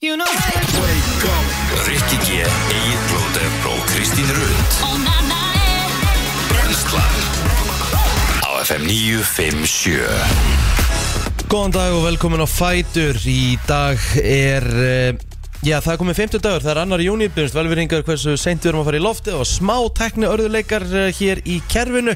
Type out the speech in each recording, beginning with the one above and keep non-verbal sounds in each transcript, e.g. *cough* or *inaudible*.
You know how to Rikki G, Egil Blóter og Kristín Rund Brenslan Á FM 957 Góðan dag og velkomin á Fætur Í dag er eh, Já, það er komið 50 dagur, það er annar júni Byrjumst velveringar hversu seint við erum að fara í lofti Og smá tekni örðuleikar eh, hér í kerfinu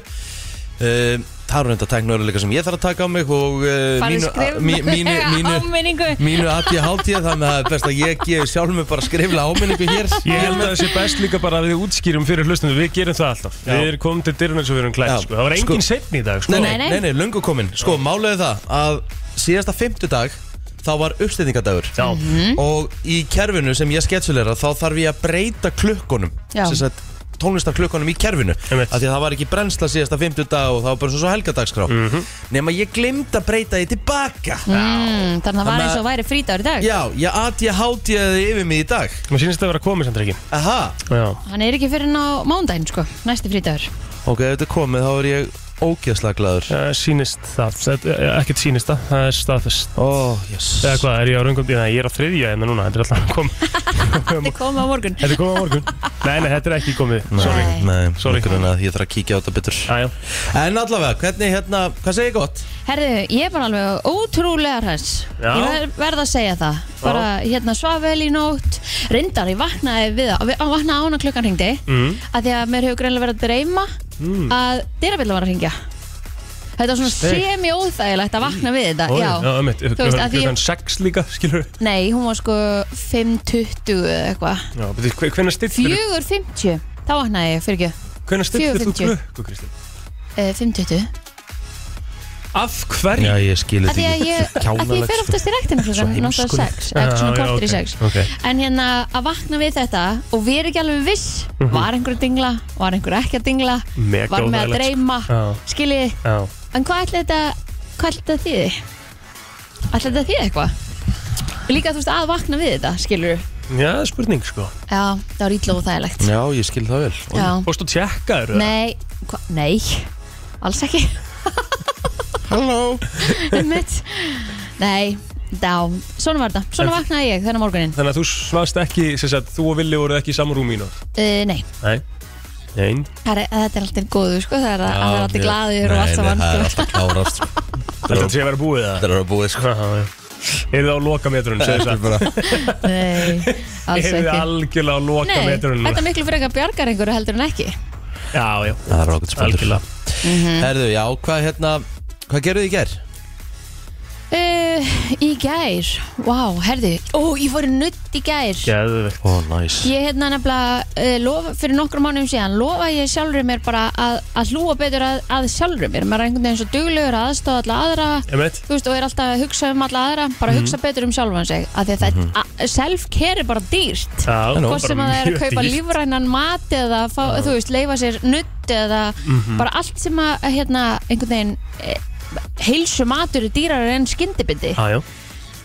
Eh, Það eru reynda tekni örðuleikar sem ég þarf að taka á mig Og eh, Farðu mínu, skrif- mí- *laughs* *laughs* mínu, mínu, Áminningu. mínu aðtíð hátíð Þannig að það er best að ég gefi sjálf mig bara skriflega áminningu hér Ég held að það sé best líka bara að við útskýrum fyrir hlustinu Við gerum það alltaf Já. Við erum komin til dyrun eins og við erum klætt Já. sko. Það var engin sko. setn í dag sko. Nei, nei, Nei, nei. nei, nei, löngu komin Sko, málega það að síðasta 50 dag Þá var uppstendingadagur Já, Mhm. og í kerfinu sem ég sketsulera þá þarf ég að breyta klukkunum Já. sem sagt tónlistarklukkunum í kerfinu Einmitt. af því að það var ekki brennsla síðasta 50 dag og það var bara svo helgadagskrá mm Mhm. -hmm. nema ég glimta að breyta því tilbaka Mm, Þannig að það var Þannig að- eins og væri frítagur í dag já, ég aði að hátíða þið yfir mig í dag mér sýnist það að vera komið samt ekki aha, Já, Hann er ekki fyrir en á mándaginn sko, næsti frítagur ok, ef þetta er komið þá er ég ógeðslega glaður Eh, sýnist það Þetta- eh, Ekkert sýnist það, það er staðfest ó, jess Eða hvað, er ég á röngum Nei, ég er á þriðja en núna, þetta er alltaf komið Þið komum á morgun Þetta er komið á morgun Nei, nei, þetta er ekki komið Sorry Nei. Nei, Sorry. okkur en að ég þarf að kíkja á þetta betur Æjá, En allavega, hvernig hérna, hvað segir ég gott? Herðu, ég er bara alveg ótrúlega hress Já. Ég ver, verð að segja það Bara hérna svaf vel í nótt Rindar, ég vaknaði við það Við- Ég vaknaði ána klukkan hringdi Mm. að Því að mér hefur greinlega verið að dreyma Mm. Að dyrabilla var að hringja Þetta var svona Steik. semi-óþægilegt að vakna við þetta já, já um eitt Þú veist, að því- Klukkan 6 líka, skilur Nei, hún var sko 5.20 eða eitthvað Já, betur, hvenær stillir 4.50 Þá vaknaði ég, fyrir Hvenær stillir þú 4:50. klukku, Kristi? ekki 5.20 Af hverju? Já, ég skilir að því að ég, að því ég fer sko. oftast í ræktina klukkan Svo náttúrulega heimskulegt. sex, eitthvað svona Ah, Já, já, kortir í ok, sex ok. en hérna að vakna við þetta og við erum ekki alveg viss Mhm. var einhver að dingla, var einhver ekki að dingla Mega var með að óþægilegt, sko. dreyma Já. skiljið, Já. en hvað ætla þetta hvað ætla þetta þýði? ætla þetta þýði eitthvað? líka þú veist að vakna við þetta, skilur Já, það er spurning sko já, það var ítla og þægilegt Já, ég skil það vel já, Fórstu að tjekka þér? nei, hva, nei alls ekki Halló Einmitt. nei, já, svona var þetta svona vaknaði ég þennan morgunin Þannig að þú svast ekki, sem sagt, þú og Villi voru ekki í saman rúmi í nótt? uh, nei Nei. Nei. Það er, þetta er alltaf góðu sko, það er, að það er alltaf glaður og allt saman Nei, það er sko. alltaf klárast sko. Þetta er að sé að vera búið það. Það er að búið sko Eru það á lokametrun, segðu það. bara Nei, alls Eru ekki það algjörlega á Nei, lokametrun. þetta miklu frekar bjargar einhverju heldur en ekki Já, já. Það er okkur spöldur Algjörlega. Mhm. Herðu, já, hvað hérna Hvað gerðu þið í ger? uh, Í gær, vá, wow, herðu Ó, ég fór í nutt í gær Geðvegt. Ó, næs Ég hérna nefnilega, uh, lofa, fyrir nokkrum mánum síðan lofa ég sjálfur mér bara að, að hlúa betur að, að sjálfur mér maður er einhvern veginn svo duglegur að aðstofa alla aðra Emmett. þú veist, og er alltaf að hugsa um alla aðra bara Mhm. hugsa betur um sjálfan sig af því að mm self-care er bara dýrt Já, Nú, hvort sem að það er að kaupa lífrænan mat eða fá, þú veist, leifa sér nutt eða Mhm. bara allt sem að hérna, einhvern veginn e, heilsu matur er dýrar en skyndibindi Já, já.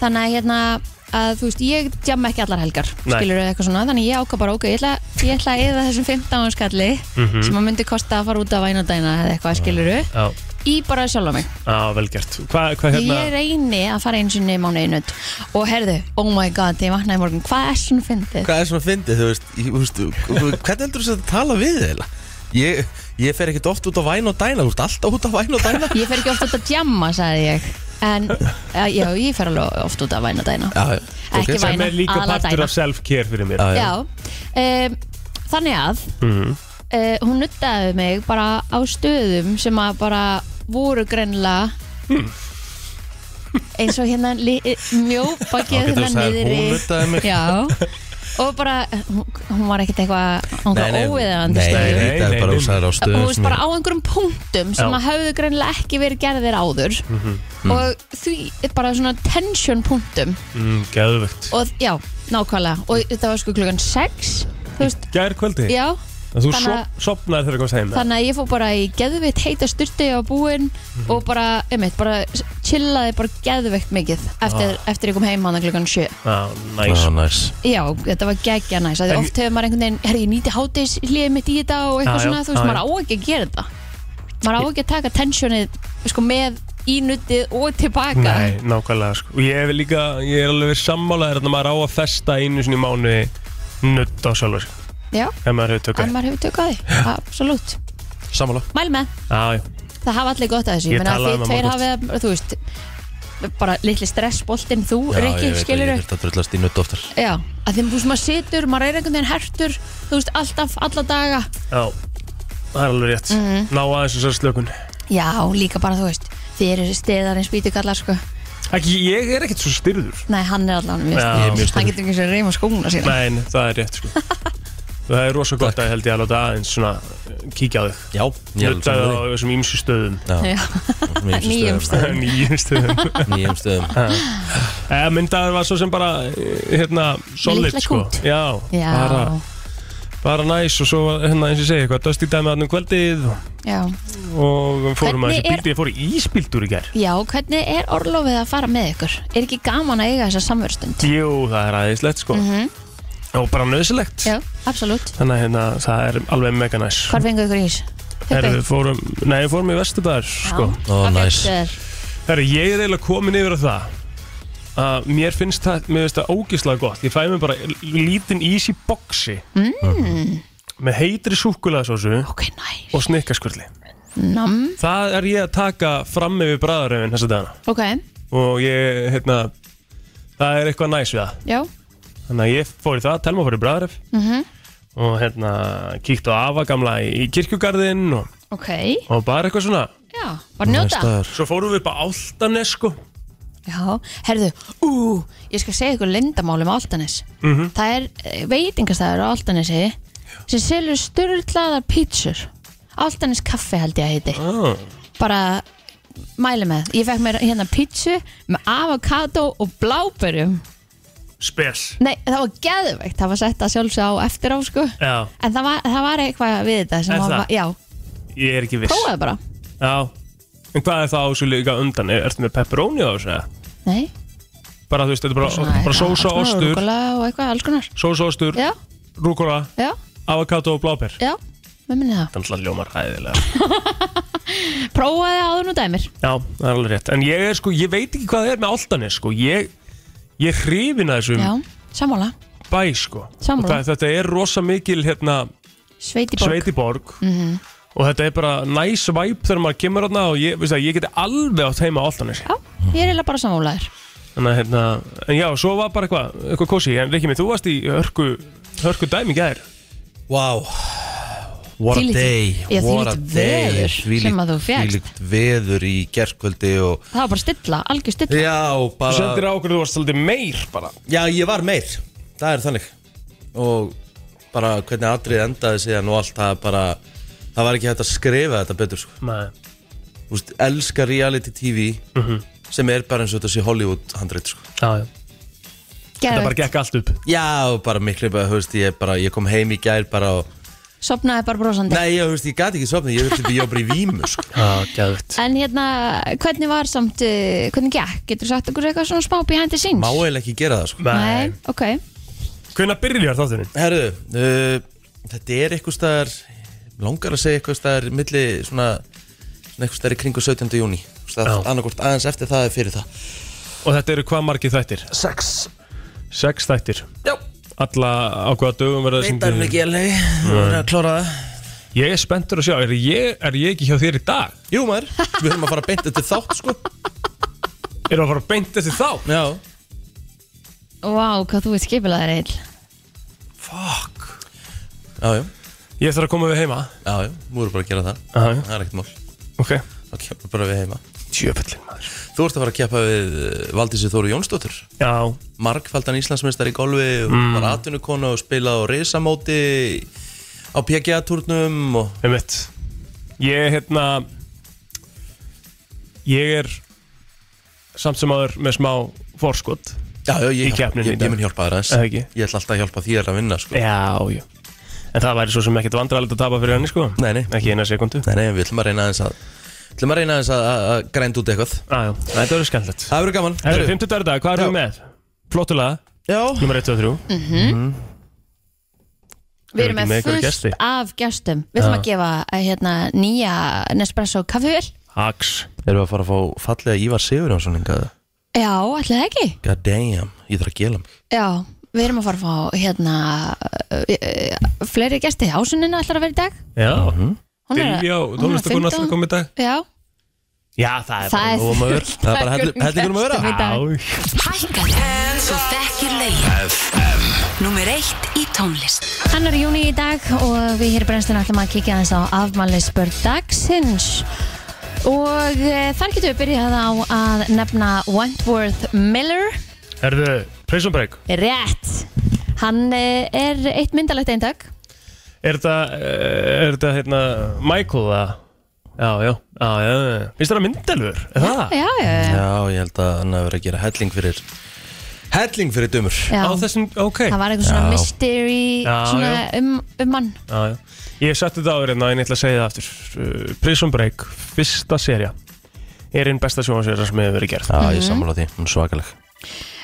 þannig að hérna að þú veist, ég jam ekki allar helgar Nei. skilur eitthvað svona, þannig ég ákvað bara ok, ég ætla, ég ætla að eða þessum 15 skalli Mm. sem að myndi kosta að fara út af vænadæna eða eitthvað skiluru, Mhm. Já, í bara sjálfa mig já, vel gert. Hvað, hvað hérna? ég reyni að fara eins og nefn á nefn og herðu, oh my god, þegar ég vaknaði í morgun hvað er svona fyndið? Hvað er svona fyndið, þú veist ég- þú veist, Hvernig heldur þú að tala við þið? eiginlega? Ég, ég fer ekkert oft út á væn og dæna Þú veist, alltaf út á væn og dæna Ég fer ekki oft út að djamma, sagði ég En, eh, já, ég fer alveg oft út að væna dæna Já, já, Ekki ok. væn. Sem er líka Aðalæna. partur af self-care fyrir mér. Mhm. Já, já. Já, um, þannig að Mm. uh, Hún nuttaði mig bara á stöðum sem að bara voru greinlega eins og hérna li- eh, mjópa þú geðuna sagðir, hún niðri nuddaði mig. Já og bara, hún, hún var ekkert eitthvað hún Nei, var nei, óviðandi Nei, stöðu nei, það Nei, er bara nei, úsæður á Þú stöðum veist sem bara ég- á einhverjum punktum sem Já. að hafðu greinlega ekki verið gerðir áður Mm. Mhm. og því bara svona tension punktum Mm, Geðvegt. og já, nákvæmlega og þetta var sko klukkan 6 þú veist, Gær kvöldi. já Þú Þannig að- sop- sofnaðir þegar þú komst heim. eða? þannig að ég fór bara í geðvitt heita styrti á búinn Mhm. og bara, einmitt, bara s- chillaði bara geðveikt mikið eftir, Ah. eftir ég kom heim hann klukkan 7 Já, næs. Já, Ah, næs já, þetta var geggja næs af því En- oft hefur maður einhvern veginn, herri, ég nýti hátis hliðið mitt í þetta og eitthvað Já, já, svona, þú veist, já, maður á ekki að gera þetta maður á ekki að taka tensjónið sko með í nuttið og tilbaka Nei, nákvæmlega sko. Og ég hef líka, ég er alveg sammálaður að maður á að festa einu sinni í mánuði nutt á sjálfur sig, Já, ef maður hefur tökka en maður hefur tökka því, absolutt Sammála Mæl með, Já, já, það hafa allir gott að þessu Ég meina að þið talaði um það tveir morgun. hafið, þú veist bara litli stressboltinn þú, Já, Rikki, ég veit skilur að Ég þurft að drullast í nutt oftar Já, að þeim þú veist maður situr, maður er einhvern veginn hertur þú veist, alltaf, alla daga já Það er alveg rétt Mhm. Ná aðeins þessar slökun Já, líka bara, þú veist, þið eru steðar eins bítugallar, sko Ekki, ég er ekkert svo styrður Nei, hann er allan mjög Já. sniðugur. Ég er mjög Hann getur ekki eins og reyma skóna sína Nein, það er *laughs* rétt sko Það er rosa gott að held ég að láta aðeins svona kíkja á þig Já, ég er Nuttaði á sammála þessum ímsu stöðum því. Já, Já, *laughs* Nýjum stöðum. Nýjum stöðum Nýjum stöðum Eða myndaður var svo sem bara eh, hérna, solid Litla sko kút. Já, já, bara, bara næs og svo var, hérna eins og ég segi eitthvað döst í dæmi aðnum kvöldið og- já og við fórum Hvernig aðeins í er- bíldi, ég fór í ísbíldur í gær Já, hvernig er orlofið að fara með ykkur? Er ekki gaman að eiga þessa samverðstund? Jú, það er aðeinslegt sko og bara nöðsilegt Mhm. Já, absolutt þannig að hérna, það er alveg mega næs Hvar fengu ykkur ís? Herru, við fórum, nei, við fórum í Vesturbæðar sko. Ó, næs. Herru, ég er eiginlega komin yfir að það að mér finnst það, mér finnst það ógislega gott ég fæ mér bara lítinn ís í boksi mm. með heitri súkulaðsósu Ok, næs og snikkaskvörli Nam það er ég að taka fram yfir bræðaröfin þessa dagana Ok, og ég, hérna það er eitthvað næs við það já þannig að ég fór í það, Telma fór í bræðaröf Mhm. og hérna kíkt á afa gamla í, í kirkjugarðinn og, Ok, og bara eitthvað svona já, bara njóta Næs staður. svo fórum við upp á Áltanes sko Já, herðu, ú, ég skal segja ykkur lindamál um Altanes Mhm. -hmm. Það er eh, veitingastæður á Altanesi sem selur styrlaðar pítsur Altanes kaffi held ég að heiti ah. bara mæli með ég fekk mér hérna pítsu með avokado og bláberjum spes nei það var geðveikt það var sett að sjálfsög á eftir á sko já, en það var, það var eitthvað við þetta Er sem það? var, já, ég er ekki viss prófaði bara já, en hvað er það á svo líka undan er, ertu með pepperoni á þessu eða? nei, bara þú veist, þetta er bara, svona bara eitthvað, sósa, svona ostur rúgula og eitthvað alls konar sósa, ostur, já, rúkóla, já, avokado og bláber já, með minni það það er alltaf ljómar hæðilega prófaði áður nú dæmir já, það er alveg rétt en ég er sko, ég veit ekki hvað það er með Áltanes sko, ég ég er hrifin að þessum já, sammála, bæ sko Sammála. Og það, þetta er rosa mikil hérna, sveitiborg Sveit. sveitiborg Mhm. og þetta er bara næs nice væp þegar maður kemur hérna og ég, veist það, ég geti alveg átt heima á Áltanes já, ég er eiginlega bara sammálaður Þannig að hérna, en já, svo var bara eitthvað, eitthvað kósi, en Rikki, minn, þú varst í hörku, hörku dæmi gær. Wow What Þvílíkt- a day Já, What a þvílíkt day veður Þvílíkt- sem að þú fékkst. Þvílíkt veður í gerkvöldi og það var bara stilla, algjör stilla Já, Þú bara sendir á okkur, þú varst svolítið meir bara. Já, ég var meir Það er þannig Og bara hvernig atrið endaði síðan og allt Það er bara Það var ekki hægt að skrifa þetta betur sko Nei. Mhm. Þú veist, elska reality TV Sem er bara eins og þetta sé Hollywood handreit sko Já, já. Þetta bara geðveikt, gekk allt upp. Já, og bara miklu bara, þú veist, ég bara Ég kom heim í gær bara og sopnaði bara brosandi Nei, ég, þú veist, ég gati ekki sofnið Ég þurfti ég var bara í vímu sko *laughs* Já, gæðut. En hérna, hvernig var samt, uh, hvernig gekk? Getur þú sagt okkur eitthvað svona smá behind the scenes? Má eiginlega ekki gera það sko Nei. Nei, ok. Hvernig byrjar þátturinn? Herðu, uh, þetta er eitthvað staðar langar að segja eitthvað staðar milli svona, svona eitthvað staðar í kringu 17. júni Já. annarkvort aðeins eftir það er fyrir það Og þetta eru hvað margir þættir? Sex Sex þættir. Já, Alla á hvaða dögum verða veit það er ekki alveg Við erum að klára það Ég er spenntur að sjá, er ég, er ég ekki hjá þér í dag? Jú maður, við erum að fara beint eftir þátt sko Erum að fara að beint þessi þá? Já Vá, hvað þú ert skipilaðir eil. Fuck. Já, já, Ég þarf að koma við heima. já, já, við erum bara að gera það Já, já. Það er ekkert mál Ok. Það kemur bara við heima Tjöfellin maður. Þú ert að fara að keppa við eh, Valdísi Þóru Jónsdóttur Já, Mm. margfaldan Íslandsmeistar í golfi og var atvinnukona og spilaði á reysamóti á PGA-turnum og Einmitt. Ég, hérna Ég er samt sem áður með smá forskot Já, já, Í ég, hjálp, keppninni í ég, dag. ég mun hjálpa þér aðeins Eða ekki? Ég ætla alltaf að hjálpa þér að vinna sko. Já, já En það væri svo sem ekkert vandrarlegt að tapa fyrir henni, sko Nei, nei. Ekki eina sekundu Nei, nei, við ætlum að reyna aðeins að Við ætlum að reyna aðeins að, að, að grænda út eitthvað Já, já, þetta verður skemmtilegt Það verður gaman Herru, 50 dagar dag, hvað erum við með? Flottulega, Já, nummer 1 og 3 Mhm. Við erum ekki með með ykkur fullt gesti? af gestum. Við ætlum að gefa eh, hérna, nýja Nespresso kaffivél. Ax Erum við að fara að fá fallega Ívar Sigurjónsson hingað? Já, ætli það ekki God damn, ég þarf að gela mig Já, við erum að fara að fá hérna uh, uh, fleiri gesti ásunina ætlar að vera í dag Já, Hún er- Dilljá, hún er á 15. tónlistakona ætlaði að koma í dag Já, Já, það er það nóg um að er *laughs* vera. Það er bara helli- hellingur um að vera. gestum í dag. Á, Hækkaðu svo þekkir leiðin Númer eitt í tónlist Annar júni í dag og við hér í brennslun ætlum að kíkja aðeins á afmælisbörn dagsins og e, þar getum við byrjað á að nefna Wentworth Miller Herðu, Prison Break Rétt Hann e, er eitt myndalegt eindag Er þetta, eh, er þetta hérna Michael það? Já, já, já, já, já Finnst þetta myndalur? Er það? Já, já, já, Já, ég held að hann hafi verið að gera helling fyrir Helling fyrir dömur já. Á þessum, ok Það var eitthvað svona Já. mystery Já, svona Um, um hann já, já. Ég hef sett þetta áður hérna en ég ætla að segja það aftur Uh, Prison Break, fyrsta serja er einn besta sjónvarsverða sem hefur verið gerð Já, ég Mhm. sammála því, hún er svakaleg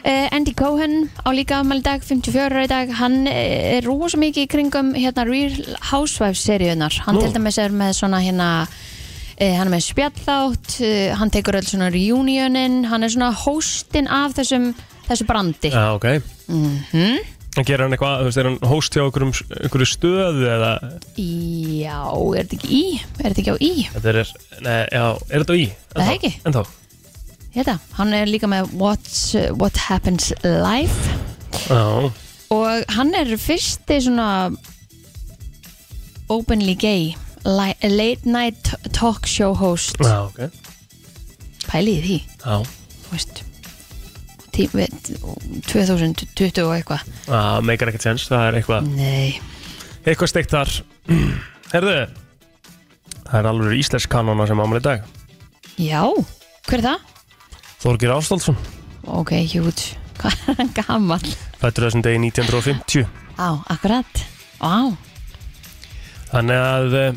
Uh, Andy Cohen á líka afmæli í dag, 54 ára í dag, hann eh, er rosa mikið í kringum hérna Real Housewives seríunar, hann Nú. til dæmis er með svona hérna eh, hann er með spjallátt, eh, hann tekur öll svona reunionin, hann er svona hóstinn af þessum, þessu brandi Mhm. Já, ok mm -hmm. Gerir hann eitthvað, þú veist, er hann host hjá einhverjum, einhverju stöðu eða Já, er þetta ekki í? Er þetta ekki á í? Þetta er, nei, já, er þetta í? Það er ekki. En þá, Hérna, hann er líka með What's, eh, What Happens Live já, og hann er fyrsti svona openly gay li- late night talk show host já, ok pæliði því, Já, þú veist tí- við- 2020 og eitthvað já, meikar ekkert sens, það er eitthvað nei, Eitthvað steikt þar *clears throat* Herðu, það er alveg íslensk kanona sem ámæli í dag já hver er það? Þorgir Ástálsson, ok, hjút, *laughs* hvað er hann gammal fættur þessum degi 1950 á, akkurat, á Þannig að eh,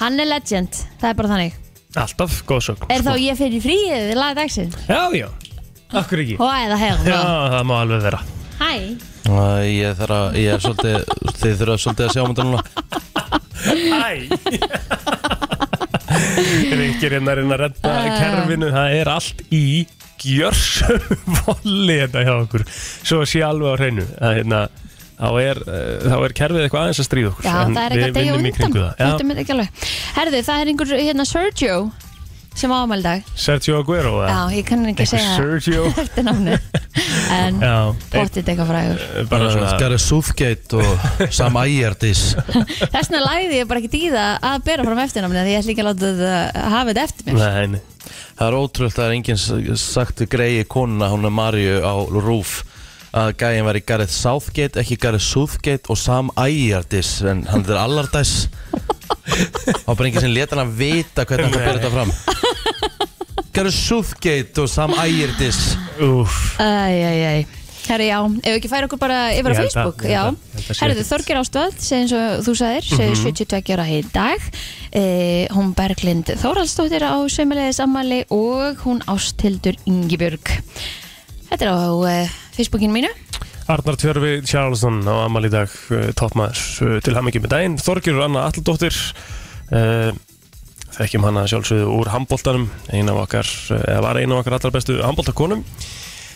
hann er legend, það er bara þannig Alltaf góð sögn er þá ég fyrir fríið í lagið dagsinn Já, já, akkur ekki og eða Já, hel, það má alveg vera hérna? hæ Æ, Ég þarf að, ég er svolítið Þið þurfa svolítið að sjá mynda núna Æ *laughs* Ríkir hérna er að redda Ah. kerfinu Það er allt í gjörsum volli þetta hjá okkur Svo sé alveg á hreinu að, hérna, þá, er, eh, þá er kerfið eitthvað aðeins að stríða okkur Já, En það er ekki við að degja vinnum í undan kringum það. Þetta með ekki alveg Herðu, það er einhver hérna Sergio sem ámæli dag Já, Sergio Aguero Já, eða? ég kann ekki Einhver segja Sergio *laughs* eftir námni En Já, eitt, pottit eitthvað frægur bara svona Gareth Southgate og Sam Ayerdis Þess vegna læði ég bara ekki dýða að bera fram eftir námni Því ég ætla ekki að láta það hafa þetta eftir mér Nei, nei. Það er ótrúlegt að það er enginn s- sagt við greiði konuna, hún er Marju á Rúf að gæðin væri Gareth Southgate, ekki Gareth Southgate og Sam Ayerdis en hann er Allardyce Það var bara enginn sem leta hann að vita hvernig hann byrja þetta fram Gareth Southgate og Sam Ayerdis Úf Æjæjæj Herri, já, ef við ekki færa okkur bara yfir Ég á held að- Facebook ég Já, held að- ég held að sé Mhm. herriðu, ekkert. Þorgir Ástvald segir eins og þú sagðir, segir 72 ára í dag eh, hún Berglind Þóraldsdóttir á sömulegis ammali og hún Ástildur Ingibjörg Þetta er á eh, Facebookinu mínu Arnar Tjörfi Charlesson á Amal í dag eh, toppmaður eh, til hamingjum með daginn Þorgjur Anna Alldóttir eh, þekkjum hana sjálfsögðu úr handbóltanum eina af okkar, eh, eða var eina af okkar allra bestu handbóltakonum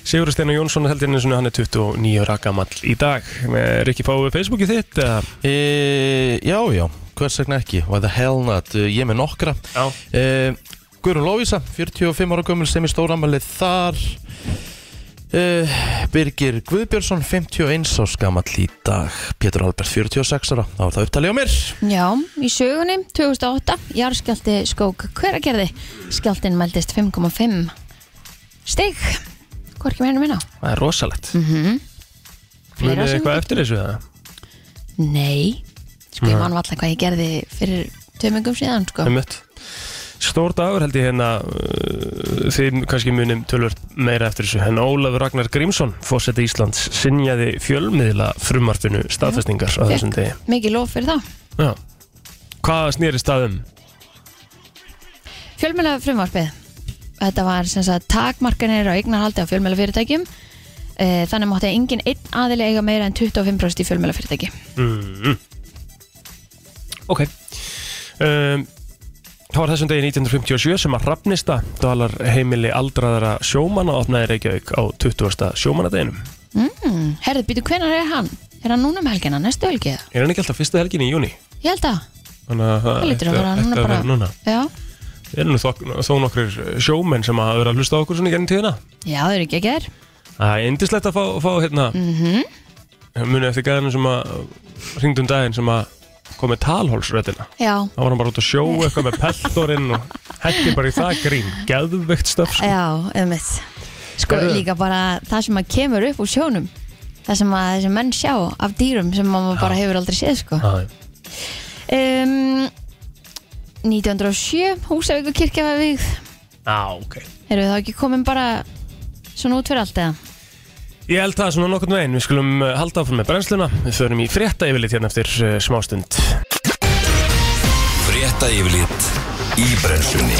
Sigur Steina Jónsson held henni svona hann er 29 rakamall í dag Eh, Rikki fáið Facebooki þitt Eh, eða? e, Já, já, hvers vegna ekki Why the hell not, Eh, ég er með nokkra Já, Uh, Guðrún Lóvísa, 45 ára gömul sem er stóramæli þar uh, Birgir Guðbjörnsson 51 árs gamall í dag Pétur Albert 46 ára þá er það upptalið á mér Já, í sögunni 2008, jarðskjaldi skók hveragerði, skjaldin meldist 5,5 stig Hvorki meina minna? það er rosalegt mm -hmm. Fleira sem- eitthvað eftir þessu það? Nei, sko ég man alltaf hvað ég gerði fyrir tömingum síðan sko. Einmitt. Stór dagur held ég hérna uh, þið kannski munum tölvört meira eftir þessu en Ólafur Ragnar Grímsson fórseti Íslands sinjaði fjölmiðla frumarfinu staðfestingar á þessum degi mikið lof fyrir það Já. Hvað um? snýri staðum? Fjölmjöla frumvarpið Þetta var sem sagt takmarkanir á eignarhaldi á fjölmjöla fyrirtækjum Þannig mátti engin einn aðili eiga meira en 25% í fjölmjöla fyrirtæki Ok um, Það var þessum degi 1957 sem að Rafnista dalar heimili aldraðara sjómanna opnaði í Reykjavík á 20. sjómannadeginum. mm, Herðu, býtu, hvenær er hann? Er hann núna um helgina, næstu helgið? Er hann ekki alltaf fyrsta helgin í júni? Ég held að, Þannig að það lítur að ætti vera ætti núna að bara vera núna. Já, Það eru nú þó, þó nokkrir sjómenn sem hafa verið að hlusta á okkur svona í gennum tíðina. já, það eru ekki að ger Það er indislegt að fá, fá hérna, mm muni eftir gæðinu sem að ringdum daginn sem að kom með talhólsröddina. Já, Þá var hann bara út að sjó eitthvað með peltorinn og hætti bara í það grín. Geðveikt stöf, sko. já, um Sko, Herðu. líka bara það sem að kemur upp úr sjónum Það sem að þessi menn sjá af dýrum sem maður bara hefur aldrei séð, sko Já, um, 1907 Húsavíkur kirkja var við Já, ok. Erum við þá ekki komin bara svona út fyrir allt eða? Ég held það svona nokkurn veginn, við skulum eh, halda áfram með brennsluna, við förum í frétta yfirlit hérna eftir uh, smástund. Frétta yfirlit í brennslunni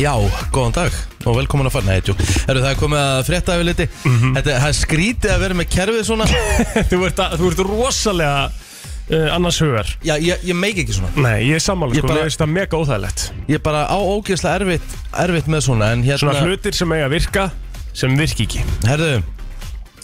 Já, góðan dag og velkomin að fara Nei, tjú, Herru, það er komið að frétta yfir liti Þetta það er skrítið að vera með kerfið svona Mhm. *laughs* þú, ert að, þú ert rosalega uh, annars hugar. Já, ég, ég meik ekki svona Nei, ég er sammála, Ég sko, bara- mér finnst það mega óþægilegt. Ég er bara á ógeðslega erfitt, erfitt með svona En Svona hérna, hlutir sem eiga að virka, sem virki ekki. herru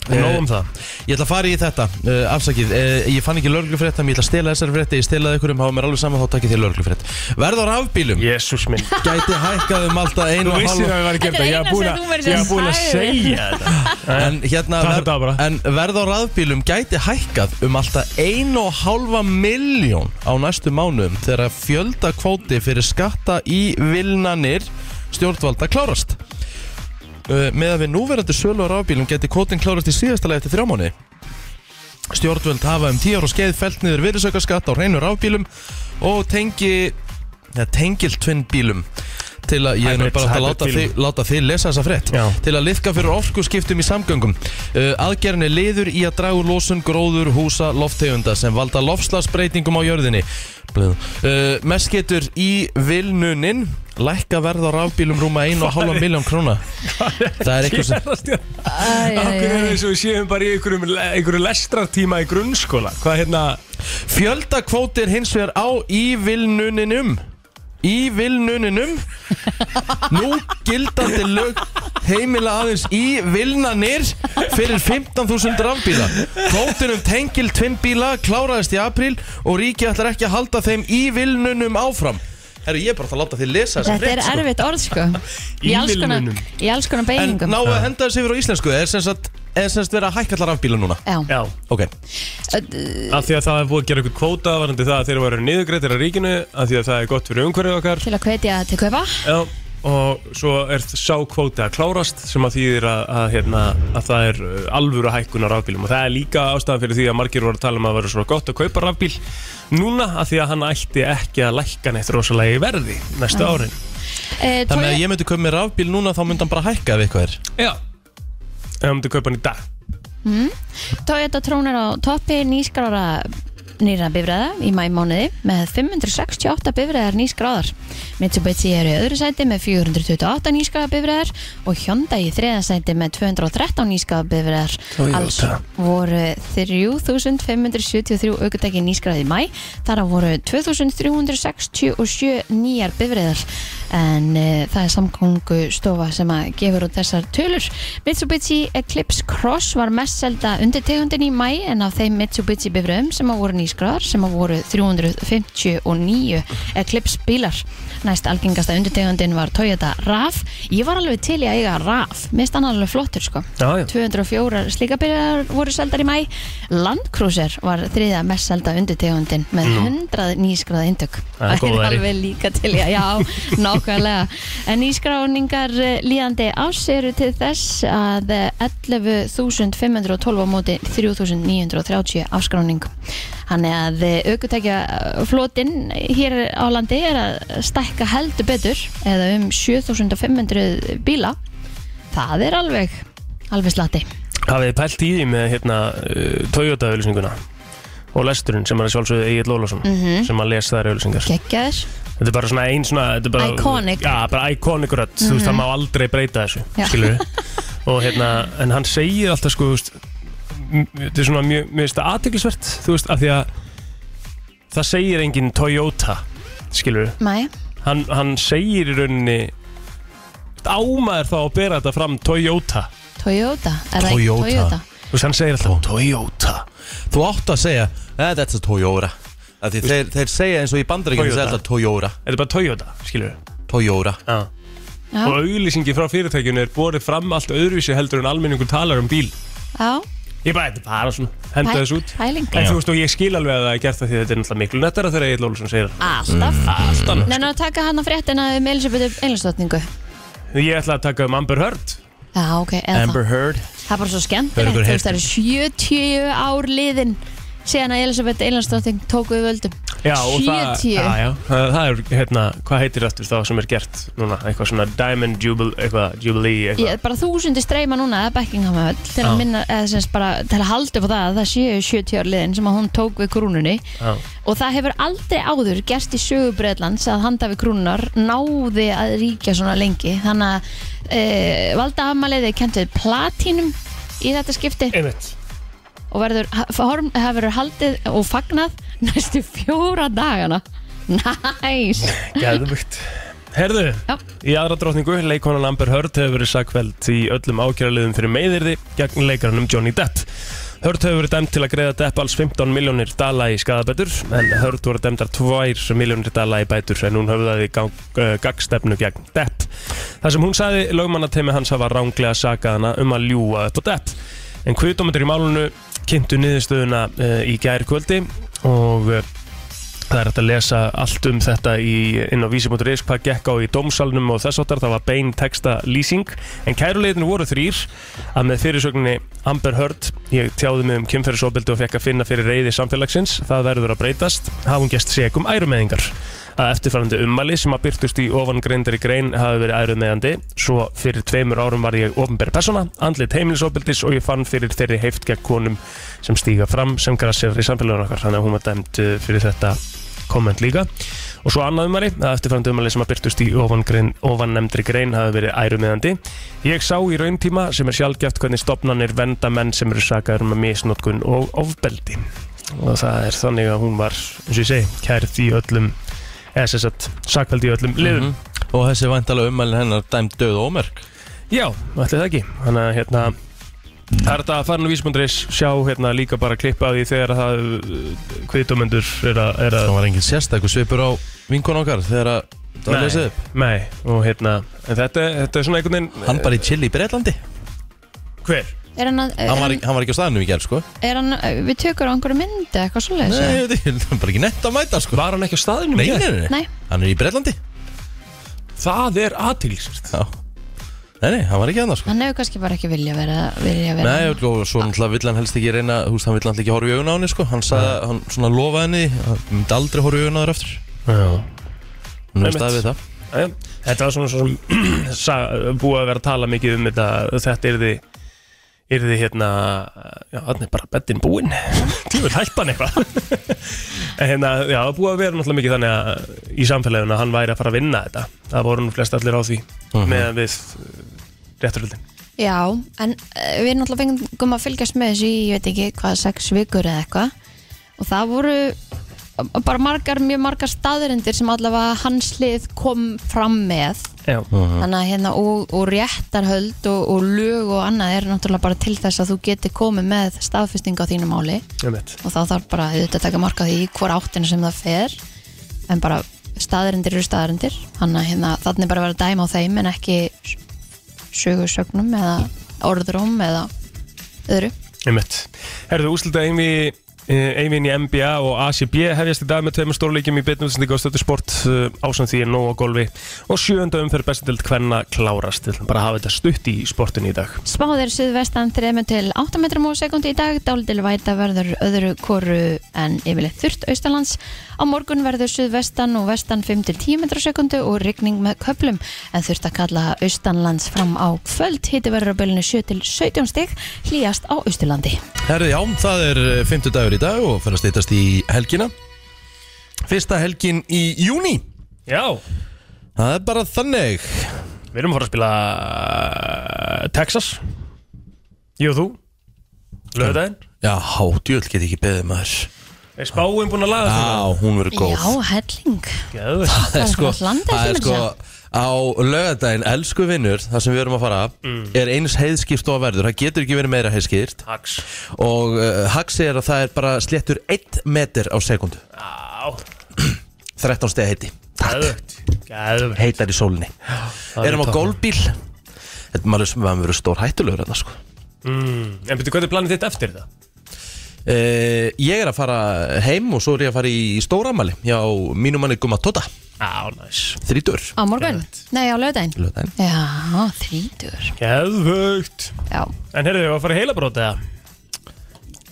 Við nógum það. eh, Ég ætla að fara í þetta, uh, afsakið uh, Ég fann ekki lörglufrétt, ég ætla að stela þessari frétti Ég stelaði ykkur um, hafa mér alveg saman, þá takkið þér lörglufrétt Verð á rafbílum, Jésús minn. gæti hækkað um alltaf einu Þú og vissir hálfa- að við Þetta varum er gæmda, ég eina hef búin sem að, þú verður ég hef búin að sagði. segja þetta. *laughs* En, hérna, Takk þetta bara. en verð á rafbílum gæti hækkað um alltaf 1,5 miljón á næstu mánum þegar fjöldakvóti fyrir skatta í vilnanir stjórnvalda klárast. Uh, með að við núverandi sölu á rafbílum geti kvótin klárast í síðasta lagi eftir þrjá mánu. Stjórnvöld hafa um 10 ára skeið felt niður virðisaukaskatt á reynu rafbílum og tengi, ja, tengiltvinn bílum til að, ég er nú Hybrid- bara að hybrid láta bílum. þig, láta þið lesa þessa frétt Já. til að liðka fyrir orkuskiptum í samgöngum. Uh, aðgerðin er liður í að draga úr losun gróður húsa lofttegunda sem valda lofslagsbreytingum á jörðinni. Blöð. Uh, mest getur í vilnuninn lækka verð á rafbílum rúma 1,5 miljón króna. Það er eitthvað sem... Gerast ég? Æ, Akkur er þess að við séum bara í einhverjum, einhverju lestrartíma í grunnskóla. Hvað hérna, Fjöldakvóti er hins vegar á í vilnuninum. Í vilnuninum. Nú gildandi lög heimila aðeins í vilnanir fyrir 15.000 rafbíla. Kvótinum um tengil tvinnbíla kláraðist í apríl og ríki ætlar ekki að halda þeim í vilnunum áfram. Herru, ég er bara að láta þið lesa þessa Þetta er frétt, sko. erfitt orð *laughs* sko Í alls konar, Ívilnunum. í alls konar En beigingum ná að henda þessi yfir á íslensku, er sem sagt, er sem sagt verið að hækka allar rafbíla núna. Já, já, Ok, af því að það er búið að gera eitthvað kvóta varandi það að þeir eru niðurgreitir af ríkinu af því að það er gott fyrir umhverfið okkar til að hvetja til kaupa Já, og svo er sá kvóti að klárast sem að þýðir að, að, hérna, að það er uh, alvöru hækkun á rafbílum og það er líka ástæðan fyrir því að margir voru að tala um að það vera svo gott að kaupa rafbíl núna af því að hann ætti ekki að lækka neitt rosalega í verði næstu árin Eh, Mm. þannig að Toyo- ég myndi köpa með rafbíl núna þá myndi hann bara hækka ef eitthvað er. Já Ef hann myndi kaupa hann í dag Mm. Toyota trónir á toppi nýskrára nýra bifræða í mæmánuði með 568 bifræðar nýskráðar Mitsubishi eru í öðru sæti með 428 nýskráða bifræðar og Hyundai í þriða sæti með 213 nýskráða bifræðar Toyota. alls voru 3573 aukutæki nýskráði í mæ þar af voru 2367 nýjar bifræðar en uh, það er samkongu stofa sem að gefur út þessar tölur Mitsubishi Eclipse Cross var mest selda undir tegundin í mæ en af þeim Mitsubishi bifræðum sem að voru nýskráðar sem að voru 359 Eclipse bílar næst algengasta undirtegundin var Toyota RAV ég var alveg til í að eiga RAV mist hann alveg flottur sko Já, já. 204 slíka byrjar voru seldar í mæ Land Cruiser var þriða mest selda undirtegundin með 100 nýskraða indök Það er góð væri. alveg líka til í að já, nákvæmlega en nýskráningar eh, líðandi ás eru til þess að eh, 11.512 á móti 3.930 afskráning Þannig að aukutækja flotin hér á landi er að stækka heldur betur eða um 7.500 bíla Það er alveg, alveg slatti. Hafið þið pælt í því með hérna, uh, Toyota-auðlýsninguna og lesturinn sem er að sjálfsögðu Egil Lólasson Mhm. sem að lesa þær auðlýsingar Gekkjaður. Þetta er bara svona einn svona þetta er bara, Iconic. Mhm. Já, bara iconic rödd Þú veist, það má aldrei breyta þessu Já. Skilur við Og hérna, en hann segir alltaf sko þú veist, m- þetta er svona mjög, mér finnst það aðteglisvert þú veist, af því að það segir engin Toyota skilur við, Mæ, hann, hann segir í rauninni ámaður þá að bera þetta fram Toyota Toyota er það ekki Toyota. Toyota þú veist, hann segir alltaf Toyota Þú átt að segja eh, That's a Toyota Af Því þeir, þeir segja eins og í bandaríkjum Toyota. Þeir segja Toyota þetta er bara Toyota, skilur við Toyota ah. Já, og auglýsingi frá fyrirtækjunni er borið fram allt öðruvísi heldur en almenningur talar um bíl já, ég bara, þetta er bara svona, henda pæ- þessu út pæling en þú veist, og ég skil alveg að það er gert það því að þetta er náttúrulega miklu nettara þegar Egil Olsson segir það. Alltaf alltaf Nenna að taka hann á fréttina um Elisabeth Eilinsdóttningu ég ætla að taka um Amber Heard Já, ok, eða það Heard Það er bara svo Hefur skemmtilegt, ykkur þú veist, heyrt það eru 70 ár liðin síðan að Elisabeth Einarsdóttir tók við völdum Já, og það, 70. já, já, það það er, hérna, hvað heitir aftur það sem er gert núna, eitthvað svona Diamond Jubil, eitthvað, Jubilee, eitthvað, Ég, bara þúsundir streyma núna að Beckingham höll til að Já. minna, eða sem sagt bara til að halda upp á það að það séu 70 ár liðin sem að hún tók við krúnunni Já. og það hefur aldrei áður gerst í sögu Breitlands að handa við krúnunar náði að ríkja svona lengi þannig að e, valda afmæliði kentuð platínum í þetta skipti einmitt, og verður, form, það verður haldið og fagnað næstu fjóra dagana Næs geðvögt. Herðu, Já. í aðra drotningu, leikonan Amber Heard hefur verið sakveld í öllum ákjæraliðum fyrir meðirði gegn leikaranum Johnny Depp. Heard hefur verið dæmt til að greiða Depp alls 15 miljónir dala í skadabætur, en Heard voru dæmdar 2 miljónir dala í bætur en hún höfðaði gang, uh, gagstefnu gegn Depp. Það sem hún sagði lögmannatemi hans hafa ránglega sakað hana um að ljúa upp á depp. En kviðdómendur í málunu kynntu niðurstöðuna uh, í gærkvöldi og uh, það er hægt að lesa allt um þetta í, inn á vísi.is hvað gekk á í dómsalnum og þess áttar það var bein texta lýsing en kæruleitin voru þrýr að með fyrirsögninni Amber Heard ég tjáði mig um kynferðisofbildi og fekk að finna fyrir reyði samfélagsins, það verður að breytast hafa hún gest segum ærumeðingar að eftirfærandi ummæli sem að byrtust í ofangreindari grein hafi verið ærumeðandi svo fyrir tveimur árum var ég ofnbæri persóna, andlit heimilisofbildis og ég fann fyrir þeirri heift gegn konum sem stíga fram sem grassir í samfélaginu okkar þannig að hún var dæmd uh, fyrir þetta komment líka og svo annað umari að eftirfærandi umari sem að byrtust í ofangrein, ofannemndri grein hafi verið ærumiðandi ég sá í rauntíma sem er sjálfgeft hvernig stopnanir venda menn sem eru sakaður með misnotkun og ofbeldi og það er þannig að hún var eins og ég segi, kærð í öllum eða sem sagt, sakveld í öllum liðum Mhm. Og þessi væntalega ummælin hennar dæmt döð og ómerk Já, ætli það ekki Þannig að hérna Það er þetta að fara nú vísbundurins sjá hérna líka bara klippa því þegar að það kviðdómendur er að, er að Það var engin sérstakur svipur á vinkon okkar Þegar að það var Nei. lesið upp Nei, og hérna en þetta, þetta er svona einhvern veginn Hann bara í chill í Breitlandi Hver? Er hann, að, er hann var, hann, hann var ekki á staðinu í gerð sko er hann við tökur á einhverju myndi eða eitthvað svoleiðis Nei, eða? ég veit ekki, það er bara ekki nett að mæta sko Var hann ekki á staðinu? Nei, nei, nei, nei. Nei, Hann er í Breitlandi Það er aðtilsvært Já Nei, nei, hann var ekki annars sko hann hefur kannski bara ekki vilja vera, vilja vera Nei, og og svo náttúrulega vill hann helst ekki reyna Þú veist, hann vill náttúrulega ekki horfa í augun á henni sko Hann sagði, hann svona lofaði henni Hann myndi aldrei horfa í augun á þér aftur Nú Einmitt. staði við það Þetta var svona svo sem *clears throat* sa- búið að vera að tala mikið um þetta þetta yrði yrði hérna, já þannig er bara beddin búinn, *laughs* tímur hættan eitthvað *laughs* en hérna, já það var búið að vera náttúrulega mikið þannig að í samfélaginu að hann væri að fara að vinna þetta það voru nú flest allir á því meðan við rétturöldin Já, en eh, við náttúrulega fengum að fylgjast með þessu í, ég veit ekki, hvað, sex vikur eða eitthvað og það voru eh, bara margar, mjög margar staðurindir sem allavega hans lið kom fram með Já, þannig að hérna og, og réttarhöld og, og lög og annað er náttúrulega bara til þess að þú geti komið með staðfesting á þínu máli ég veit og þá þarf bara auðvitað að taka marka því í hvor áttinu sem það fer en bara staðarindir eru staðarindir þannig að hérna, þannig er bara að vera að dæma á þeim en ekki sögursögnum eða orðrum eða öðru Einmitt. Herðu, úslita Eimi Eivin í NBA og ACB hefjast í dag með tveimur stórleikjum í beinni útsendingu á stöðu sport ásand því er nóg á golfi og sjönda umferð bestendelt hvenna klárast til bara að hafa þetta stutt í sportinu í dag Spáðir suðvestan 3 til 8 metrum á sekundi í dag, dálítil væta verður öðru koru en yfirleitt þurft austalands. Á morgun verður suðvestan og vestan 5 til 10 metrum á sekundu og rigning með köplum en þurft að kalla austanlands fram á kvöld. Hiti verður á bylunu 7 til 17 stig, hlýjast á austurlandi. Herði, já, það er 50 dagur í dag og fyrir að stýtast í helgina Fyrsta helgin í júni Já, Það er bara þannig við erum að fara að spila eh, Texas Ég og þú Löðaðinn? Já, hátjöld get ekki beðið maður Er spáin búin að laga Já, hún verður góð Já, helling Geðvegt. Það er Það sko, er landið það er sem sko er á lögadaginn, elsku vinnur, það sem við erum að fara Mm. er eins heiðskýrt og að verður, það getur ekki verið meira heiðskýrt Hax og uh, Haxi er að það er bara sléttur 1 metr á sekundu, Já, *clears throat* 13 steg heiti geðvögt Geðvögt heitar í sólinni erum á topp. gólbíl þetta er maður sem við verður stór hættulegur þarna sko Mm. En betur, hvað er planið þitt eftir það? Uh, ég er að fara heim og svo er ég að fara í stóramæli hjá mínum manni Guma Tóta, Já, næs þrítur Á morgun? Nei, á lögdæn lögdæn Já, þrítur Geðvögt Já, En heyrðu, ég var að fara í heilabrót eða?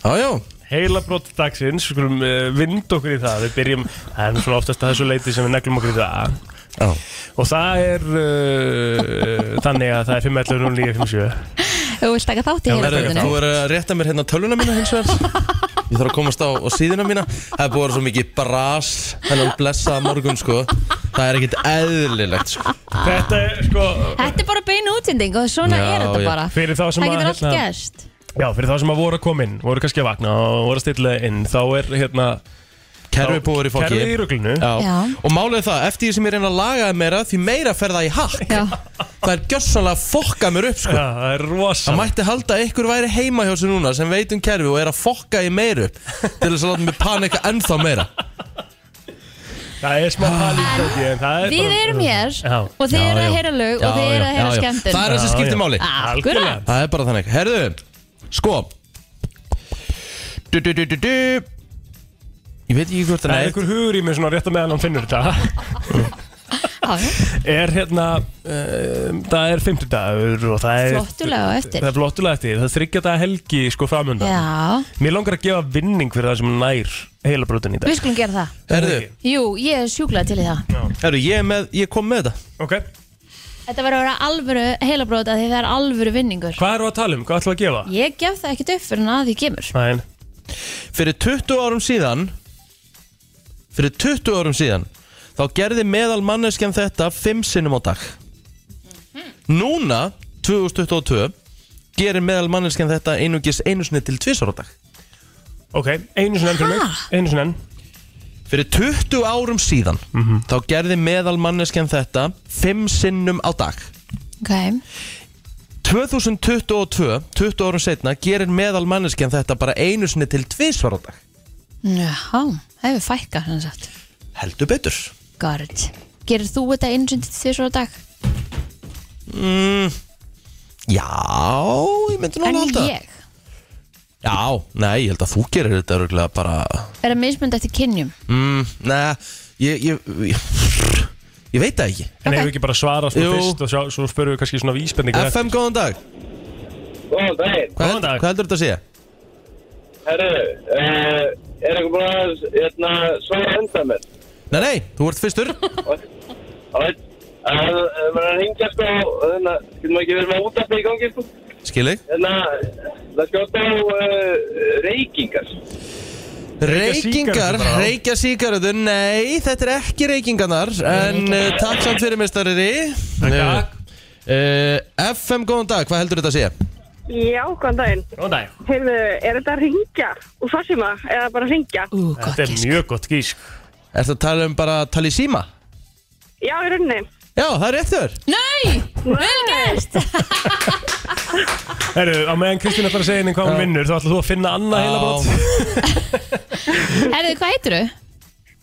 Já, já, Heilabrót dagsins, við skulum uh, vind okkur í það Við byrjum, það er nú svona oftast að þessu leiti sem við neglum okkur í það já. Og það er uh, *laughs* þannig að það er 5.11.09.57 þú vilt taka þátt í Já, heila verður Herra, ekki brotinu Þú er að rétta mér hérna töluna mína hins vegar Ég þarf að komast á, á síðuna mína Það er búið að vera svo mikið bras Þennan blessaða morgun sko Það er ekkit eðlilegt sko Þetta er sko, Þetta er bara bein útsending og svona Já, er þetta já. bara Fyrir þá sem Það að, getur allt hérna, gerst Já, fyrir þá sem að voru að koma inn, voru kannski að vakna og voru að stilla inn, þá er hérna Kerfi búið í fokki Kerfið í ruglinu Já. Já. Og málið er það, eftir því sem ég reyna að laga það meira Því meira fer það í hakk Já, Það er gjössanlega að fokka mér upp sko það er rosa Það mætti halda að ykkur væri heima hjá sér núna sem veit um kerfi og er að fokka í meiru til þess að láta mig panika ennþá meira Það er smá paníkóki en það er við bara- erum hér Já, og þið Já, eru já. að heyra lög og Já, þið já, eru að heyra já, já. skemmtun Það er það sem Já, skiptir já. máli Akkurat. Það er bara þannig Herðu, sko du, du, du, du, du. Ég veit ekki hvort Það það er er einhver hugur í mér svona rétt að meðan hann finnur þetta *laughs* Já, já. Er hérna, um, það er fimmtudagur og það er Flottulega á eftir. Það er flottulega eftir, það er þryggja daga helgi sko framöndan Já, Mér langar að gefa vinning fyrir það sem nær heila brotin í dag við skulum gera það Herðu, Jú, ég er sjúklað til í það herðu ég, er með, ég kom með þetta Ok, Þetta verður að vera alvöru heilabrót að því það er alvöru vinningur hvað erum við að tala um, hvað ætlum við að gefa? Ég gef það ekkert upp fyrir en að því kemur Næin, Fyrir 20 árum síðan Fyrir 20 árum síðan Þá gerði meðal manneskjan þetta 5 sinnum á dag Núna, 2022 Gerir meðal manneskjan þetta einungis einu sinni til tvisar á dag ok, einu sinni enn fyrir mig, einu sinni enn Mhm. Fyrir 20 árum síðan Þá gerði meðal manneskjan þetta 5 sinnum á dag Ok, 2022, 20 árum setna, gerir meðal manneskjan þetta bara einu sinni til tvísvar á dag. já, það hefur fækka sem sagt Heldur betur. Gard, gerir þú þetta einu sinni til því svo dag? Mm. Já, ég myndi nú En alveg halda. það. ég, Já, nei, ég held að þú gerir þetta örgulega bara... er að mismunda eftir kynjum Mm, nei, ég, ég, ég, ég veit það ekki. En Ok. okay. hefur ekki bara svarað svona Jú. fyrst og sjá, svo spörum við kannski svona vísbendingar FM, góðan dag. Góðan daginn, Hvað, Góðan dag. Hvað heldur þetta að segja? herru, uh, er eitthvað búin að hérna, svara undan mér? Nei, nei, þú ert fyrstur. *laughs* Það veit, það er bara að ringja sko, hérna, getur maður ekki verið með útafni í gangi sko? Skilig. Hérna, það skjóta á uh, reykingar. Reykingar, sígarettu bara. reykja síkaretur, nei, þetta er ekki reykingarnar, en uh, takk samt fyrir mestariri. Takk. Uh, FM, góðan dag, hvað heldur þetta að segja? Já, góðan daginn. Góðan dag Heyrðu, er þetta að ringja úr farsíma eða bara að ringja? Ú, gott Þetta er gísk mjög gott gísk Ertu að tala um bara að tala í síma? Já, í rauninni. Já, það er rétt þér Nei, vel gert Herru, á meðan Kristín ætlar að segja henni hvað hún vinnur Þá ætlar þú að finna annað heila brot Herðu, hvað heitir þú?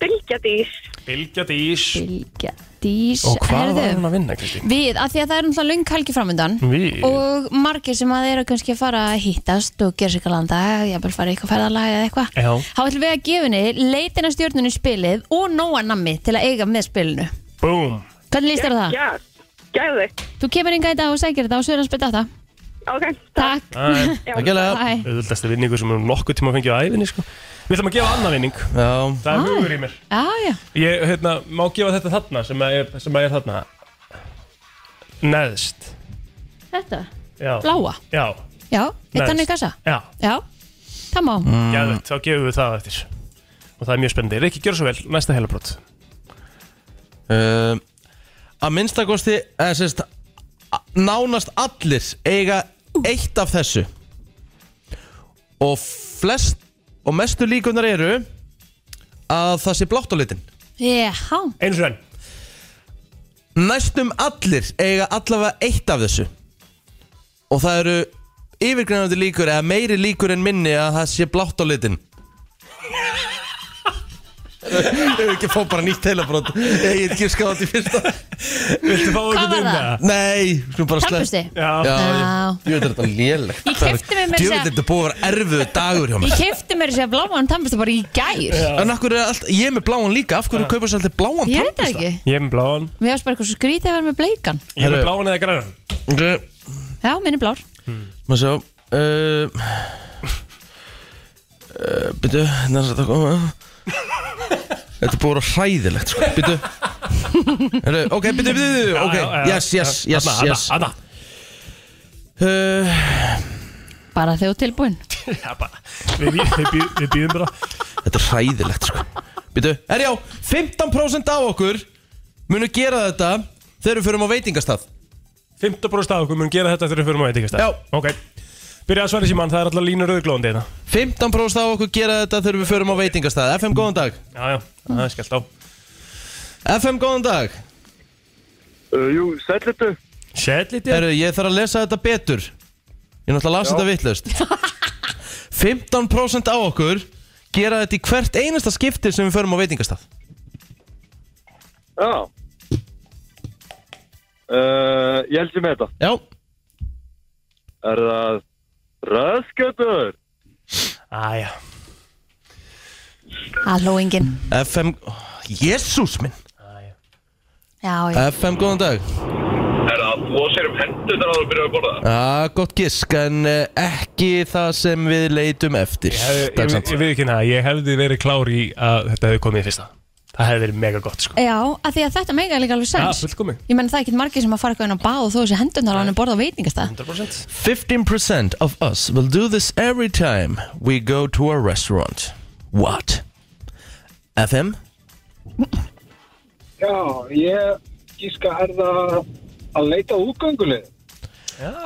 Bylgja dís. Bilgja dís Bilgja Dís Og hvað Herðu, var hún að vinna, Kristín? Við, af því að það er náttúrulega lung helgi framöndan Við? og margir sem að eru kannski að fara að hýttast og gera sig eitthvað landa, jafnvel fara í eitthvað ferðalag eða eitthvað Já. þá ætlum við að gefa henni leitina stjórnunni spilið og nóa nammi til að eiga með spilinu Búm Hvernig líst þér á það? Já, gæði þig. Þú kemur inga í dag og sækir þetta og svo er að spila þetta Ok, Takk, Takk ég lega bye Öðvöldasta vinningu sem hún nokkuð tíma að fengja á æfinni, sko Við ætlum að gefa annað vinning Já, Það er hugur í mér Já, já, Ég, hérna, má gefa þetta þarna sem að er, sem að er þarna Neðst þetta, Já bláa Já, Já, Neðst. eitt hann í kassa já, Já, það má Mm. geðvægt, þá gefum við það eftir Og það er mjög spennandi Rikki, gjör svo vel, næsta heilabrót uh, Að eh, minnstakosti eða, sérst, a- Nánast allir eiga eitt af þessu og flest og mestu líkunar eru að það sé blátt á litin Jéhá, Einu svenn næstum allir eiga allavega eitt af þessu og það eru yfirgrænandi líkur eða meiri líkur en minni að það sé blátt á litin Ég hef ekki að fá bara nýtt telefrott Ég hef ekki skáðat í fyrsta Viltu fá Hvað einhvern var inn það? það? Nei, sko bara slepp tappusti Já, Já, Já. ég- ég veit að þetta er lélegt Ég keypti mér meira að Ég veit að segja- þetta er búið að vera erfiðu dagur hjá mér Ég kefti mér þessi að bláman tannbusta bara í gær En af hverju er allt, ég er með bláan líka, af hverju kaupast alltaf bláan Ég veit það ekki Ég er með bláan Mér varst bara eitthvað svo skrítið að vera með bleikan Ég er Herru. með bláan eða grænan ekki Já, minni blár Hmm. Má sjá uh, uh, Byttu, hérna er þetta koma Þetta er búið að vera hræðilegt sko. Byttu Heru, Ok, byttu, byttu, byttu Ok, yes, yes, Hérna, yes, yes Anna, uh, Bara þegar þú tilbúin Anna Við býðum við býðum bara Þetta er hræðilegt sko. Byttu, er já 15% af okkur Munu gera þetta Þegar við förum á veitingastað 15% af okkur mun gera þetta þegar við förum á veitingastæð Já. Ok Byrja að svara síman, það er alltaf línur auðglóðandi hérna 15% af okkur gera þetta þegar við förum á veitingastað FM, góðan dag Já, já, það er skellt á FM, góðan dag Uh, jú, sætlitu. Sæll lítið Herru, ég þarf að lesa þetta betur Ég náttúrulega las þetta vittlust *laughs* 15% á okkur gera þetta í hvert einasta skipti sem við förum á veitingastað Já. Uh, ég held ég með þetta. Já, Er það röðskjötur? Æja Halló enginn FM Jésús minn Já, já FM, góðan dag Er það losir um hendur þegar þú byrjar að borða? ah, Gott gisk, en eh, ekki það sem við leitum eftir Ég, ég, Dagsant. ég við ekki hérna, ég hefði verið klár í að þetta hefði komið í fyrsta Það hefði verið mega gott sko Já, af því að þetta mega líka alveg Já, sens fullkomi Ég menn það er ekkert margir sem að fara eitthvað inn á bað og þú þessi hendurnar á hann borða á veitingastað 100% 15% of us will do this every time we go to a restaurant What? FM? Já, ég gíska er það að leita útgöngulið. Já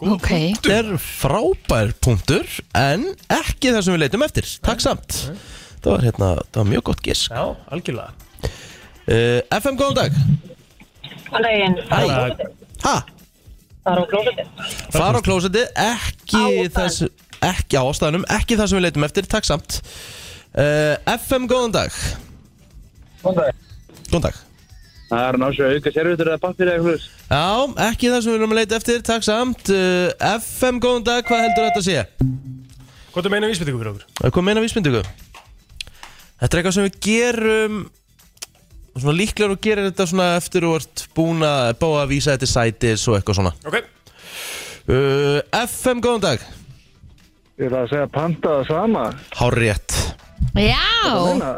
Ok, Þetta er frábær punktur en ekki það sem við leitum eftir Takk samt Það var, hérna, það var mjög gott gisk Já, algjörlega uh, FM, góðan dag Hallaginn, Hæ. Ha, það er á klósetið. fara á klósetti ekki, það sem- ekki á ástæðanum ekki það sem við leitum eftir, takk samt uh, FM, góðan dag Góðan dag Það er náttúrulega auka servitur eða pappir eða eitthvað. Já, ekki það sem við erum að leita eftir, takk samt uh, FM, góðan dag, hvað heldur þetta að sé? Hvað er meina vísbyttingu fyrir okkur? Það er komið inn á vísbindingu Þetta er eitthvað sem við gerum og svona líklegur og gerir þetta svona eftir og ert búin að bá að vísa þetta í sætis og eitthvað svona Ok uh, FM, góðan dag Ég ætla að segja panta það sama. Hárétt já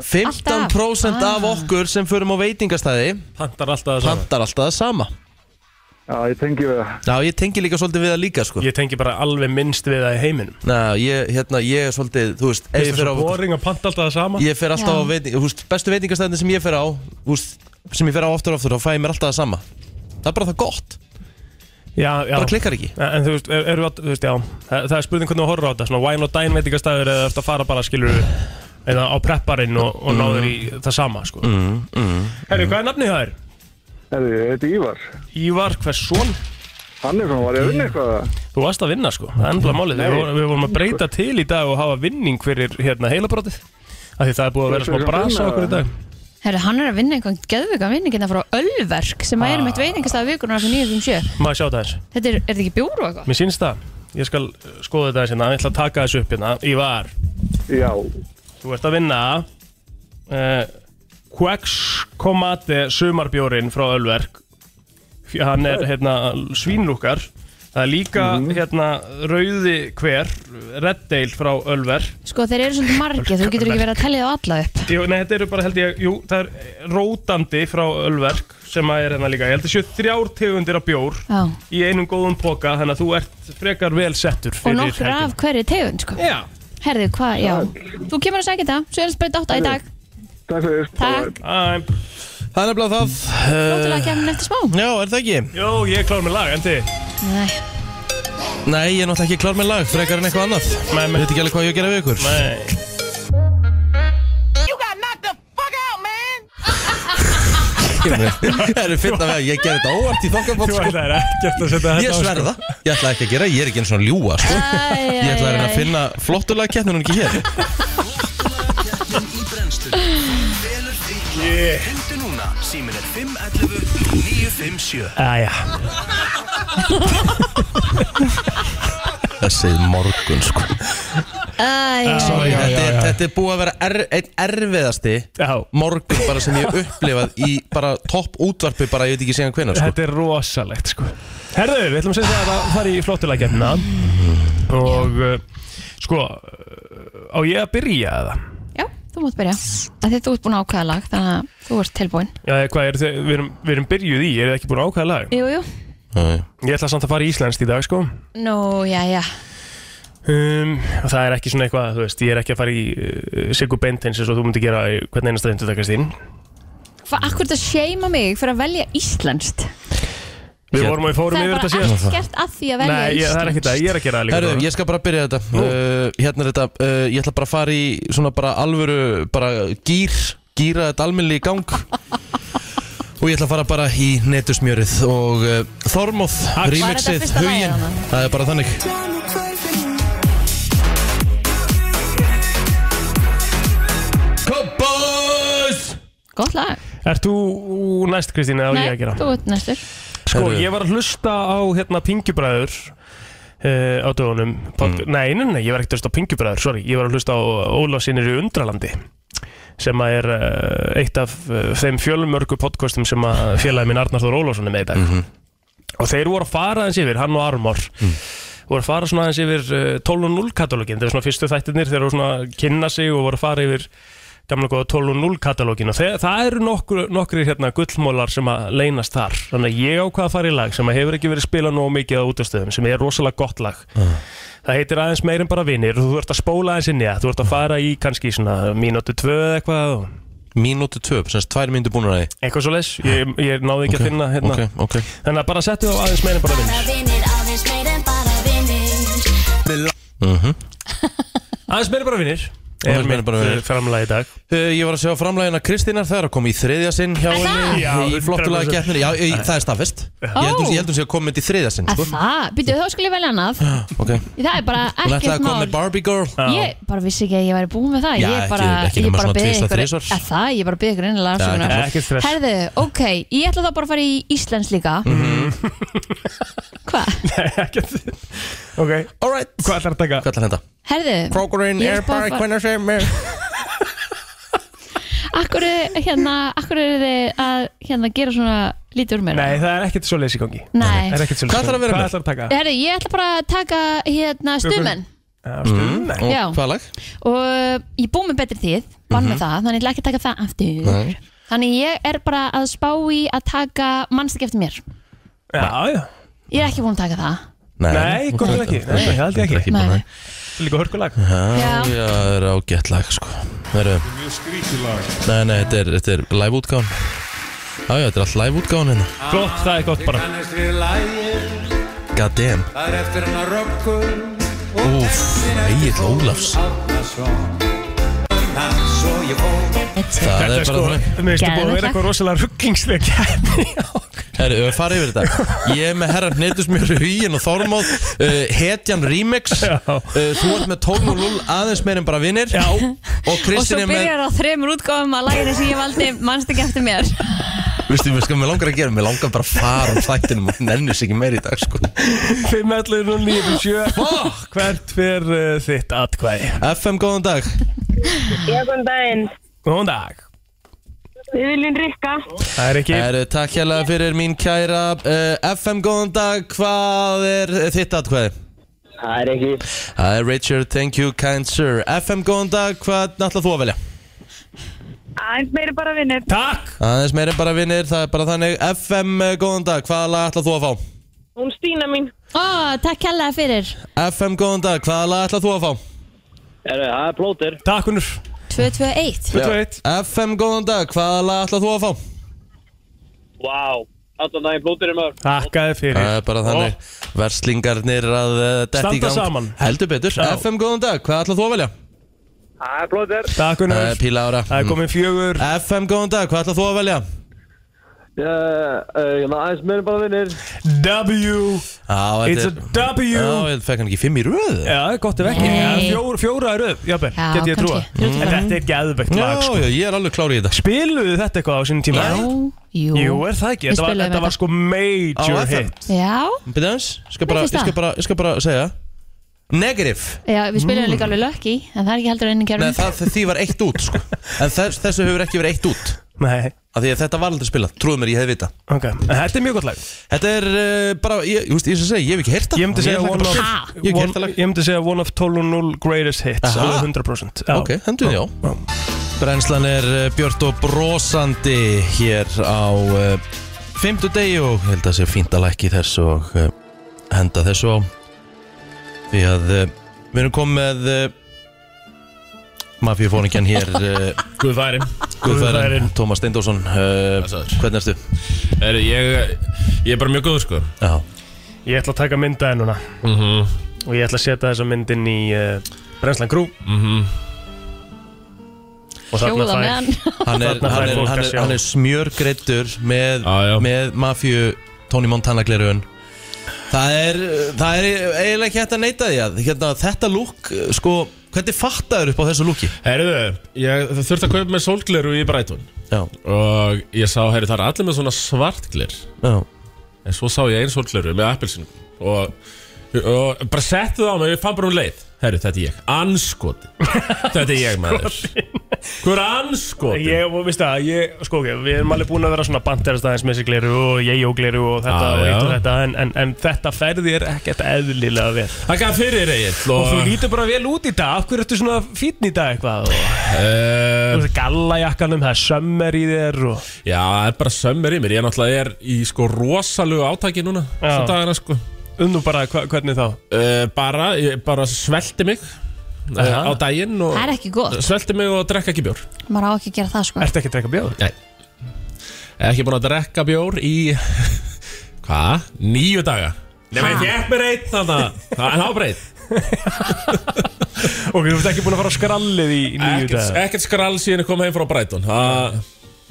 15% Alltaf. af okkur sem förum á veitingastæði Pantar alltaf það sama pantar alltaf það sama Já, ég tengi við það. Já, ég tengi líka svolítið við það líka sko Ég tengi bara alveg minnst við það í heiminum Ná, ég, hérna, ég er svolítið, þú veist ef Það ég er fer svo á- boring að panta alltaf það sama Ég fer alltaf Já. á veiting, þú veist, bestu veitingastæðin sem ég fer á þú veist, sem ég fer á oftur og oftur og fæ ég mér alltaf það sama Það er bara það gott, Já, já bara klikkar ekki En en þú veist, er, er, þú veist, já Það, það er spurning hvernig þú horfir á þetta Svona wine og dine veitingastæður Eða eftir að fara bara skilur Eða á prepparinn og, og náður í það sama sko. mm, mm, Herri, hvað er nafnið það er? Herri, ég heiti Ívar. Ívar Hversson Hannesson, var ég að vinna eitthvað? það? Þú varst að vinna sko, það er ennbla málið við vorum, við vorum að breyta til í dag og hafa vinning fyrir hérna heilabrótið af því það er búið að vera smá Fyrir brasa á vinna, okkur í dag Herru, hann er að vinna einhvern geðvika vinningin að fara á Ölverk sem að er Ah. meitt veitingastað vikunar fyrir 9.57 Maður sjá það eins, Þetta er, er þetta ekki bjóru og eitthvað? mér sínst það Ég skal uh, skoða þetta hérna, ég ætla að taka þessu upp hérna Ívar, Já, þú ert að vinna uh, Quacks Komate sumarbjórin frá Ölverk F- Hann er hérna svínlúkar Það er líka hérna rauði hver, redddeil frá Ölverk Sko, þeir eru svolítið margir, þú getur ekki verið að tellja þá alla upp Jú, nei, þetta eru bara held ég, jú, það er rótandi frá Ölverk sem að er hérna líka, ég held að séu þrjár tegundir af bjór Já. í einum góðum póka, þannig að þú ert frekar vel settur Og fyrir nokkur af hverju tegund, sko Já, Herðu, hvað, já Þú kemur að segja þetta, svo er þetta bara dátta í dag takk fyrir. Takk, æm, Það er nefnilega það flótulega kemur eftir smá Já, er það ekki? jú, ég er klár með lag, en þið? Nei, Nei, ég er náttúrulega ekki klár með lag, frekar en eitthvað annað Nei, Ég nei. veit ekki alveg hvað ég á að gera við ykkur Nei Það eru fyrir að ég gerði þetta óvart í þokkabótt Þú sko. ætlaðir ekkert að setja þetta Ég á, sko. sverða, ég ætla ekki að gera, ég er ekki eins og ljúa sko. Ég ætla að reyna að finna flottulega keppnir hún er ekki hér Í brennslunni Velur því yeah. Hendu núna Símin er 511 957 Æja, Þessið morgun sko Æ, Sorry, já, þetta, já, er, já. þetta er búið að vera er, einn erfiðasti já morgun bara sem ég hef upplifað í bara topp útvarpi bara ég veit ekki segja hvenar sko. Þetta er rosalegt sko Herðu, við ætlum að segja þetta að fara í flottuleikjarnina Og uh, sko, uh, á ég að byrja eða? já, þú mátt byrja að því þú ert búin að ákvæða lag þannig að þú ert tilbúin Já, eða hvað, er, við, erum, við erum byrjuð í, er þið ekki búin að ákvæða lag? Jú, jú, Æ. Ég ætla samt að fara í íslenskt í dag sko nú, já, já um, Og það er ekki svona eitthvað, þú veist, ég er ekki að fara í uh, Sigur Bentins eins og þú myndir gera í hvern einasta hundu takast þín Hvað, akkur þetta seima mig fyrir að velja íslenskt Við Hér- vorum og við fórum Það er yfir bara þetta síðan ekkert að því að velja Nei, ég, það er ekki íslenskt það, ég er að gera það líka Herru, ég skal bara byrja þetta uh, Hérna er þetta, uh, ég ætla bara að fara í svona bara alvöru, bara gýr gýra þetta almennilega í *laughs* gang og ég ætla að fara bara í netusmjörið og uh, Þormóð, Var þetta remixið, fyrsta lagið huginn þarna? það er bara þannig Cowboys Gott lag Ert þú næst Kristín eða á ég að gera? þú ert næstur Sko, Herru. ég var að hlusta á hérna Pingjubræður uh, á dögunum mm. nei, nei, nei, ég var ekkert að hlusta á Pingjubræður, sorry Ég var að hlusta á Ólafsinir í Undralandi sem að er uh, eitt af uh, þeim fjölmörgu podcastum sem að félagi minn Arnar Þór Ólafsson er með í dag og þeir voru að fara aðeins yfir, hann og Armor voru að fara svona aðeins yfir uh, 12.0 katalógin, þeir eru svona fyrstu þættirnir þeir eru svona að kynna sig og voru að fara yfir gamla góða 12.0 katalógin og þe- það eru nokkur, nokkri hérna gullmólar sem að leynast þar þannig að ég ákvað að fara í lag sem að hefur ekki verið spilað nógu mikið á útastöðum sem er rosalega gott lag það heitir aðeins meir en bara vinnir og þú ert að spóla aðeins inn í það, þú ert að fara í kannski svona mínútu tvö eða eitthvað og- mínútu töp, sem þess tvær myndu búin að því eitthvað svo leis, ég, ég náði ekki að finna hérna. ok, ok þannig að bara settu á aðeins meir en bara vinnir aðeins meir en bara vinnir er Mhm. Aðeins meira en bara mitt vinir. framlega í dag Uh, Ég var að sjá framlægina Kristínar þar að koma í þriðja sinn hjá henni Já, í flottulega 100%. getnir Já, í- það er staðfest Ég held hún- ég held hún sé að koma með í þriðja sinn Að sko. það, byrju þá skulle ég velja annað Ok. Það er bara Hún ætlaði ekkert að koma mál með Barbie Girl Ég bara vissi ekki að ég væri búin með það Já, Ég ekki- bara, ekki ég nema bara svona beðið tvisvar, ykkur þrisvar. að Það, ég bara beðið ykkur einnilega afsökunar ekki Ekkert stress. Herðu, ok, ég ætla þá bara að fara í Íslands líka Mhm. Hvað? ekkert ok, Alright hvað ætlar að taka? Hvað ætlar þetta? Herðu Procuring Ég er bara að Airpark fara- Hvernig sem er Akkur, hérna, akkur eru þið að hérna, gera svona lítið úr mér eh, nei, það er ekkert svo leis í gangi Nei. Það er ekkert svo leis í Hvað ætlarðu að gangi. vera hvað með? ætlar að taka? Herðu, ég ætla bara að taka hérna stuðmenn Já, stund, nei. Mm, Og Já. Hvað lag? og ég búið með betri tíð vann Mhm. með það, þannig ég ætla ekki að taka það aftur Nei. þannig ég er bara að spá í að taka mannst ekki eftir mér Já, já. ég er ekki búin að taka það Nei, gott vel ekki. Nei, það held ég ekki. búin að- Nei. Líka hörkulag. Já. Já, það er ágætt lag sko Það eru Nei, nei, þetta er, þetta er live útgáðan Já, já, þetta er allt live útgáðan hérna Flott, það er gott bara. God damn Það er eftir hann að röggum Úf, Egil Ólafs Það svo ég fór Það er bara þannig Mér finnst þú búið að Geðveikt vera eitthvað rosalega ruggingslega *laughs* kæmi. Herru, við farið yfir þetta Ég er með herra Hnetusmjör Hugin og Þormóð uh, Hetjan Remix Já. uh, Þú ert með 12 og 0 aðeins meir en bara vinnir Já. Og og svo Kristinn er með byrjar á þremur útgáfum að læginu sem ég valdi mannst ekki eftir mér Vistu, við sko, mér langar að gera Mér langar bara að fara úr þættinum og nennus ekki meir í dag sko. 5, 11, 0, 9, 7. Hvert fyrr þitt atkvæði? FM, góðan dag Já, góðan daginn. Góðan dag. Við viljum rikka. Það er ekki. Herru, takk hérlega fyrir mín kæra uh, FM, góðan dag Hvað er eh, þitt atkvæði? Það er ekki Hi Richard, thank you, kind sir FM, góðan dag, hvað náttúrulega þú að velja? Æns meiri bara vinnir. Takk. Aðeins meir en bara vinnir, það er bara þannig FM, eh, góðan dag, hvaða lag ætlað þú að fá? Hún Stína mín. Ó, takk kærlega fyrir FM, góðan dag, hvaða lag ætlað þú að fá? Herru, það er plóter Takk unnur. 221 Tvö, eitt. FM, góðan dag, hvaða lag ætlað þú að fá? Vá Allan daginn blóturinn maður Takkaði fyrir Það er bara þannig Verslingarnir að uh, detti í Standa gang saman. Heldur betur FM góðan dag, hvað ætlað þú að velja? Það er blótur Takk Uh, Gunnar Píla ára Það er komið fjögur FM góðan dag, hvað ætlað þú að velja? Ég maður aðeins meira bara vinnir W Á, It's a þetta W er Á, þetta fekk hann ekki fimm í röð Já, gott ef ekki Nei. Já, fjór, Fjóra er röð, jafnvel, Já, get ég trúa kannski. En þetta er geðvegt Já, lag sko. já, ég er alveg klár í þetta Spiluðu þetta eitthvað á sínum tíma? Já, jú Jú, er það ekki? Við Þetta var, spiluðum þetta var þetta. sko major Á, FM. hit Já, Býttu aðeins, ég skal bara- Mér finnst ég skal það. bara- ég skal bara segja Negative já, við spilum Mm. líka alveg Lucky En það er ekki heldur enn Nei, kjörnum það, því var eitt út sko. En þess, þessu hefur ekki verið eitt út Nei, Af því að þetta var aldrei spilað, trúðu mér ég hef vita ok En þetta er mjög gott lag Þetta er uh, bara, ég, ég, ég, segi, ég hef ekki heyrt það Ég myndi segja hlakka one bara of til. Ég hef ekki heyrt one, það lag Ég myndi segja one of 12.0 greatest hits Aha. Alveg 100% Já. Ah. Ok, hendur þið, já Já. Brennslan er uh, björt og brosandi hér á uh, Fymtu degi og ég held að sé fínt að lækki þess og uh, henda þessu á Því að uh, við erum komið með uh, Mafíufóringjan hér uh, *laughs* Guð færi Guðfærin, Tómas Steindórsson uh, Blessaður. Hvernig erstu? Heyrðu, ég, ég er bara mjög góð sko Já, Ég ætla að taka mynda þér núna mm -hmm. Og ég ætla að setja þessa myndin í uh, Brennslan Crew Mhm. Og þarna Hjóða fær- með hann *laughs* *laughs* hann er, Þarna hann fær er, fólk hann að er, sjá. hann er smjörgreittur með, Já, já. með mafju Tony Montana glerun það er, það er eiginlega ekki hægt að neyta því að hérna, þetta lúk sko, hvernig fattaður upp á þessu lúki Heyrðu, ég þurfti að kaupa með sólgleru í Brighton já, Og ég sá, heyrðu, það er allir með svona svartgler já, En svo sá ég einn sólgleru með appelsinu Og, og bara settu það á mig, ég fann bara um leið Heyrðu, þetta er ég, *laughs* anskoti Þetta er ég maður Hver anskoti? Ég, og veistu það, ég, sko ok, við erum alveg búin að vera svona banderast aðeins með þessi gleru og ég og gleru og Já, þetta og eitt og já. þetta en, en, en þetta ferði er ekkert eðlilega vel Það gaf fyrir Egil Og þú lítur bara vel út í dag, af hverju ertu svona fínn í dag eitthvað og uh, þú veist gallajakkanum, það er sömmer í þér og Já, það er bara sömmur í mér Ég náttúrulega er í sko rosalegu átaki núna Já. Svo dagana sko unnum bara hva, hvernig þá uh, Bara, ég bara svelti mig uh, Á daginn og Það er ekki gott, Svelti mig og drekka ekki bjór maður á ekki að gera það sko Ertu ekki að drekka bjóður? Ég er ekki búin að drekka bjór í *laughs* Hva? Níu daga Nefnir ég fekk mér einn þarna Það er hábreyð Ok, þú ert ekki búin að fara á skrallið í í níu dag Ekkert skrall síðan ég kom heim frá Brighton Það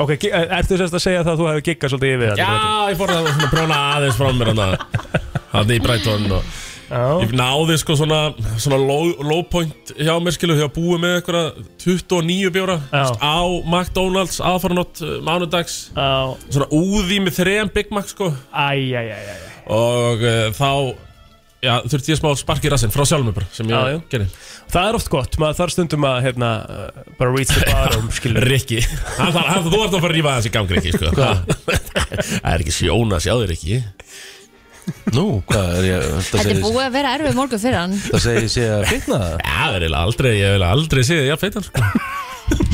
Ok, gi- ertu sérst að segja það að þú hefur giggað svolítið yfir þetta? Já, ég fór að svona prjóna aðeins frá mér Þannig í Brighton og Já Ég náði sko svona, svona low, low point hjá mér skilu Þegar búið með eitthvað 29 bjóra Já. Á McDonalds aðfaranótt uh, mánudags Já, Svona úði með þrejum Big Mac sko æj, æj, æj, æj Og uh, þá já, þurfti ég smá spark í rassinn frá sjálfum mér bara Sem Já, já. ég gerði Það er oft gott, um, maður þarf stundum að, hérna, uh, bara reach the bottom, skilur Rikki, hann, þarf- hann, þú ert að fara að rífa þessi gang Rikki sko Það er ekki sjón að sjá þér Rikki nú, hvað er ég þetta Þetta er segir, búið að vera erfið morgun fyrir hann það segir sé að fitna það Já, það er eiginlega aldrei, ég vil aldrei sé þig, já, feitan sko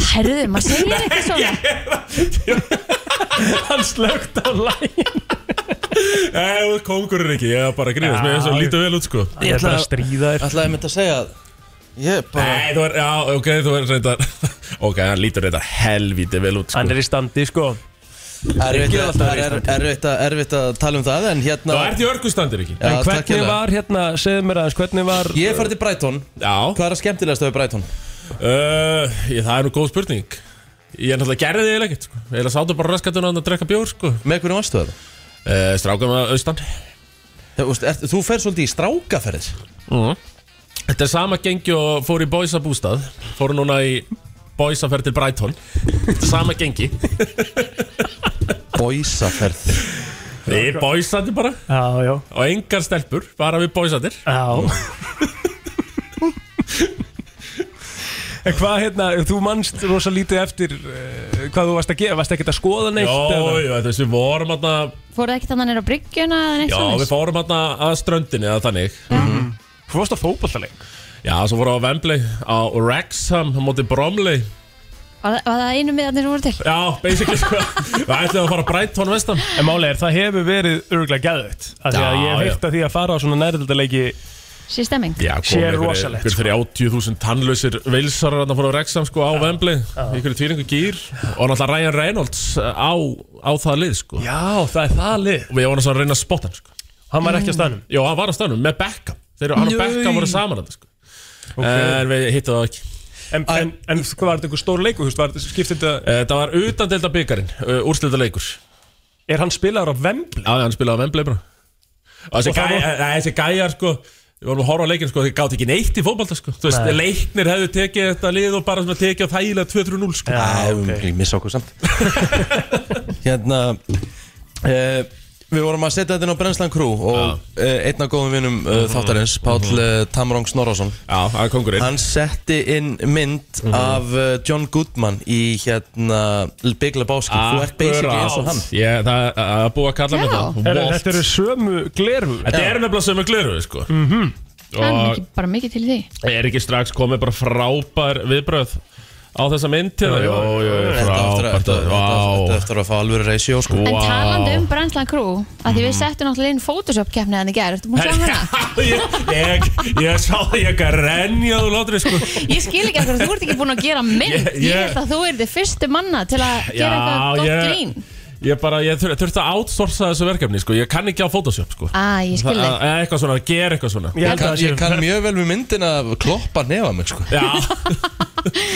Herðu, maður segir ekki svona *laughs* Hann slögt á lægin Já, kongur Rikki, ég er bara að grínast, mér er svo Já, lítið vel út sko Ég er bara að stríða þér ætlaði mynd að segja að ég bara Nei, þú er, já, ok, þú er reyndar *laughs* Ok, hann lítur reyndar helvíti vel út sko. Hann er í standi, sko erfitt Ég er að- alltaf það er í erfitt að- erfitt að tala um það en Þú hérna ert í örgustandir ekki Já, En takk hvernig hérlega. var, hérna, segðu mér aðeins, hvernig var ég fær til Brighton, Já, hvað er að skemmtilegast af Brighton? uh, ég, það er nú góð spurning Ég er náttúrulega gerði þig ekkert sko. Ég er að sátu bara raskatun að drekka bjór sko. með hvernig varstu það? uh, Strákum að austan Þú, veist, ert- þú fer svolítið í strákaferðis Mhm. Þetta er sama gengi og fór í Boysa bústað Fór núna í Boysa fer til Brighton Þetta er sama gengi Bóisaferð Við Boysandi bara Já, já, Og engar stelpur, bara við Boysandir já En hvað, hérna, þú manst rosa lítið eftir uh, hvað þú varst að gera, varst ekkert að skoða Jó, neitt eða? jó, þessi vorum aðna Fóruð ekki þannig nýra á bryggjuna eða neitt Já, við svona fórum aðna að ströndinni eða þannig Mhm. Mhm. Þú varst að fótballtaleik Já, svo fórum við á Wembley á Wrexham á móti Bromley Var var það einu miðarnir sem voru til? Já, basically *laughs* sko Við ætlum að fara Brighton vestan En máli er, það hefur verið örgulega gæðut Því að Já, ég hef já. heilt að því að fara á svona nærðildaleiki Sér stemming Já, Sé komið rosalegt, Ykkur fyrir 80.000 tannlausir vilsarar Þannig að fóru að reksa sko á Vembli Ykkur tvílingu gýr Og náttúrulega Ryan Reynolds uh, á, á það lið sko Já, það er það lið Og við vorum svo að reyna að spotta hann sko Hann var ekki á staðnum Jó, hann var á staðnum með Beckham Þeir eru hann og Nei. Beckham voru saman hann sko En við hittum það ekki En, en, en hvað var þetta einhver stór leikur, þú veist, var þetta skipt þetta Eh, Það var eh, utan delta byggarinn, úrslita leikur Er hann spilaður á Vembli? Já, hann spilaði á Vembley bara Og þessi Og það gæjar, var- var... þessi gæjar sko Við vorum að horfa á leikin sko, þeir gátt ekki neitt í fótbolta sko Þú veist, Nei. leiknir hefðu tekið þetta lið og bara svona tekið á þægilega 2-3-0 sko Æ, við okay. missa okkur samt *laughs* Hérna uh, Við vorum að setja þetta inn á Brennslan Crew og uh, einn af góðum vinum uh, þáttarins Páll uh, Tamrong Snorrason Mhm. Já, það er Mhm. kongurinn Hann setti inn mynd af uh, John Goodman í hérna Big Lebowski Þú ert basically eins og hann Ég, það er að búa að kalla mig Já. það Er, Walt. þetta eru sömu Mhm. gleru Þetta er nefnilega sem er gleru, sko mm Það er Og mikið, bara mikið til í því er ekki strax komið bara frábær viðbröð á þessa mynd hérna? Jó, jó, jó, Þetta eftir að- frábært þetta- þetta Vá. eftir að fá alvöru reisi og sko En Vá. Mm. talandi um Brænslan Crew að Því við settum náttúrulega inn Photoshop keppni hann í gær Ertu búin að sjá hana? ég, ég, ég sá það ég ekki að renja úr látri sko. Ég skil ekki eftir að þú ert ekki búin að gera mynd Ég- Ég ég- held að þú ert þið fyrstu manna til að gera eitthvað gott grín Ég bara, ég þur, þurfti að outsourca þessu verkefni sko. Ég kann ekki á Photoshop sko. Æ, ég skil þig Að- að Eitthvað svona, gera eitthvað svona Ég Ég held að kann, það ég sé kann mjög vel við myndin að kloppa nefa mig sko Já,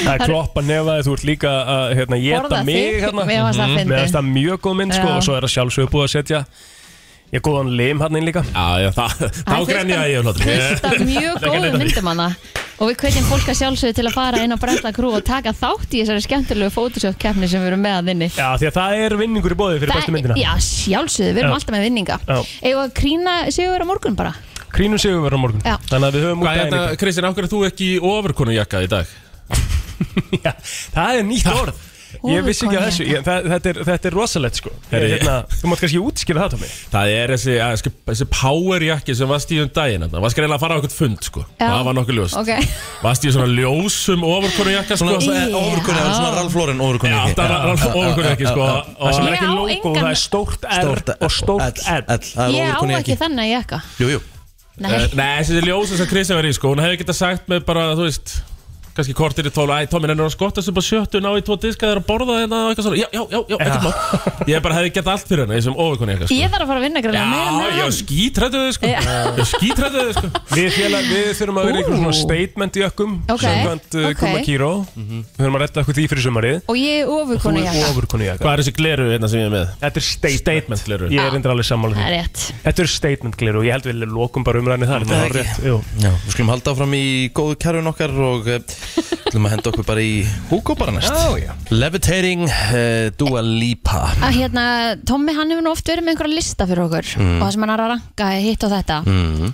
Það er kloppa nefaði, þú ert líka að hérna, geta Borða mig þig, hérna mér fannst það Mhm. Mér fannst það mjög góð mynd sko Já. og svo er það sjálfsögur búið að setja Ég góðan lim hann inn líka já, já það, þá Það er grenja ég úr látri *laughs* fullt af mjög góðum myndum hana og við hvetjum fólk að sjálfsögðu til að fara inn á Brensla Crew og taka þátt í þessari skemmtilegu Photoshop keppni sem við erum með að vinni Já, því að það er vinningur í bóði fyrir bestu myndina Já, sjálfsögðu, við erum Já. alltaf með vinninga Já. Eða að krýna sigur á morgun bara Krínum sigur verður á morgun Já. Þannig að við höfum út Hvað er daginn í þetta, Kristján, af hverju er þú ekki í ofurkonu jakkað í dag? dag. Já, Það er nýtt orð Ég vissi ekki að þessu, ég, það, þetta, er, þetta er rosalegt sko Herri, ég- hérna, Þú mátt kannski útskýra það, Tómi Það er þessi, að, sko, þessi power jakki sem varst í um daginn Það varst greinlega að fara á eitthvað fund, sko Já. Það var nokkuð ljóst Ok, *laughs* Varst í svona ljósum ofurkonu jakka, sko Svona eh, Í- Já. ofurkunni, það er svona Ralf Lauren ofurkunni Já, það var ofurkonu jakki, sko Það sem er Ég ekki á sko, logo, engan- það er stórt R og stórt L ég á ekki þannig að ég ekka Jú, jú Nei, Eh, Nei, þessi ljósa sem Kristján var í sko Hún hefði getað sagt með bara, þú veist kannski kortir í tóla, æ, Tómi, hennar að skotta sem bara sjöttu ná í tvo diska þegar að borða þetta og eitthvað svona, já, já, já, já, ekkert mál Ég bara hefði gett allt fyrir henni, þessum ofurkonni eitthvað sko. ég þarf að fara að vinna Já, græna meira með ég var hann skítrættuð þau sko Já. Ég var skítrættuð þau sko Við, félag, við þurfum að vera einhvern svona statement í ökkum Ok, Samkvæmt uh, ok. Kuma Kíró Mhm. Við þurfum að redda okkur því fyrir sumarið Og ég er Þú ofurkonu er jakka ofurkunni Hvað jakka er þessi gleru hérna sem ég er með? Þetta er statement, Statement gleru Ég er endur alveg sammála Það er því rétt Þetta er statement glir og ég held við lokum bara umræðinni þar Þetta var rétt jú. Já, við skulum halda áfram í góðu kærun okkar og eh, ætlum að henda okkur bara í Hugo bara næst Já, já. Levitating uh, Dua Lipa að hérna, Tommi hann hefur nú oft verið með einhverja lista fyrir okkur Mm. og það sem hann er að ranka er hitt og þetta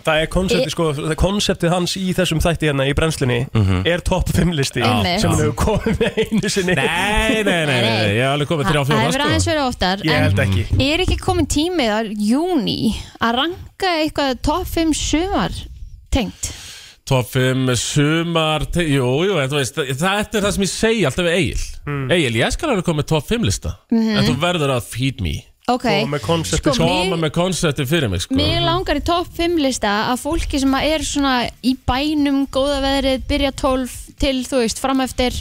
Það er konseptið sko, það er konseptið hans í þessum þætti hérna í brennslinni Mhm. er topp 5 listi Einmitt. sem hann hefur komið með einu sinni Nei, nei, nei, nei, ég hef alveg komið það þrjá það hefur fjóra aðeins sko verið oftar Ég held en ekki er ekki komin tími það er júni að ranka eitthvað top 5 sumar tengt Top 5, sumar, te- jú, jú, en þú veist það- Þetta er það sem ég segi alltaf við Egil Hmm. Egil, ég skal alveg komið top 5 lista En þú verður að feed me Mhm. ok, Og með konseptið Sko, sko, Koma Mig- með konsepti fyrir mig sko mér langar í top 5 lista að fólki sem að er svona í bænum góða veðrið, byrja 12 til þú veist, fram eftir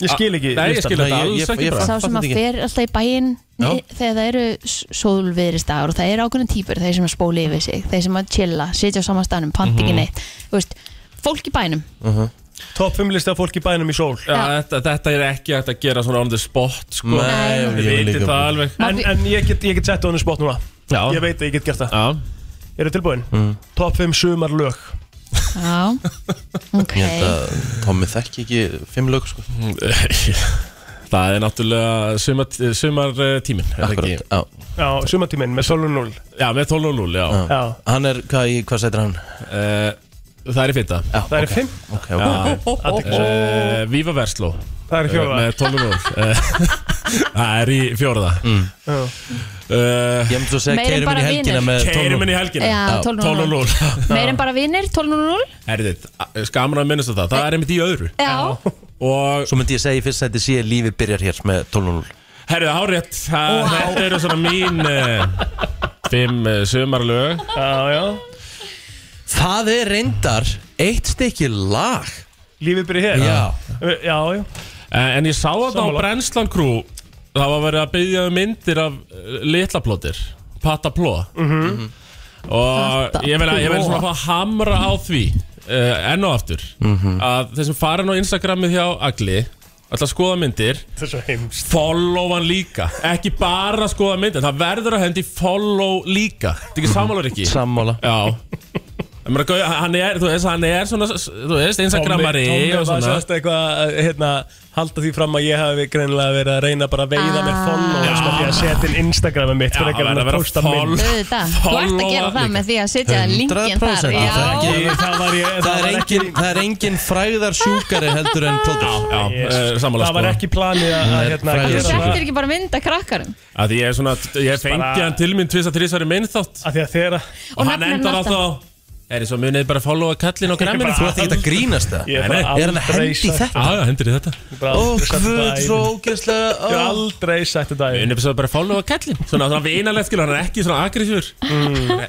Ég skil ekki Nei, ég listan. skil þetta Nei, ég- alls ég- ekki ég- bara sá fatt sem að þetta ekki. fer alltaf í bæinn Já. ni- þegar það eru sólviðristagar og það eru ákveðin típur, þeir sem að spóli yfir sig þeir sem að chilla, sitja á saman stanum panta ekki neitt, þú veist, fólk í bænum Topp 5 listi af fólki í bænum í sól Já, þetta, þetta er ekki hægt að gera svona on the spot sko. Nei, Við ég líka- vitum það alveg Má En, við- en ég get, ég get sett á henni spott núna Já, Ég veit að ég get gert já. það Mhm. Eru tilbúin? Topp 5 sumar lög Já, ok Ég held að Tommi þekki ekki fimm lög sko *laughs* Það er náttúrulega sumar, sumar eh, tímin Akkurat, já Já, sumartíminn með sólu 0 Já, með 12 og 0 já. Já, Hann er, hvað, í- hvað sætir hann? Uh, Það er í fyrta Já, það er ok, 5 Ok, ok uh, Viva Versló Það er uh, fjóða Með 12 og 0 uh, *laughs* Það er í fjóraða uh, Mm. Ég myndi svo að segja Meira en keirum inn bara í helgina vinir. með Keirum inn í Já, helgina 12 og 12.00 0 Meir en bara vinnir, 12.00 Erðið, skaman eh, að minnast á það Það er einmitt í öðru Já, Og Svo myndi ég segja í fyrst sæti sé lífið byrjar hér með 12.0 Herðu, árétt, það, þetta eh, eru svona mín uh, Fimm uh, sumarlög Já, já Það er reyndar eitt stykki lag Lífið byrja hér Já. já, já. Eh, En, en ég sá þetta á Sammála. Brennslan Crew Það var verið að byggja um myndir af eh, litlaplótir Patta pló Mhm. Og ég meina, ég meina Pló. svona að fá að hamra á því uh, Enn og aftur Mhm. Að þeir sem farin á Instagramið hjá Agli Alltaf skoða myndir Það er svo heimst Follow hann líka Ekki bara skoða myndir Það verður að hendi follow líka Þetta er ekki sammála ekki Sammála Já Ég meina, gau- Hann er, þú veist, hann er svona Þú veist, Instagrammari Tommi og var svona. sérst eitthvað að hérna, halda því fram að ég hafi greinilega verið að reyna bara að Ah. veiða mér followers með því að setja inn Instagramið mitt Já, frekar en verða að að vera posta mynd Auðvitað, þú ert að gera það með því að setja linkin þar Já, 100% Það er ekki- Það var ég- það það er var ekki- engin- það er engin fræðar sjúkari heldur en plótur Já, eh, sammála, Það var sko. ekki planið að Nei, að, hérna, fræðið. gera þú það settir ekki bara mynd að krakkarum Að ég er svona, ég fengi hann til mín tvist að þrísar í minn þátt Af því að þeirra Og, hann nafnið endar alltaf. alltaf á Er ég svo munið bara að followa kallin og Ég græminu bara- Þú ert ekkert að grínast það? Ég er bara Er hann að aldrei hendi sagt- þetta? Ah, Já, já, hendur í þetta bara Ó, aldrei sagt hvud, þetta í- svo ógeðslega Ég hef ó. aldrei sagt þetta í- Munið bara að followa kallin Svona, svona vinalegt skilur, hann er ekki svona agressífur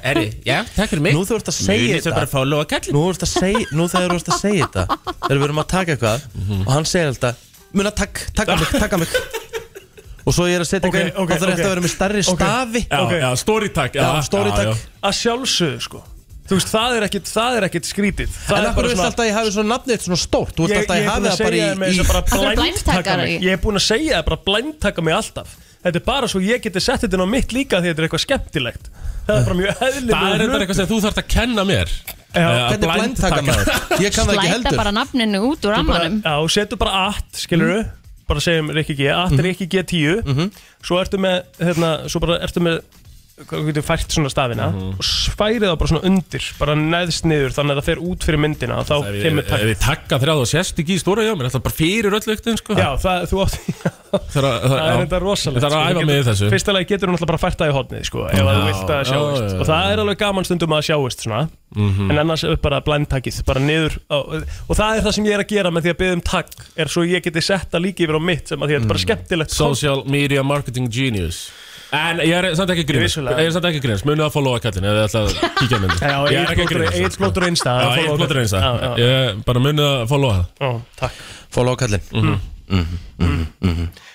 Er ég, já, takk fyrir mig Mm. Nú þú ert að segja Munið svo bara að þetta followa kallin Nú þú ert að segja, nú þegar þú ert að segja þetta Þegar við erum að taka eitthvað Og hann segir alltaf Muna takk, taka mig, taka mig Og svo ég er að setja Ok, eitthvað inn, ok, Þá þarf þetta ok. að vera með stærri Ok. stafi Já, Ok. já, story takk Já, story takk. Að sjálfsögðu sko Þú veist, það er ekkit, það er ekkit skrítið Það En er af hverju bara vilt svona alltaf að ég hafi svona nafnið svona stórt Þú vilt Ég- alltaf að ég ég er hafi búinn að það bara segja þér í, með þess að í bara Af hverju blindtaka blindtakar mig í- Ég er búinn að segja það bara blindtaka mig alltaf Þetta er bara svo ég geti sett þetta inn á mitt líka því þetta er eitthvað skemmtilegt Það er bara mjög eðlilega Það er þetta eitthvað sem þú þarft að kenna mér Eh, Já, Hvernig blindtaka *laughs* maður? Ég kann það ekki Slæta heldur bara nafninu út úr bara, ammanum já, setur bara at, skilur Mhm. du Bara segjum Rikki G, at Rikki G10 Svo ertu með, hérna, svo bara ertu með Hvað getur fært svona stafina Mhm. Og sværið það bara svona undir Bara neðst niður, þannig að það fer út fyrir myndina og Þá Ef ég- kemur ef takk ég takka þrjáð og sérst ekki í stóra hjá mér Það er bara fyrir öll auktin, sko Já, það, þú átt Það er að- Það já. er þetta Það er rosalegt að sko. æfa Þú mig í getur- þessu Fyrsta lagi getur hún alltaf bara fært það í hotnið sko, Ef að þú vilt að já, sjáist já, já. Og það er alveg gaman stundum að sjáist svona. Mhm. En annars er bara blindtakið Bara niður á, Og það er það sem ég er að gera með því að byggja um takk Er svo ég geti sett það líka yfir á mitt Sem að því að þetta er bara skemmtilegt Mhm. Social Media Marketing Genius En ég er samt ekki að grínast Vissulega. Ég er samt ekki að grínast Munið að followa kallin Eða ætla að *laughs* kíkja myndi Já, Ég er ekki að Eitt grínast blótur einsta Já, ég er blótur eins að Ég- Bara munið að followa það Mhm. Takk Fóla á kallin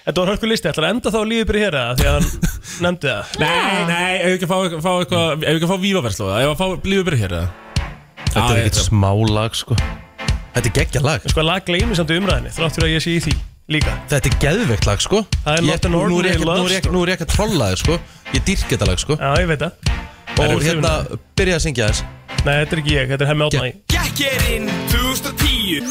Þetta var hörku listi, ætlar að enda þá lífið byrja hér eða? Því að hann *laughs* nefndi það Nei, nei Ef við ekki að fá fá eitthvað Ef við ekki að fá vívaverslu Ef við að fá lífið byrja hér eða? Þetta Já, er ekkert ég- smá lag sko Þetta er geggja lag Sko lag gleymi samt í umræðinni Þráttur að ég sé í því líka Þetta er geðveikt lag sko Það er Ég- Not an nú er ég Ordinary ekkert- Love sko. Nú er ég ekki- nú er ég ekki að trolla þér sko Ég dýrk þetta lag sko Já, ég veit það Og hérna byrja að syngja þess Nei, þetta er ekki ég, þetta er hemmi átnæg Gekk er inn 2010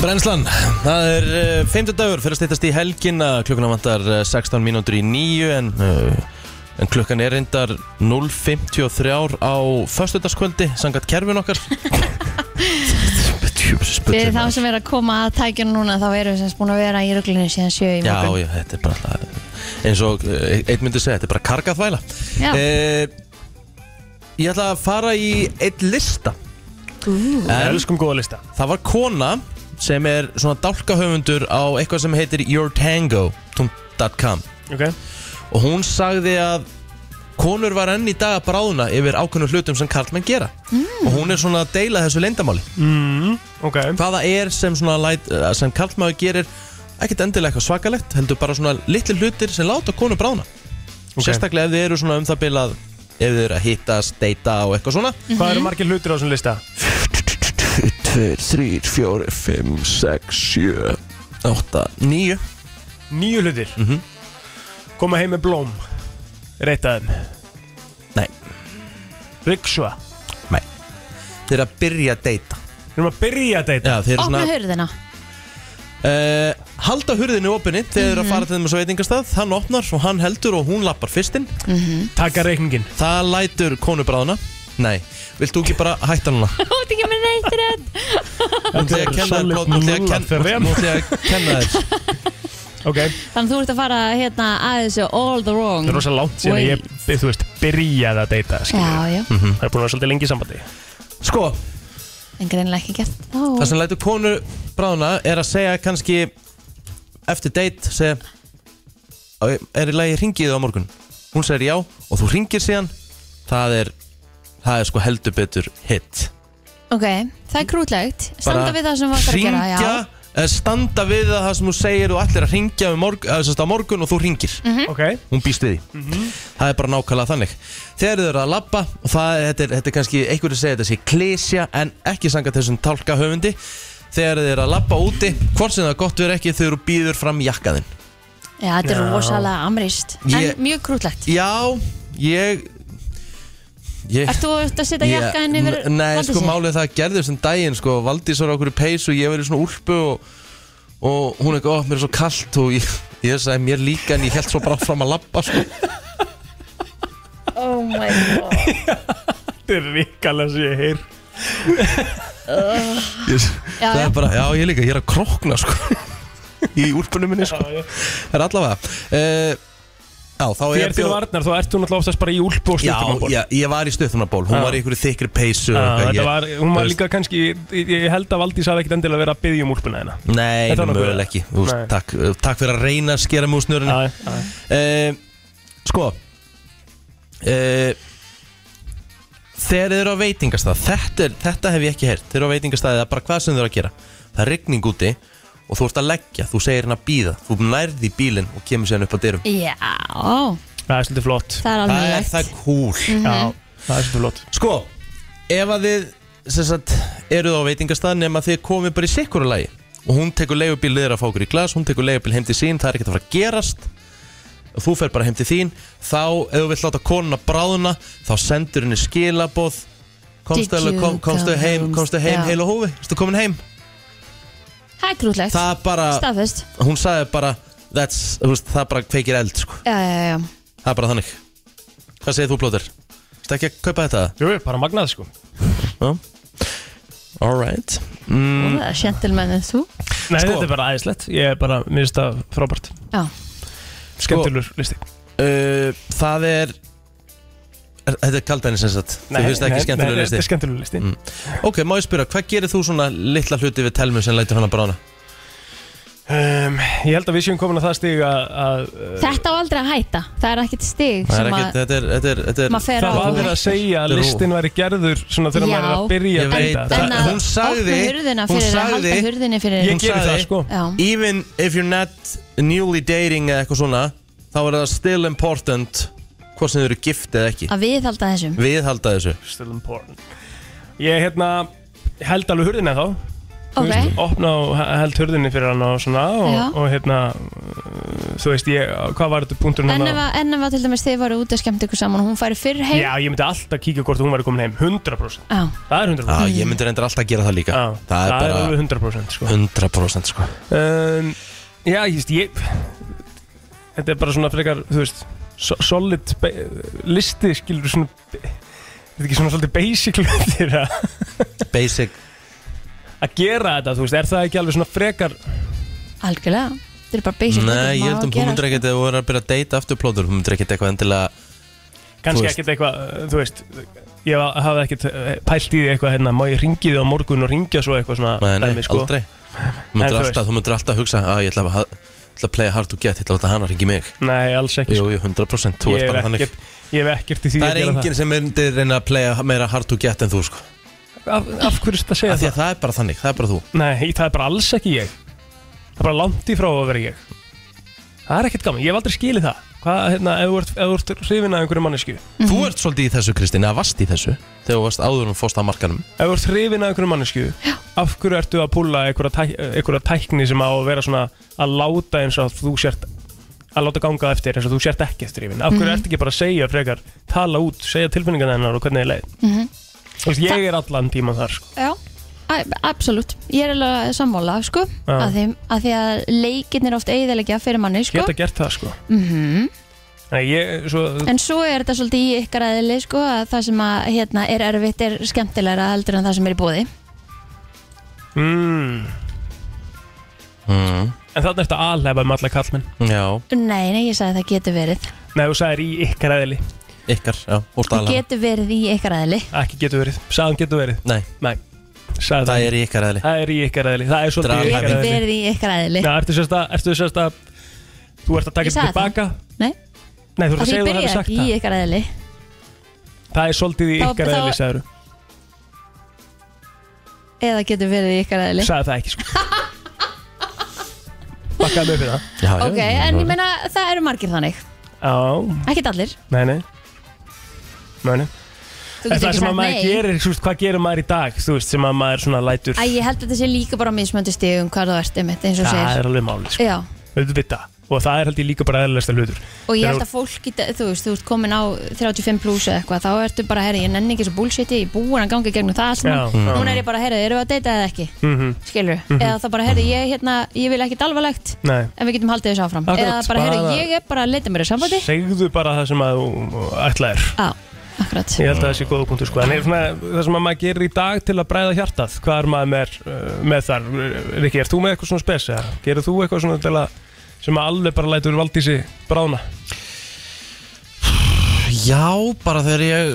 Brennslan, það er uh, 50 dagur fyrir að stýttast í helgina Klukkuna vantar uh, 16 mínútur í 9 en, uh, en klukkan er reyndar 0.53 á föstudagskvöldi Sangat kerfin okkar Fyrir Fyrir þá sem er að koma að tækjunum núna þá erum við sem búin að vera í ruglinu síðan sjö í Já, morgun já, þetta er bara alltaf- eins og eh, einn myndi segja, þetta er bara kargaþvæla Já. eh, Ég ætla að fara í einn lista Mm. En Elskum góða lista það var kona sem er svona dálkahöfundur á eitthvað sem heitir yourtango.com Ok og hún sagði að konur var enn í dag að bráðna yfir ákveðnum hlutum sem karlmenn gera Mm. og hún er svona að deila þessu leindamáli Mm. Ok hvaða er sem, svona læt, eh, sem karlmaður gerir ekkert endilega eitthvað svakalegt heldur bara svona litli hlutir sem láta konur bráðna sérstaklega ef þið eru svona um það bilað ef þið eru að hittast, deyta og eitthvað svona Hvað eru margir hlutir á þessum lista? 2, 3, 4, 5, 6, 7 8, 9 Nýju hlutir Mhm. Koma heim með blóm Reitaðum Nei. Riksua Þeir eru að byrja að deyta Við erum að byrja að deyta Já, þeir eru Opna svona hurðina uh, Halda hurðinu opinni þegar þeir eru að fara til þeim á svo veitingastað Hann opnar og hann heldur og hún lappar fyrstinn Mhm. Taka reikningin Það lætur konu bráðuna Nei, vilt þú ekki bara hætta núna? *laughs* Þú ert ekki með neitt rétt *laughs* Nú ætla ég að kenna þér Nú ætla ég að kenna- nú ætla ég að kenna þér Ok Þannig að þú ert að fara hérna að þessu all the wrong Það er rosa langt síðan að way. ég, þú veist, byrjaði að deyta sko. skilur. Já, já Mhm. Það er búin að vera svolítið lengi í sambandi Sko, en greinlega ekki gert þá Það sem lætur konu bráðuna er að segja kannski eftir date segja "Á, er í lagi ringið á morgun hún segir já og þú ringir síðan það er, það er sko heldur betur hit Ok, það er krútlegt Standa við það sem þú ætlar að gera já. hringja, eða standa við það sem þú segir og allir að um ringja morgun, að, sérst, eh, á morgun og þú ringir Mhm. okay. hún býst við því það er bara nákvæmlega þannig þegar þau eru að labba og það, þetta, er, þetta er kannski, einhverju segja þetta sé klísja en ekki sanga þessum tálka höfundi þegar þau eru að labba úti hvort sem það er gott verið ekki þau eru býður fram jakkaðinn já, þetta er Já. rosalega amrist Ég- En mjög krútlegt já, ég ég Ert þú ert að setja Ég- jakka henni yfir n- Nei, sko Valdísi? málið það gerðist um daginn sko, Valdís var okkur í peysu, ég var í svona úlpu og, og hún ekki, ó, mér er svo kalt og ég, ég sagði mér líka en ég held svo bara fram að labba sko. Oh my god Þetta er ríkala sem *laughs* ég heyr uh, ég, Já, Það já. er bara, já, ég líka, ég er að krokna sko, í úlpunum minni sko. Það er allavega uh, Já, þá er Þér til varnar, þá ert þú náttúrulega oftast bara í úlpu og Já, stuttumanból já, ég var í stöðunaból, hún Já. var í einhverju þykri peysu og eitthvað, Ah, Þetta ég- var, hún þú var veist- líka kannski Ég ég held að Valdís hafi ekkert endilega verið að byggja um úlpuna hérna Nei, Þetta var nokkuð mögulega ekki Þú veist, Nei. takk, uh, takk fyrir að reyna að skera mig úr snörunni uh, Sko uh, Þegar þið eru á veitingastað þetta, er, þetta hef ég ekki heyrt Þeir eru á veitingastað eða bara hvað sem þið eru að gera Það er rigning úti og þú ert að leggja Þú segir hérna að býða, þú nærði í bílinn og kemur sér upp að dyrum Já, Það er svolítið flott Það er alveg Það er legt. það cool Mhm. Já, það er svolítið flott Sko, ef að þið sem sagt, eruð á veitingastað nema þið komið bara í sikkuru lagi og hún tekur leigubíl liður að fá okkur í glas hún tekur leigubíl heim til sín, það er ekkert að fara að gerast og þú fer bara heim til þín þá, ef þú vilt láta konuna bráðuna þá sendur henni skilaboð komstu, Did alveg- you kom, komstu come heim, home? komstu heim Já. heil og hófi, erstu komin heim það er krútlegt það er bara, Staðfest hún sagði bara that's, þú veist, það bara kveikir eld sko. Já, já, já það er bara þannig hvað segir þú plóter? Erstu ekki að kaupa þetta? Jú, bara magnað sko Já. Alright mm. Það er gentleman en þú Sko. Nei, þetta er bara æðislegt Ég er bara, mér finnst það frábært Já Sko. Skemmtilegur listi uh, Það er er- Þetta er kaldæni sem sagt Þú Nei, finnst ekki nei, nei, skemmtilega listi þetta er skemmtilegur listi. mm. Ok, má ég spyrja, hvað gerir þú svona litla hluti við telmu sem lætur hann að brána? um, Ég held að við séum komin að það stig að, að uh, Þetta á aldrei að hætta Það er ekkit stig Það er sem ekki, að þetta er, þetta er, þetta er Maður fer á- Það var verið að segja að listin væri gerður svona þegar maður er að byrja Ég að veit, breyta. það- Það- hún sagði opna hurðina hún fyrir, að sagði- halda hurðinni fyrir hún sagði, sko. Já. Even if you're not newly dating eða eitthvað svona þá er það still important hvort sem þau eru gift eða ekki Að við halda þessum Viðhalda þessu Still important Ég hérna held alveg hurðinni þá Þú Ok. veist, Opna og he- held hurðinni fyrir hann og svona Já. og, og hérna uh, Þú veist ég, hvað var þetta hérna? punktur En ef að, en ef að til dæmis þið varu út að skemmta ykkur saman og hún færi fyrr heim Já, ég myndi alltaf kíkja hvort hún væri komin heim 100% Já. Það er 100% ah, Ég myndi reyndar alltaf að gera það líka ah, Það það er bara alveg 100% sko. 100% sko um, Já, ég veist, ég Þetta er bara svona frekar, þú veist so Solid be- listi skilur svona be- Þetta er ekki svona svolítið basic *laughs* hlutir að Basic Að gera þetta, þú veist, er það ekki alveg svona frekar Algjörlega Þetta er bara basic Nei, ég held um hún myndir ekkert að þú verður að byrja að deyta aftur plótur, hún myndir ekkert eitthvað endilega Kannski Þú veist. ekkert eitthvað, uh, þú veist Ég ha- hafði ekkert uh, pælt í því eitthvað hérna Má ég ringi þið á morgun og ringja svo eitthvað svona Nei, nei, dæmi, sko. aldrei Þú En myndir þú alltaf, veist. þú myndir alltaf að hugsa að ég ætla að, ha- ætla að playa hard to get, ég ætla að láta hana ringi mig Nei, alls ekki Jú, jú, 100%, þú Ég ert hef bara þannig ekkert- Ég hef ekkert í því Það að er gera enginn sem myndir reyna að playa meira hard to get en þú sko Af, af hverju er þetta að segja Af því að það er bara þannig, það er bara þú Nei, það er bara alls ekki ég Það er bara langt í frá að vera ég Það er ekkert gaman, ég hef aldrei skilið það Hvað, hérna, ef þú ert, ef þú ert hrifin af einhverju mannesku Þú ert svolítið í þessu Kristín, eða varst í þessu þegar þú varst áður um fórst að markanum Ef þú ert hrifin af einhverju mannesku Af hverju ertu að púla einhverja, tæk, einhverja tækni sem á að vera svona að láta eins og þú sért að láta ganga eftir eins og þú sért ekki eftir hrifin Af hverju Mhm. ertu ekki bara að segja frekar tala út, segja tilfinningarna hennar og hvernig þið leið Mhm. Þú veist, ég er allan tíman þar sko. Já, a- absolutt Ég er alveg sammála, sko Já. að því, að því að leikinn er oft eigðilegja fyrir manni, sko Geta gert það sko. mm Nei, ég, svo, En svo er þetta svolítið í ykkar aðili, sko að það sem að, hérna, er erfitt er skemmtilegra heldur en það sem er í bóði mm, mm. En þarna ertu að alhæfa með alla kallmenn Já Nei, nei, ég sagði það getur verið Nei, þú sagðir í ykkar eðli Ykkar, já, úr Getur verið í ykkar aðili Ekki getur verið, sagðan getur verið Nei Nei Sæðan. Það er í ykkar eðli Það er í ykkar eðli Það er svolítið í Ég ykkar hef eðli verið í ykkar eðli Já, ertu sérst að Ertu sérst að Þú ert að taka Ég þetta sagði tilbaka Nei, Nei, þú ert af að því ég segja þú hefur byrja sagt ekki í það ykkar eðli Það er svolítið í Þá- ykkar þá- eðli, sagður Eða getur verið í ykkar eðli Sagði það ekki, sko Bakkaði mig fyrir það já, Ok, en ég meina það eru margir þannig Já, Ekkert allir nei, nei Nei, nei Þú getur En Það ekki sem að sagt maður nei gerir, þú veist, hvað gerir maður í dag Þú veist, sem að maður svona lætur Æ, ég held að þetta sé líka bara mismöndi stigum hvað þú ert einmitt, eins og Það segir er alveg máli, sko Já, Auðvitað Og það er held ég líka bara eðlilegsta hlutur og ég Þegar held að fólk, í, dag- þú veist, þú ert komin á 35 pluss eða eitthvað, þá ertu bara, herri, ég nenni ekki þessu bullshiti, ég er búin að ganga í gegnum það allt Já, saman. já. Núna er ég bara, herri, eru við að deyta eða ekki? Mhm. Skilur, eða þá bara, herri, ég, hérna, ég vil ekkit alvarlegt, Nei en við getum haldið þessu áfram. Akkurat, eða bara, bara- herri, ég er bara að leita mér að samfæti. Segðu bara það sem að þú ætlaðir Já, akkurat. Ég held að það sé góða punktu sko En er svona, það sem að maður gerir í dag til að bræða hjartað Hvað er maður með, uh, með þar? Rikki, er þú með eitthvað svona spes? eða? Gerir þú eitthvað svona til að sem að alveg bara lætur valdísi bráðna Já, bara þegar ég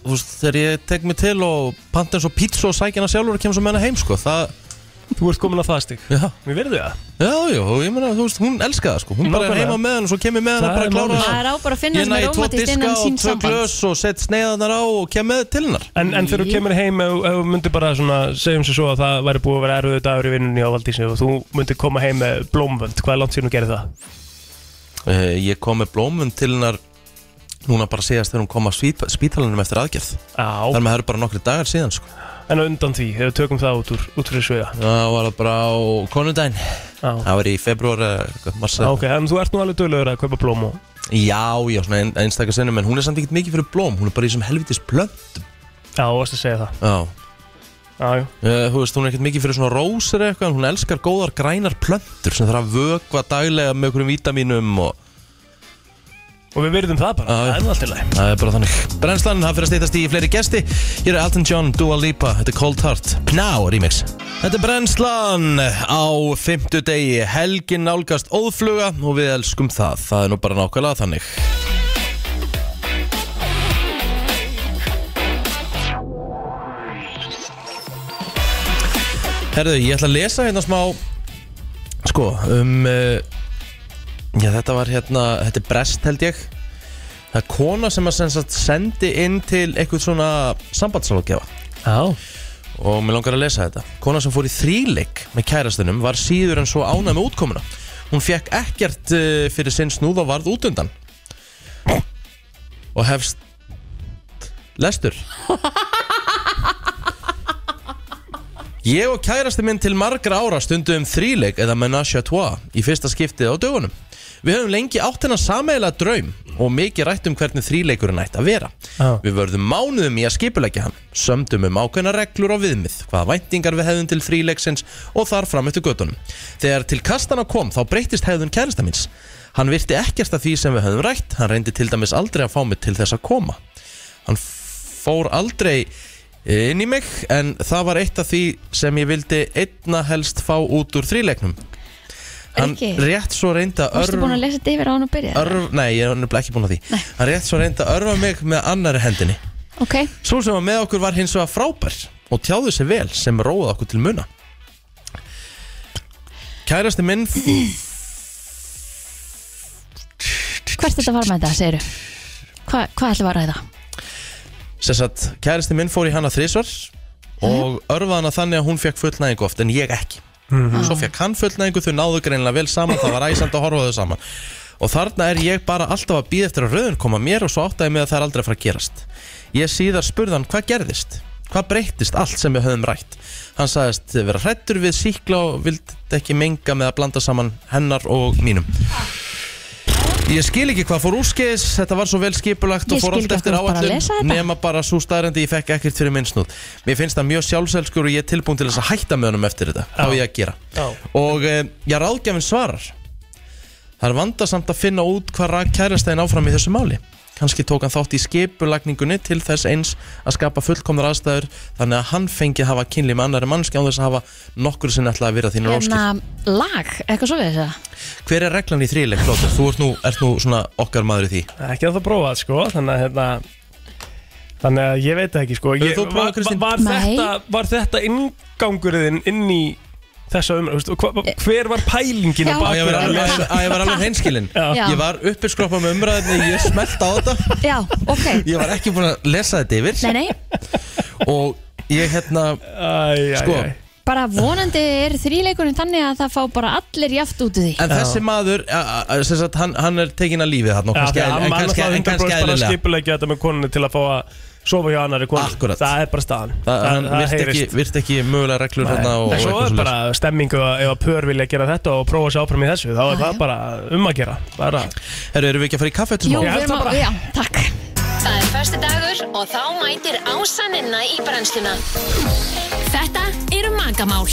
þú veist, þegar ég tek mig til og panta eins og pizza og sækja hana sjálfur og kemur svo með hana heim, sko það, Þú ert komin á það stík já, Mér verður það já, já, og ég meina, þú veist, hún elska það, sko hún bara er Nákvæmlega. heima með hana og svo kemur með hana Það bara er að klára málið. hana. Það er á bara að finna Ég sem er næ tvo romantist diska innan og sín tvö samband. glös og sett sneiðarnar á og kem með til hennar En, en þegar þú Í. kemur heim ef ef þú myndir bara svona segjum sér svo að það væri búið að vera erfiðu dagur í vinnunni á valdísi og þú myndir koma heim með blómvönd Hvað er langt síðan þú gerir það? uh, Ég kom með blómund til hennar núna bara síðast þegar hún kom að svít- spítalanum eftir aðgerð Á, Þar með það eru bara nokkri dagar síðan, sko en á undan því, ef við tökum það út úr, út fyrir sviða Það var það bara á konundaginn Á, Það var í februar, uh, mars ok, en þú ert nú alveg dölugur að kaupa blóm og Já, já, svona ein, einstakar sinnum En hún er samt ekkert mikið fyrir blóm Hún er bara í þessum helvitis plöntum Já, þú varst að segja það Já, Já, já, Eh, þú veist, hún er ekkert mikið fyrir svona rósir eða eitthvað En hún elskar góðar grænar plöntur Sem þarf að vökva daglega með okkurum vítamínum Og og við virðum það Já, bara, já. það er nú allt í lagi það er bara þannig Brennslan, það fyrir að stýttast í fleiri gesti Hér er Elton John, Dua Lipa, þetta er Cold Heart Pná remix Þetta er Brennslan á fimmtudegi Helgin nálgast óðfluga Og við elskum það, það er nú bara nákvæmlega þannig Herðu, ég ætla að lesa hérna smá Sko, um uh, Já, þetta var hérna Þetta er brest held ég Það er kona sem að sem sagt, sendi inn til eitthvað svona sambandsráðgjafa Já, og mér langar að lesa þetta. Kona sem fór í þríleik með kærastunum var síður en svo ánæg með útkomuna. Hún fekk ekkert uh, fyrir sinn snúð og varð út undan. Og hefst lestur. Ég og kærasti minn til margra ára stundum þríleik eða menage à trois í fyrsta skiptið á dögunum. Við höfum lengi átt hennar sameiginlega draum og mikið rætt um hvernig þríleikurinn ætti að vera. Já. Við vörðum mánuðum í að skipulegja hann, sömdum um ákveðna reglur og viðmið, hvaða væntingar við hefðum til þríleiksins og þar fram eftir göttunum. Þegar til kastana kom þá breyttist hefðun kærasta míns. Hann virti ekkert af því sem við höfðum rætt, hann reyndi til dæmis aldrei að fá mig til þess að koma hann fór aldrei inn í mig en það var eitt af því sem ég vildi einna helst fá út úr þríleiknum hann Ekki. rétt svo reynda Varstu búin að lesa þetta yfir á hann og byrja? örf nei, ég er nefnilega ekki búin að því hann rétt svo reynda örfa mig með annari hendinni Ok, Svo sem var með okkur var hins vegar frábær og tjáðu sér vel sem róða okkur til muna Kærasti minn hvert þetta var með þetta, segiru? Hva, hvað ætlum við að ræða? sem sagt, kærasti minn fór í hana þrísvar Mhm. og örfaði hana þannig að hún fekk fullnæðingu oft en ég ekki Mhm. svo fekk hann fullnæðingu, þau náðu greinilega vel saman það var æsand að horfa á þau saman og þarna er ég bara alltaf að býða eftir að rauðin koma mér og svo áttaði mig að það er aldrei að fara að gerast ég síðar spurði hann hvað gerðist hvað breyttist allt sem við höfum rætt hann sagðist vera hrættur við síkla og vildi ekki menga með að blanda saman hennar og mínum Ég skil ekki hvað fór úrskeiðis, þetta var svo vel skipulagt Ég og fór skil allt ekki eftir af hverju bara að lesa áallum þetta. nema bara svo staðrendi ég fekk ekkert fyrir minnsnúð. Mér finnst það mjög sjálfselskur og ég er tilbúin til þess að hætta með honum eftir þetta, þá ég að gera. *laughs* Já. Og eh, ég ráðgjafinn svarar. Það er vandasamt að finna út hvað rak kærastæðin áfram í þessu máli. Kanski tók hann þátt í skipulagningunni til þess eins að skapa fullkomnar aðstæður þannig að hann fengi að hafa kynli með annari mannski án þess að hafa nokkur sinni ætlaði að vera þínur Hérna, óskil. lag, eitthvað svo við *laughs* þess að? Hver er reglan í þrýleik, Klóter? Þú ert nú, ert nú svona okkar maður í því. ekki að það prófa sko, þannig að hérna Þannig að ég veit það ekki sko ég, þú prófað, var, Kristín? var, Nei. þetta, var þetta inngangurinn inn í þessa umræðu hva, hva- Hver var pælingin Já. á Á, ég var alveg- bakvið á, ég var alveg hreinskilinn. Já. Ég var uppið skroppa með umræðinni Ég smelta á þetta Já, ok Ég var ekki búin að lesa þetta yfir Nei, nei, Og ég hérna æ, Sko bara vonandi er þríleikurinn þannig að það fá bara allir jaft út úr því En þessi maður, a- a- a- sem sagt, hann, hann er tekin að lífi þarna og Já, kannski, því að en, en annars kannski, það en kannski 100% bara eðlilega skipulegja þetta með konunni til að fá að sofa hjá annari konu Akkurat. Það er bara staðan Þa, hann virt ekki, heyrist. virt ekki mögulega reglur Nei. hérna og, En svo og er eitthvað bara stemmingu að ef að pör vilja gera þetta og prófa sér áfram í þessu Ah, þá er það bara um að gera bara. Herru, erum við ekki að fara í kaffe eftir Jú, smá? við erum að, já, takk Það er förstu dagur og þá mætir ásaninna í brennsluna. Þetta eru magamál.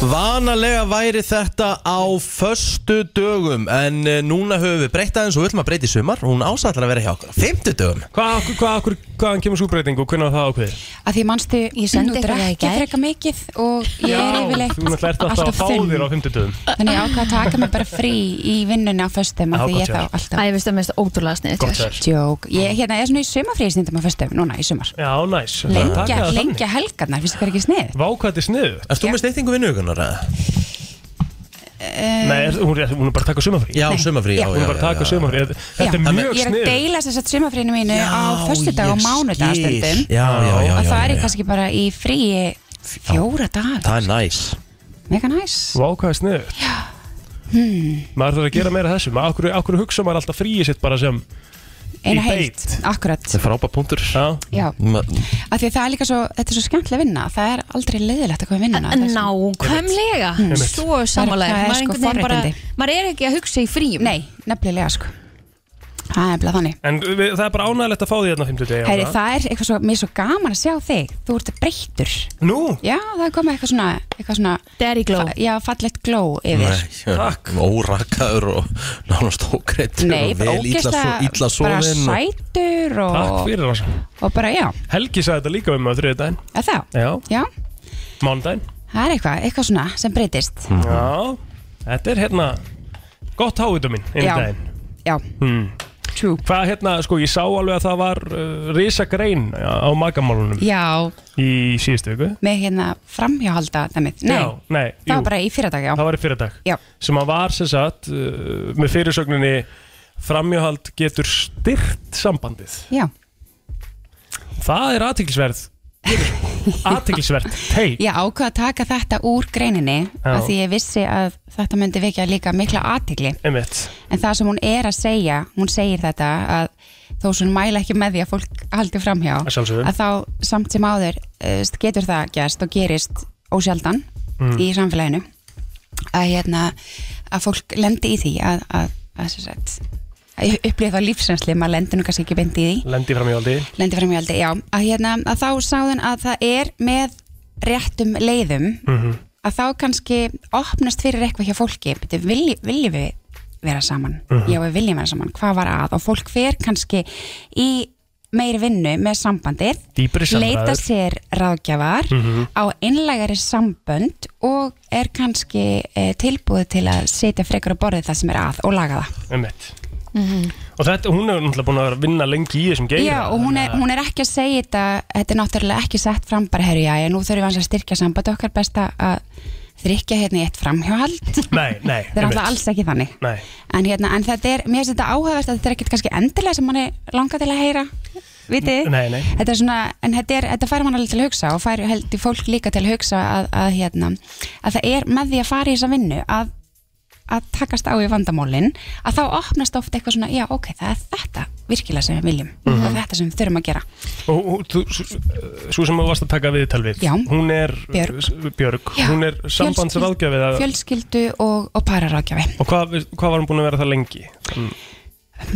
Vanalega væri þetta á föstu dögum En eh, núna höfum við breytt aðeins og við ætlum að breyta í sumar Hún ásallar að vera hjá okkur á fymtu dögum Hvað, hvað, hvað, hvaðan kemur súbreyting og hvernig var það ákveðir? að því mannstu, ég sendi nú ykkur það í drekki gær. freka mikið og ég er yfirleitt Þú náttúrulega ert alltaf að fá þér á fimmtudöðum þannig ég ákvað að taka mig bara frí í vinnunni á föstum Já, af því gott ég hjá þá þér. alltaf Æ, veist það mest ótrúlega sniðið Gott hjá þér. Jók, ég hérna, ég er svona í sumafríi stundum á föstum, núna í sumar Já, næs Lengja, lengja helgarnar, finnst það ekki snið? Vá, hvað þetta er sniðu? Erst þú með steytingu við nögunar eða? Nei, er, hún, er, hún er bara að taka sumafrí Já, sumafrí, já, Hún er bara að já, taka já, sumafrí Þetta er mjög Ég er að sniðu deila þess að sumafríinu mínu á föstudag og mánudag stundum Já, já, já, og já, þá er já, ég já. kannski bara í fríi fjóra dag, Það er næs mega næs Vá, hvað er sniðu? hmm. Maður þarf að gera meira af þessu Maður, okkur, okkur hugsa maður alltaf fríi sitt bara sem Eina í heilt, beit. akkurat Það er frábæð punktur Já. Já Af því að það er líka svo, þetta er svo skemmtileg vinna Það er aldrei leiðilegt að koma í vinnuna það er svo- Nákvæmlega, Mm. svo samanlega Það er- það er sko forréttindi. maður er ekki að hugsa í fríum Nei, nefnilega sko Það er bara þannig En við, það er bara ánægilegt að fá því hérna á fimmtudegi Heyri, Það er eitthvað svo, mér er svo gaman að sjá þig Þú ert breyttur Nú? Já, það er komið eitthvað svona, eitthvað svona Daddy glow Já, fallegt glow yfir Takk Órakaður og nánast ókreitur Nei, og bara vel illa, svo, illa ógeðslega bara sofin og... sætur og, Takk fyrir það og bara já, Helgi sagði þetta líka við mig á þriðdæn eða þá Já, Já, mánudæn það er eitthvað, eitthvað svona sem breytist Mm. Já, þetta er hérna Gott hávitum minn inn í Já. daginn Já, hmm. True Hvað hérna, sko, ég sá alveg að það var uh, risagrein uh, á magamálunum já Í síðustu viku með hérna framhjáhalda dæmið Nei, Já, nei það jú. var bara í fyrirdag, já Það var í fyrirdag Já. Sem að var sem sagt uh, Með fyrirsögninni Framjóhald getur styrt sambandið Já, Það er *laughs* aðtiklisverð Aðtiklisverð Hey ég ákvað að taka þetta úr greininni Já. af því ég vissi að þetta myndi vekja líka mikla aðtigli Einmitt en það sem hún er að segja, hún segir þetta að þó sem hún mæla ekki með því að fólk haldi framhjá Að sjálfsögðu. að þá samt sem áður eh, getur það gerst og gerist ósjaldan Mm. í samfélaginu að, hérna, að fólk lendi í því að, að, að, sem sagt, að upplifa þá lífsrensli maður lendur nú kannski ekki beint í því Lendi framjóhaldi lendi framhjáldi, já að, hérna, að þá sáðun að það er með réttum leiðum Mhm. að þá kannski opnast fyrir eitthvað hjá fólki Bíddu, vilji, viljum við vera saman Mhm. já við viljum vera saman, hvað var að og fólk fer kannski í meiri vinnu með sambandið Dýpri samræður. leita sér ráðgjafar Mhm. á einlægari sambönd og er kannski e, tilbúið til að setja frekar á borðið það sem er að og laga það Einmitt Og þetta, hún er náttúrulega búin að vera að vinna lengi í þessum geira Já, og hún er, hún er ekki að segja þetta þetta er náttúrulega ekki sett fram bara herru, já, já, nú þurfum við aðeins að styrkja samband okkar best að- að þrykja hérna í eitt framhjáhald það Nei, nei er náttúrulega alls ekki þannig Nei en, hérna, en þetta er, mér finnst þetta áhugavert að þetta er ekkert kannski endilega sem mann er langað til að heyra vitið, Nei, nei. þetta er svona en þetta, er, þetta fær mann alveg til að hugsa og fær heldur fólk líka til að hugsa að, að, hérna, að það er með því að fara í þessa vinnu að, að takast á í vandamólin að þá opnast ofta eitthvað svona já ok, það er þetta virkilega sem við viljum Mhm. það er þetta sem við þurfum að gera Og hún- þú, svo sem þú varst að taka viðtal við Já. Hún er Björg. S- Björg. Já. Hún er sambandsráðgjafi eða- fjölskyldu og, og pararáðgjafi Og hvað, hvað var hún búin að vera það lengi? Mm.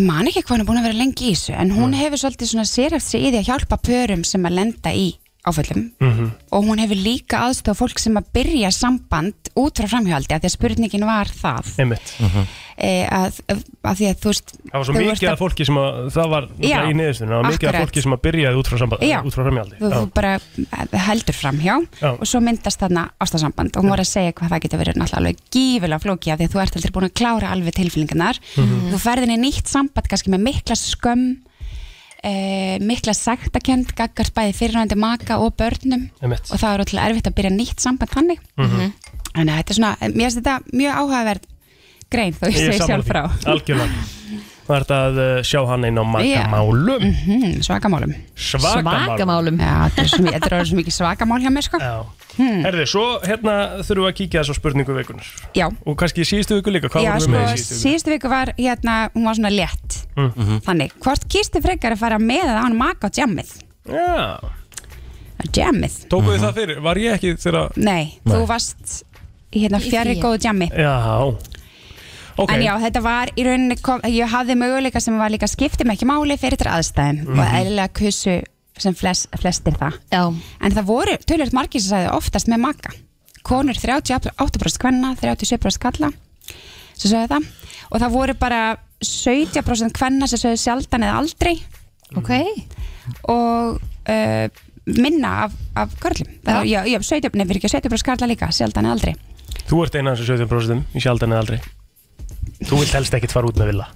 man ekki hvað hún er búin að vera lengi í þessu en hún hefur svolítið svona sérhæft sig í því að hjálpa pörum sem að lenda í áföllum Mhm. og hún hefur líka aðstofa fólk sem að byrja samband út frá framhjáldi að því að spurningin var það Einmitt e, að, að, að því að þú veist Það var svo þú mikið ert af fólki sem að Það var Já, í niðurstunum Það var mikið af akkurat. fólki sem að byrjaði út frá, samband, Já. út frá framjaldi þú, þú bara eh, heldur framhjá Já. og svo myndast þarna ástasamband og hún var að segja hvað það getur verið náttúrulega alveg gífilega flókið af því að þú ert aldrei búin að klára alveg tilfélingarnar Mhm. þú ferðin í nýtt samband kannski með mikla skömm e, mikla sektakend gaggart bæði fyrirhændi maka og börnum Einmitt. og það er ótrúlega erfitt að byrja nýtt samband þannig Mhm. þannig að þetta er svona, mér finnst þetta mjög áhugaverð grein þó ég er segi sammála sjálf því. frá Algjörlega Það er þetta að uh, sjá hann inn á Já. makamálum Mhm, Svakamálum Svakamálum. Já, þetta er svo mi- þetta er orðið svo mikið svakamál hjá mér sko Já, Herði, svo hérna þurfum við að kíkja þess á spurningu vikunar Já. Og kannski í síðustu viku líka, hvað Já vorum við sko, með í síðustu viku? Hm. síðustu viku var hérna, hún var svona létt Þannig, hvort kýrstu frekar að fara með eða án maka á jammið? Já Jammið Tókuðu þið það fyrir, var ég ekki þegar Nei, Nei. þú varst í hérna Í fjarri fríi. góðu jammi Já Ok. En já, þetta var í rauninni kom, ég hafði möguleika sem var líka skipti með ekki máli fyrir þetta aðstæðin Mhm. og eðlilega kussu sem flest, flestir það já. En það voru tölvöld margir sem sagði oftast með maka konur 38% kvenna 37% kalla sem sagði það og það voru bara 17% kvenna sem sagði sjaldan eða aldrei Ok og uh, minna af, af körlum það, já, já, 17, nei, fyrir ekki 17% karla líka sjaldan eða aldrei Þú ert eina af þessu 17% í sjaldan eða aldrei Þú vilt helst ekkit fara út með villa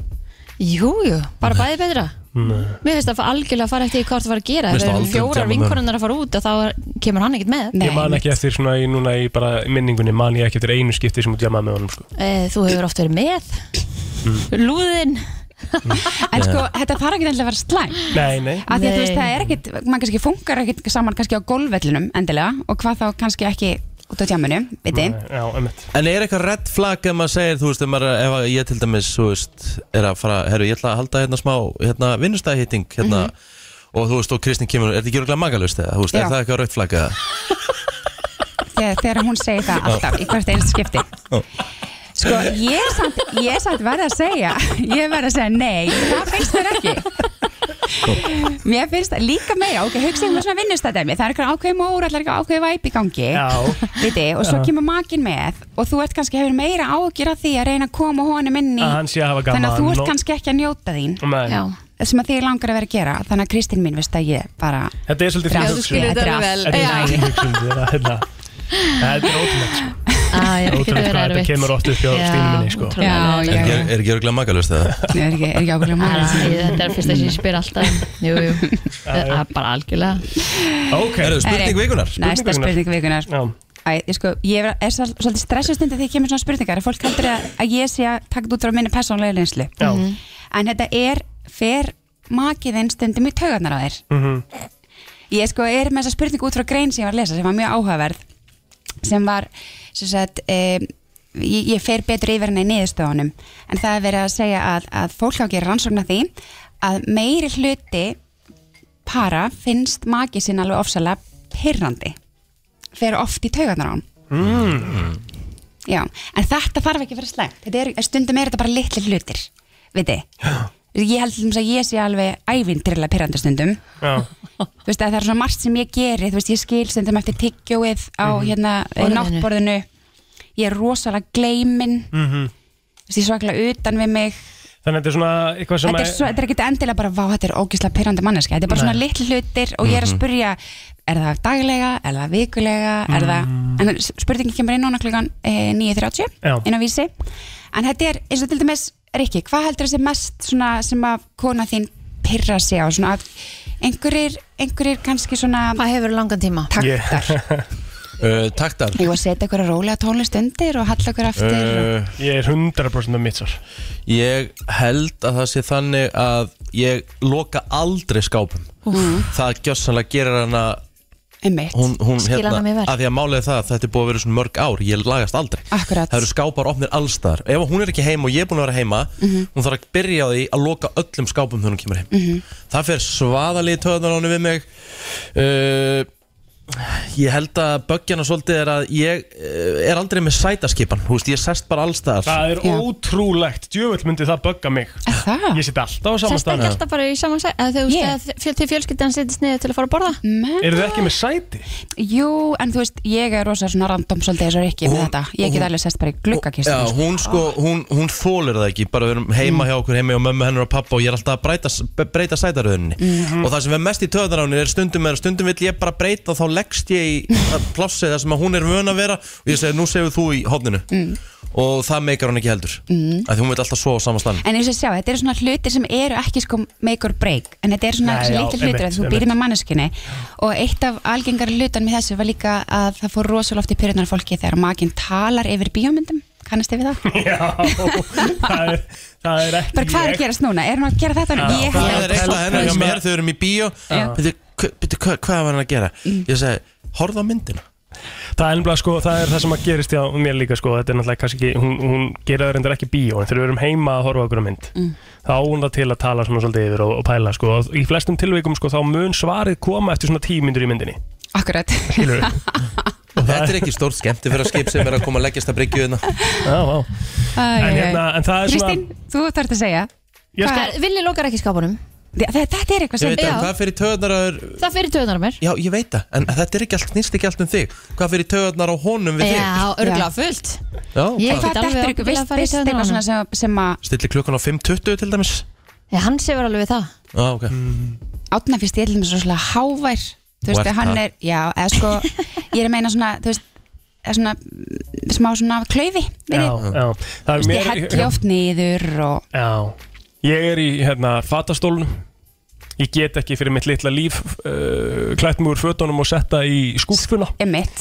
Hm. Jú, jú, bara bæði betra Nei. Mér finnst að fa- algjörlega fara eftir í hvað það var að gera Ef Mér finnst það eru algjörlega fjórar gaman vinkonunnar að fara út og þá er- kemur hann ekkert með Ég man ekki eftir svona í, núna í bara minningunni man ég ekki eftir einu skipti sem þú djamaði með honum sko. Hm. Eh, Þú hefur oft verið með Lúðin En sko, þetta þarf ekki endilega að vera slæm Nei, nei að því að þú veist, Nei. það er ekkit, maður kannski funkar ekkit saman kannski á golfvellinum endilega og hvað þá kannski ekki út á tjáminu, viti Já, emitt En er eitthvað redd flagg ef maður segir, þú veist, ef, maður, ef að ég til dæmis, þú veist, er að fara, herru, ég ætla að halda hérna smá, hérna, vinnustæðhitting, hérna, Mhm. og þú veist, og Kristinn kemur, er þetta ekki örgulega magalust eða, þú veist, Já. er það eitthvað redd flagg eða? þegar, þegar hún segir það alltaf í hvert einst skipti Sko, ég er samt, ég er samt verð að segja ég verð að segja nei, það finnst þér ekki Mér finnst það líka meira, ok, hugsa um svona vinnustæðdæmi það er eitthvað ákveðið mór, allar eitthvað ákveðið væp í gangi Já. viti, og svo Já. kemur makin með og þú ert kannski hefur meira ágjur af því að reyna að koma honum inn í Að hann sé að hafa gaman þannig að þú ert og- kannski ekki að njóta þín Nei. Já. sem að þið langar að vera að gera þannig að Kristín mín veist að ég bara Þetta er svolítið Já, fyrir þú skilur þetta alveg vel. Þetta er Já. svolítið fyrir hugsun þetta *laughs* er hérna- Þetta er ótrúlegt sko. Það er Ótrúlegt ekkert hvað verið þetta erfitt kemur oft upp hjá Já, Stínu minni sko. ótrúlega Já, Er já, ekki- já. Er ekki örgulega magalust eða? Nei, er ekki, er ekki ákveðlega Æ, maður Þetta er fyrst að ég spyr alltaf um. Jú, jú, það er bara algjörlega Ok Herri, Herru, spurning vikunar Næsta spurning vikunar Já Æ, ég sko, ég er, er svol- svolítið stressust undir því að kemur svona spurningar að fólk heldur að, að ég sé að taka þetta út frá minni persónlega reynslu Já. en þetta er fer makiðinn stundum í taugarnar á þér Mhm. ég sko er með þessa spurningu út frá grein sem ég var að lesa sem var mjög áhugaverð sem var sem sagt, e, ég, ég fer betur yfir henni í niðurstöðunum en það er verið að segja að, að fólk á að gera rannsókna því að meiri hluti para finnst maki sinna alveg ofsalega pyrrandi fer oft í taugarnar á hann Um. Mm. Já, en þetta þarf ekki að vera slæmt Þetta er, stundum er þetta bara litli hlutir Viti Ég held til dæmis að ég sé alveg ævindrilega pyrrandi stundum Já. Þú veist að það er svona margt sem ég geri Þú veist ég skil stundum eftir tyggjóið á mm -hmm. hérna eh, Borðinu. náttborðinu Ég er rosalega gleimin Mhm. Þú veist ég er svaklega utan við mig Þannig að þetta er svona eitthvað sem Þetta er, svo, þetta er ekki endilega bara Vá, þetta er ógislega pyrrandi manneska Þetta er bara Nei. svona litli hlutir og ég er að Mhm. spurja Er það daglega, er það vikulega Er það, en spurningin kemur inn núna klukkan eh, 9.30 Já. inn á vísi en þetta er eins og til dæmis Rikki, hvað heldur þessi mest svona, sem að kona þín pyrra sig á svona, að einhverjir, einhverjir kannski svona Hvað hefur langan tíma? Takk *laughs* Uh, Taktar Ég var að setja einhverja rólega tónlist undir og halla einhverja aftur og... Uh, Ég er 100% af mitt svar Ég held að það sé þannig að ég loka aldrei skápum Mhm. Það gjössanlega gerir hana Einmitt. hún, hún, Skil hérna, hana mig verr. að Því að málið er það að þetta er búið að vera svona mörg ár Ég lagast aldrei Akkurat. Það eru skápar opnir allstar Ef hún er ekki heima og ég er búin að vera heima Mhm. Hún þarf að byrja á því að loka öllum skápum þegar hún kemur heim Mhm. Það fer svaðalíð töðan áni við mig uh, Ég held að böggjana svolítið er að ég uh, er aldrei með sætaskipan Þú veist, ég sest bara allstaðar Það er ótrúlegt, djöfull myndi það bögga mig Það? Ég sitt alltaf á saman Sest ekki stað alltaf bara í saman sæt eða þegar yeah. fjöld til fjölskyldan setjast niður til að fara að borða Mm. Eru þið ekki með sæti? Jú, en þú veist, ég er rosa svona random svolítið eins og Rikki með Hún- þetta Ég get hún- alveg sest bara í gluggakistu Já, hún sko, hún, hún þólir það ekki bara við erum heima Mm. hjá okkur, heima hjá mömmu hennar og pappa og ég er alltaf að breyta, breyta sætaröðunni Mhm. og það sem er mest í töðaráni er stundum er stundum vill ég bara breyta og þá leggst ég í það plássið það sem að hún er vön að vera og ég segi nú sefur þú í hodninu Mm. og það meikar hún ekki heldur Mm. að því hún veit alltaf svo á sama stann En eins og sjá, þetta eru svona hlutir sem eru ekki sko make or break En þetta eru svona Nei, þessi já, litli hlutir einmitt, að þú einmitt. býrði með manneskinni Og eitt af algengar hlutan með þessu var líka að það fór rosalega oft í pyrirnar fólki Þegar makinn talar yfir bíómyndum, kannast þið við það? *laughs* *laughs* það, er, það er ekki Bara hvað er ég. að gerast núna? Er hann að gera þetta? núna? Ég það er eitthvað hennar hjá Ég mér meina- þau eru í bíó Já. Bíddu, hva- bíddu, hva- hvað var hann að gera ég segi, horfðu á myndina Það er ennblega sko, það er það sem að gerist hjá mér líka sko, þetta er náttúrulega kannski ekki, hún, hún gerir það reyndar ekki í bíó, en þegar við erum heima að horfa okkur á mynd, Mm. þá á hún það til að tala svona svolítið yfir og, og pæla sko, og í flestum tilveikum sko, þá mun svarið koma eftir svona tímyndur í myndinni. Akkurat Skilur þetta er ekki stórt skemmti fyrir að skip sem er að koma að leggjast að bryggju hérna já, já. *laughs* Æ, æ, En æ. hérna, en það er svona- Kristín, þú þarft að segja Ég skal- Hvað- Villi lokar ekki skápunum Þetta er eitthvað ég veit að hvað fyrir töðnar að Það fyrir töðunar á mér Já, ég veit það, en þetta er ekki allt, snýst ekki allt um þig Hvað fyrir töðunar á honum við Já, þig? örgulega fullt Já, Ég hvað- get Hvað alveg dettur ykkur ábyggilega vist, farið í vist taugarnar á eitthvað honum. svona sem, sem að Stilli klukkan á 5.20 til dæmis Já, hann sefur alveg við það Já, ok Átna fyrst ég til mér svolítið hávær Þú Og veist, ert hann það? er, já, eða *laughs* sko Ég er að meina svona, þú veist eða svona, mm, smá svona klaufi Já, já, já. Það er Ég helli oft niður og Já, ég er í hérna fatastólunum Ég get ekki fyrir mitt litla líf uh, klætt mig úr fötunum og setta í skúfuna Emitt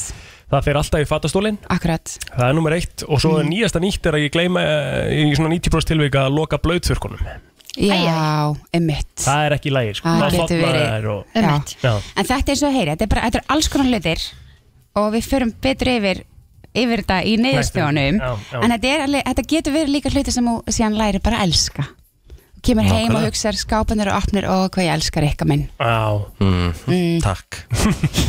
Það fer alltaf í fatastólinn Akkurat Það er nummer eitt og svo mm. nýjasta nýtt er að ég gleyma uh, í svona 90% tilvika að loka blöytþurkunum Já, emitt Það er ekki lægir sko. Það Maður getur þornar verið. þær og, Einmitt. Já. En þetta er svo að heyri, þetta er bara, þetta er alls konar hlutir Og við förum betur yfir Yfir þetta í neyðustjónum Já, já. En þetta, er, alveg- þetta getur verið líka hlutir sem þú síðan læri bara að elska Kemur heim Nákvæmlega. og hugsar skápanir og opnir og hvað ég elskar ykkar minn Já, Mm. takk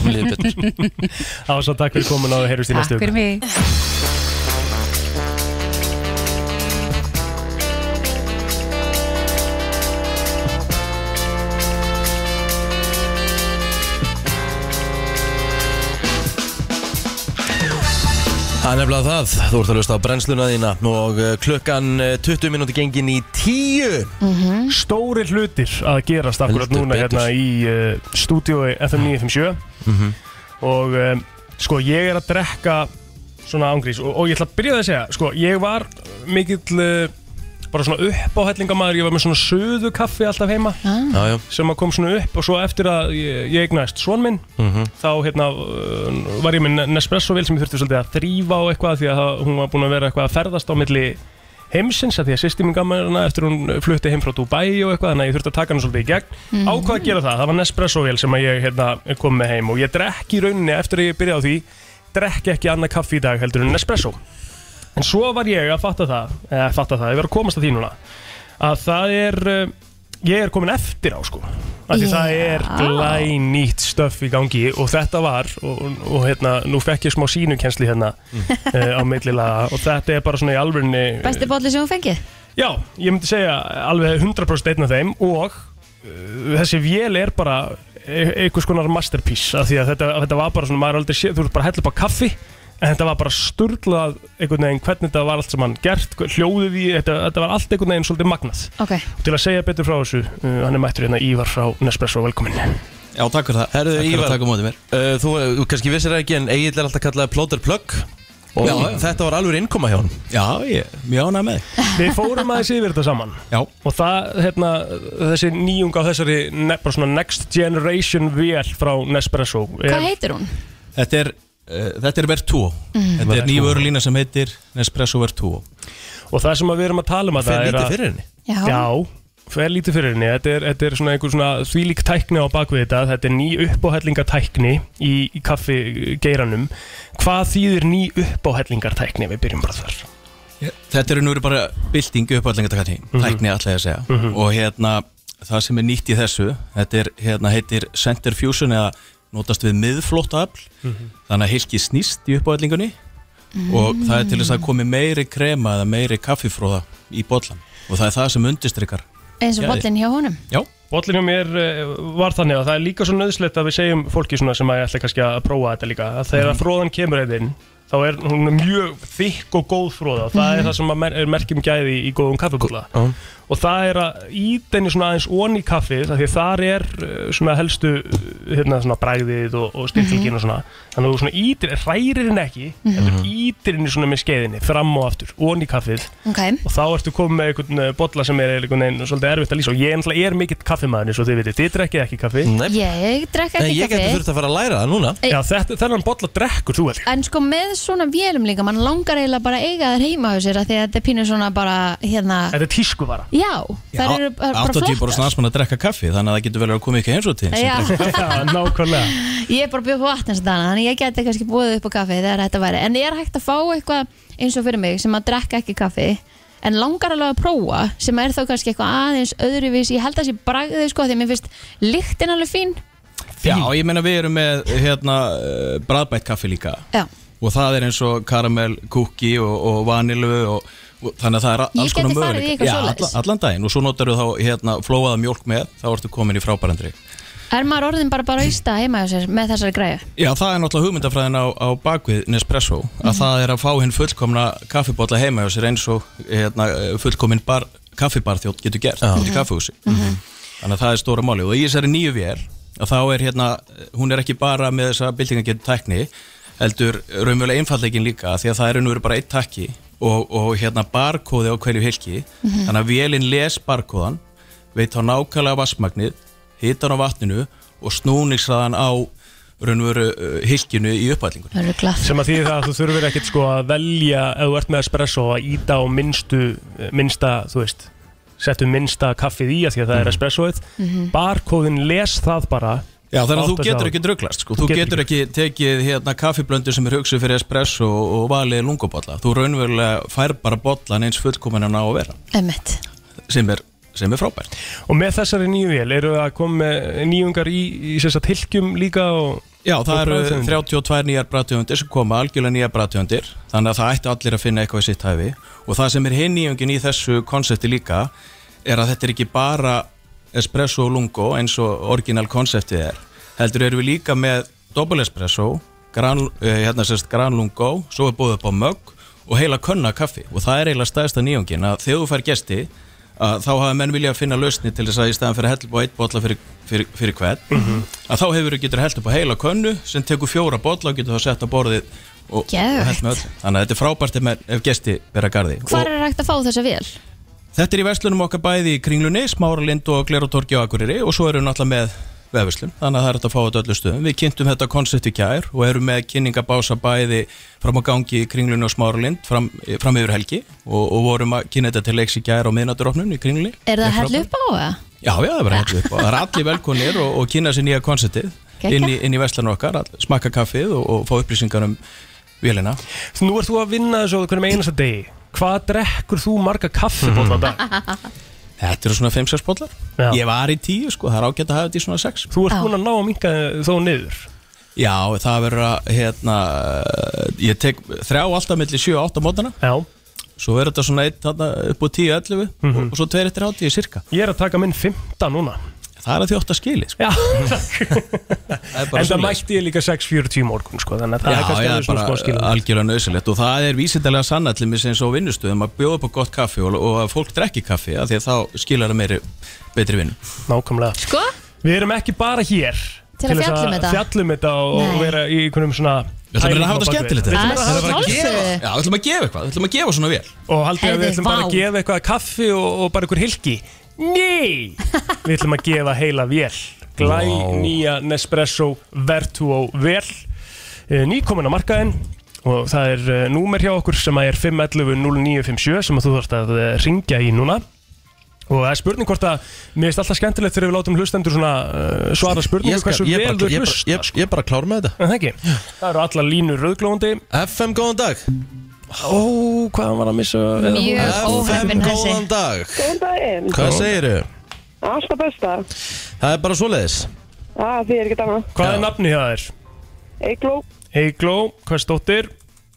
Mér líður betur *laughs* Ása, takk fyrir komin og heyrjumst í Takk næstu fyrir mig Það er nefnilega það, þú ert að lusta á brennsluna þína og eh, klukkan eh, 20 minúti gengin í 10 -hmm. Stóri hlutir að gerast akkurat Heldur núna betur. hérna í uh, stúdíói FM 957 Mhm. og um, sko ég er að drekka svona ángrís og, og ég ætla að byrja það að segja sko ég var mikill uh, bara svona uppáhellingamæður ég var með svona söðu kaffi alltaf heima Ah. Já, Mhm. já. sem að kom svona upp og svo eftir að ég, ég eignast svon minn Mhm. þá hérna uh, var ég með Nespresso-vél sem ég þurfti svolítið að þrýfa og eitthvað því að það- hún var búin að vera eitthvað að ferðast á milli heimsins að því að sýsti mín gaman hana eftir hún flutti heim frá Dubai og eitthvað þannig að ég þurfti að taka hana svolítið í gegn Mhm. ákvað að gera það, það var Nespresso-vél sem að ég hérna, kom með heim og ég drekk í rauninni eftir að ég byrja á því drekk ekki annað kaffi í dag heldur en Nespresso en svo var ég að fatta það eða fatta það, ég var að komast að því núna að það er uh, ég er komin eftir á sko af því það er glænýtt stöff í gangi og þetta var og, og, og hérna, nú fekk ég smá sínukensli hérna uh, á millilaga og þetta er bara svona í alvörinni Besti bolli sem hún fengið já, ég myndi segja alveg 100% einn af þeim og uh, þessi vél er bara e- einhvers konar masterpiece af því að þetta, þetta var bara svona, maður aldrei séð, þú eru bara að hella upp á kaffi en þetta var bara sturglað einhvern veginn hvernig þetta var allt saman gert hver- hljóðið í, þetta, þetta var allt einhvern veginn svolítið magnað Ok, Og til að segja betur frá þessu, uh, hann er mættur hérna Ívar frá Nespresso, velkomin Já, takk fyrir það Herðu, Takk fyrir Ívar að taka mótið mér Þú, eh, þú kannski vissir það ekki en Egil er alltaf kallaði Plóter Plug Og Já, já. þetta var alveg innkoma hjá hann Já, ég, mjög ánæg með Við fórum aðeins yfir þetta saman Já. og það, hérna, þessi nýjunga á þessari ne, bara svona next generation vél frá Nespresso hvað heitir hún? Þetta er, uh, þetta er Vertuo Mm. Þetta er ný Vertuo. vörulína sem heitir Nespresso Vertuo Og það sem að við erum að tala um að Fer það er lítið að- fyrir henni? Já. Já, fer lítið fyrir henni Þetta er, þetta er svona einhver svona þvílík tækni á bakvið þetta Þetta er ný uppáhellingartækni í, í kaffi geiranum Hvað þýðir ný uppáhellingartækni? Við byrjum bara þar Þetta er nú verið bara byltingu upp allengar tækni mm Mhm. Tækni alltaf að segja Mhm. Og hérna, það sem er nýtt í þessu Þetta er, hérna, heitir Center Fusion eða notast við miðflóttaafl Mhm. Þannig að hilki snýst í uppáðlingunni Og það er til þess að komi meiri krema eða meiri kaffifróða í bollan Og það er það sem undistrykar Eins og Gæði. bollin hjá honum Já Bollin hjá mér eh, var þannig að það er líka svo nöðslegt að við segjum fólki svona sem að ég ætla kannski að prófa þetta líka að þegar að fróðan kemur eða inn þá er hún mjög þykk og góð fróða og það er Mhm. það sem að mer er merkjum gæði í góðum kaffibúla Já. og það er að íta henni svona aðeins onni í kaffið af því að þar er eh, svona helstu eh, hérna svona bragðið og, og styrkingin og svona þannig að þú svona ítir, hrærir henni ekki Mhm. heldur ítir henni svona með skeiðinni fram og aftur, onni í kaffið Ok, og þá ertu komið með einhvern eh, bolla sem er einhvern veginn svolítið erfitt að lýsa og ég náttúrulega er mikill kaffimæðin eins og þið vitið, þið drekkið ekki kaffi Nei. ég drekka ekki kaffi að fara að læra það núna Já, þetta, þennan bolla drekkur þú allir En sko með svona vélum líka mann langar eiginlega bara að eiga þær heima á sér af því að þetta er pínu svona bara hérna Þetta er tískuvara Já, þær eru bara- bara 80 bara flottar snarsmann að drekka kaffi þannig að það getur vel að koma ekki eins og til Já. *laughs* nákvæmlega Ég er bara bjóð á vatn þess að dana þannig ég geti kannski búið upp á kaffi þegar þetta væri en ég er hægt að fá eitthvað eins og fyrir mig sem að drekka ekki kaffi en langar alveg að prófa sem er þá kannski eitthvað aðeins öðruvís ég held að það sé bragðið sko því að mér finnst lyktin alveg fín Já, ég meina við erum með hérna, eh, bragðbætt kaffi líka Já. og það er eins og karamell, kúki og, og vanilu og, og þannig að það er a- Ég alls konar gæti farið í möguleika. eitthvað Já, svoleiðis. alla- allan daginn og svo notar þú þá hérna, flóaða mjólk með þá ertu komin í frábærandri er maður orðin bara bara ísta heima á sér með þessari græðu Já, það er náttúrulega hugmyndafræðin á, á bakvið Nespresso, að það er að fá hinn fullkomna kaffibotla heima hjá sér eins og hérna, fullkomin bar, kaffibarþjótt getur gert út í kaffihúsi þannig að það er stóra máli og í þessari nýju vél að þá er hérna, hún er ekki bara með þessa byltingagetu tækni heldur raunverulega einfallegin líka því að það er nú bara eitt takki og, og hérna barkóði á hverju helgi Mhm. þannig að vélinn les barkóðan veit þá nákvæmlega vassmagnið hitan á vatninu og snúningsraðan á raunveru uh, hilkinu í uppvætlingunni sem að því það að þú þurfir ekkert sko að velja ef þú ert með espresso að íta á minnstu eh, minnsta, þú veist settu minnsta kaffið í að því að það er espressoið Mhm. barkóðin les það bara Já, þannig að Áttar þú sig á- getur ekki drauglast sko. Þú getur ekki tekið hérna kaffiblöndu sem er hugsuð fyrir espresso og, og valið lungobolla Þú raunverulega fær bara bollan eins fullkomin en á að vera Emmett sem er, sem er frábært og með þessari nýju vél eru það að koma með nýjungar í, í þess að tilkjum líka og, Já, það og eru bragðtegundir? 32 nýjar bræðtjóðundir sem koma algjörlega nýjar bræðtjóðundir þannig að það ætti allir að finna eitthvað í sitt hæfi og það sem er hinn nýjungin í þessu konsepti líka er að þetta er ekki bara espresso og lungo eins og orginal konseptið er heldur erum við líka með double espresso gran, eh, hérna sérst gran lungo svo er búið upp á mögg og heila könna kaffi og það er eiginlega staðista nýjungin að þegar þú fær gesti að þá hafa menn vilja að finna lausni til þess að í staðan fyrir að hella upp á eitt bolla fyrir, fyrir, fyrir hvern að þá hefur þú getur held upp á heila könnu sem tekur fjóra bolla og getur þá sett á borðið og, og Geðveikt. hellt með öll þannig að þetta er frábært ef, menn- ef gesti vera garði Hvar er hægt að fá þessa vél? Þetta er í verslunum okkar bæði í Kringlunni, Smáralind og Glerotorgi og Akureyri og svo eru við náttúrulega með vefverslun, þannig að það er hægt að fá þetta öllu stöðum. Við kynntum þetta koncept í kjær og erum með kynningabása bæði fram á gangi í Kringlunni og Smáralind fram, fram yfir helgi og, og vorum að kynna þetta til leiks í kjær á miðnætturopnun í Kringlunni. Er það að Fyrir hella opnun. upp á það? Já, já, það er bara hægt upp og það er allir velkonir og, og kynna sér nýja konceptið Geggjað. inn í, inn í verslunum okkar, all, smakka kaffið og, og fá upplýsingar um vélina. Nú ert þú að vinna þessu á hvernig einasta degi hvað drekkur þú marga kaffibólla á dag? Mhm. Þetta eru svona 5-6 bollar Ég var í 10 sko, það er ágætt að hafa þetta í svona 6 Þú ert búin að ná að minka þó niður Já, það verður að hérna, ég tek þrjá alltaf milli 7-8 mótana Já. Svo verður þetta svona eitt, þarna, upp á 10-11 Mhm. og, og svo 2 eftir 80 cirka Ég er að taka minn 15 núna Það er að því 8 skili sko. Já, bara en það svoleiðis. mætti ég líka 6-40 í morgun sko, þannig að það er kannski já, alveg svona smá skil algjörlega nöðsilegt og það er vísindalega sannallið eins og á vinnustöðum að bjóða upp á gott kaffi og, og að fólk drekki kaffi af því að þá skilar það meiri betri vinn Nákvæmlega Sko? Við erum ekki bara hér Til að fjalla um þetta. fjallum þetta og, og Nei. vera í einhverjum svona Við ætlum að reyna að hafa þetta pælingum á skemmtilegt bakvið. Við ætlum að Við ætlum að fara að gefa- gefa- Já, við ætlum að gefa eitthvað, við ætlum að gefa svona vel Og haldið að Heyrðu, við ætlum bara vá. að gefa eitthvað kaffi og, og bara einhver hilki Nei! Við ætlum að gefa heila vél Glæ nýja Nespresso Vertuo vél Eh, Nýkomin á markaðinn Og það er eh, númer hjá okkur sem að er 511 0957 sem að þú þarft að eh, ringja í núna Og það er spurning hvort að Mér finnst alltaf skemmtilegt þegar við látum hlustendur svona uh, svara spurningu Ég skal- hversu ég vel bara- þau ég bara- hlusta ég- sko. Ég er bara klár með þetta En það ekki Það eru allar línur rauðglóðandi FM, góðan dag Ó, hvað hann var að missa Mjög óheppinn FM, þessi. góðan dag Góðan daginn. Hvað segirðu? Alltaf besta. Það er bara svoleiðis Það því er ekkert annað. Hvað er nafni hjá þér? Eigló, Heigló, hvað stóttir?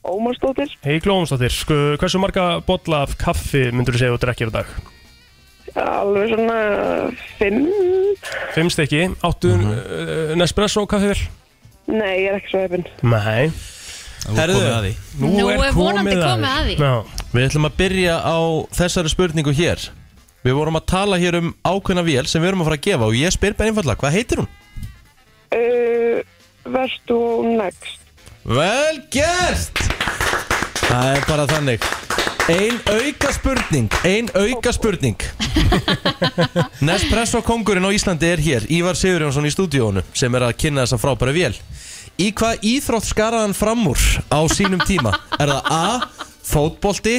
Ómarsdóttir. Heigló Ómarsdóttir, Sko, hversu marga bolla af kaffi myndur þú segja og drekkir á dag? alveg svona fimm. Fimm stykki, áttu mm -hmm. uh, Nespresso kaffi vel? Nei, ég er ekki svo hefinn. Nei Herðu, komið að því. Nú Nú er er komið vonandi að því. komið að því. Við ætlum að byrja á þessari spurningu hér Við vorum að tala hér um ákveðna vél sem við erum að fara að gefa og ég spyr bara einfallega, hvað heitir hún? Uh, Vertu next. Vel gert! Það er bara þannig Ein auka spurning Ein auka spurning Nespresso kongurinn á Íslandi er hér Ívar Sigurjónsson í stúdíónu sem er að kynna þessa frábæra vél Í hvað íþrótt skaraðan fram úr á sínum tíma? Er það A. Fótbolti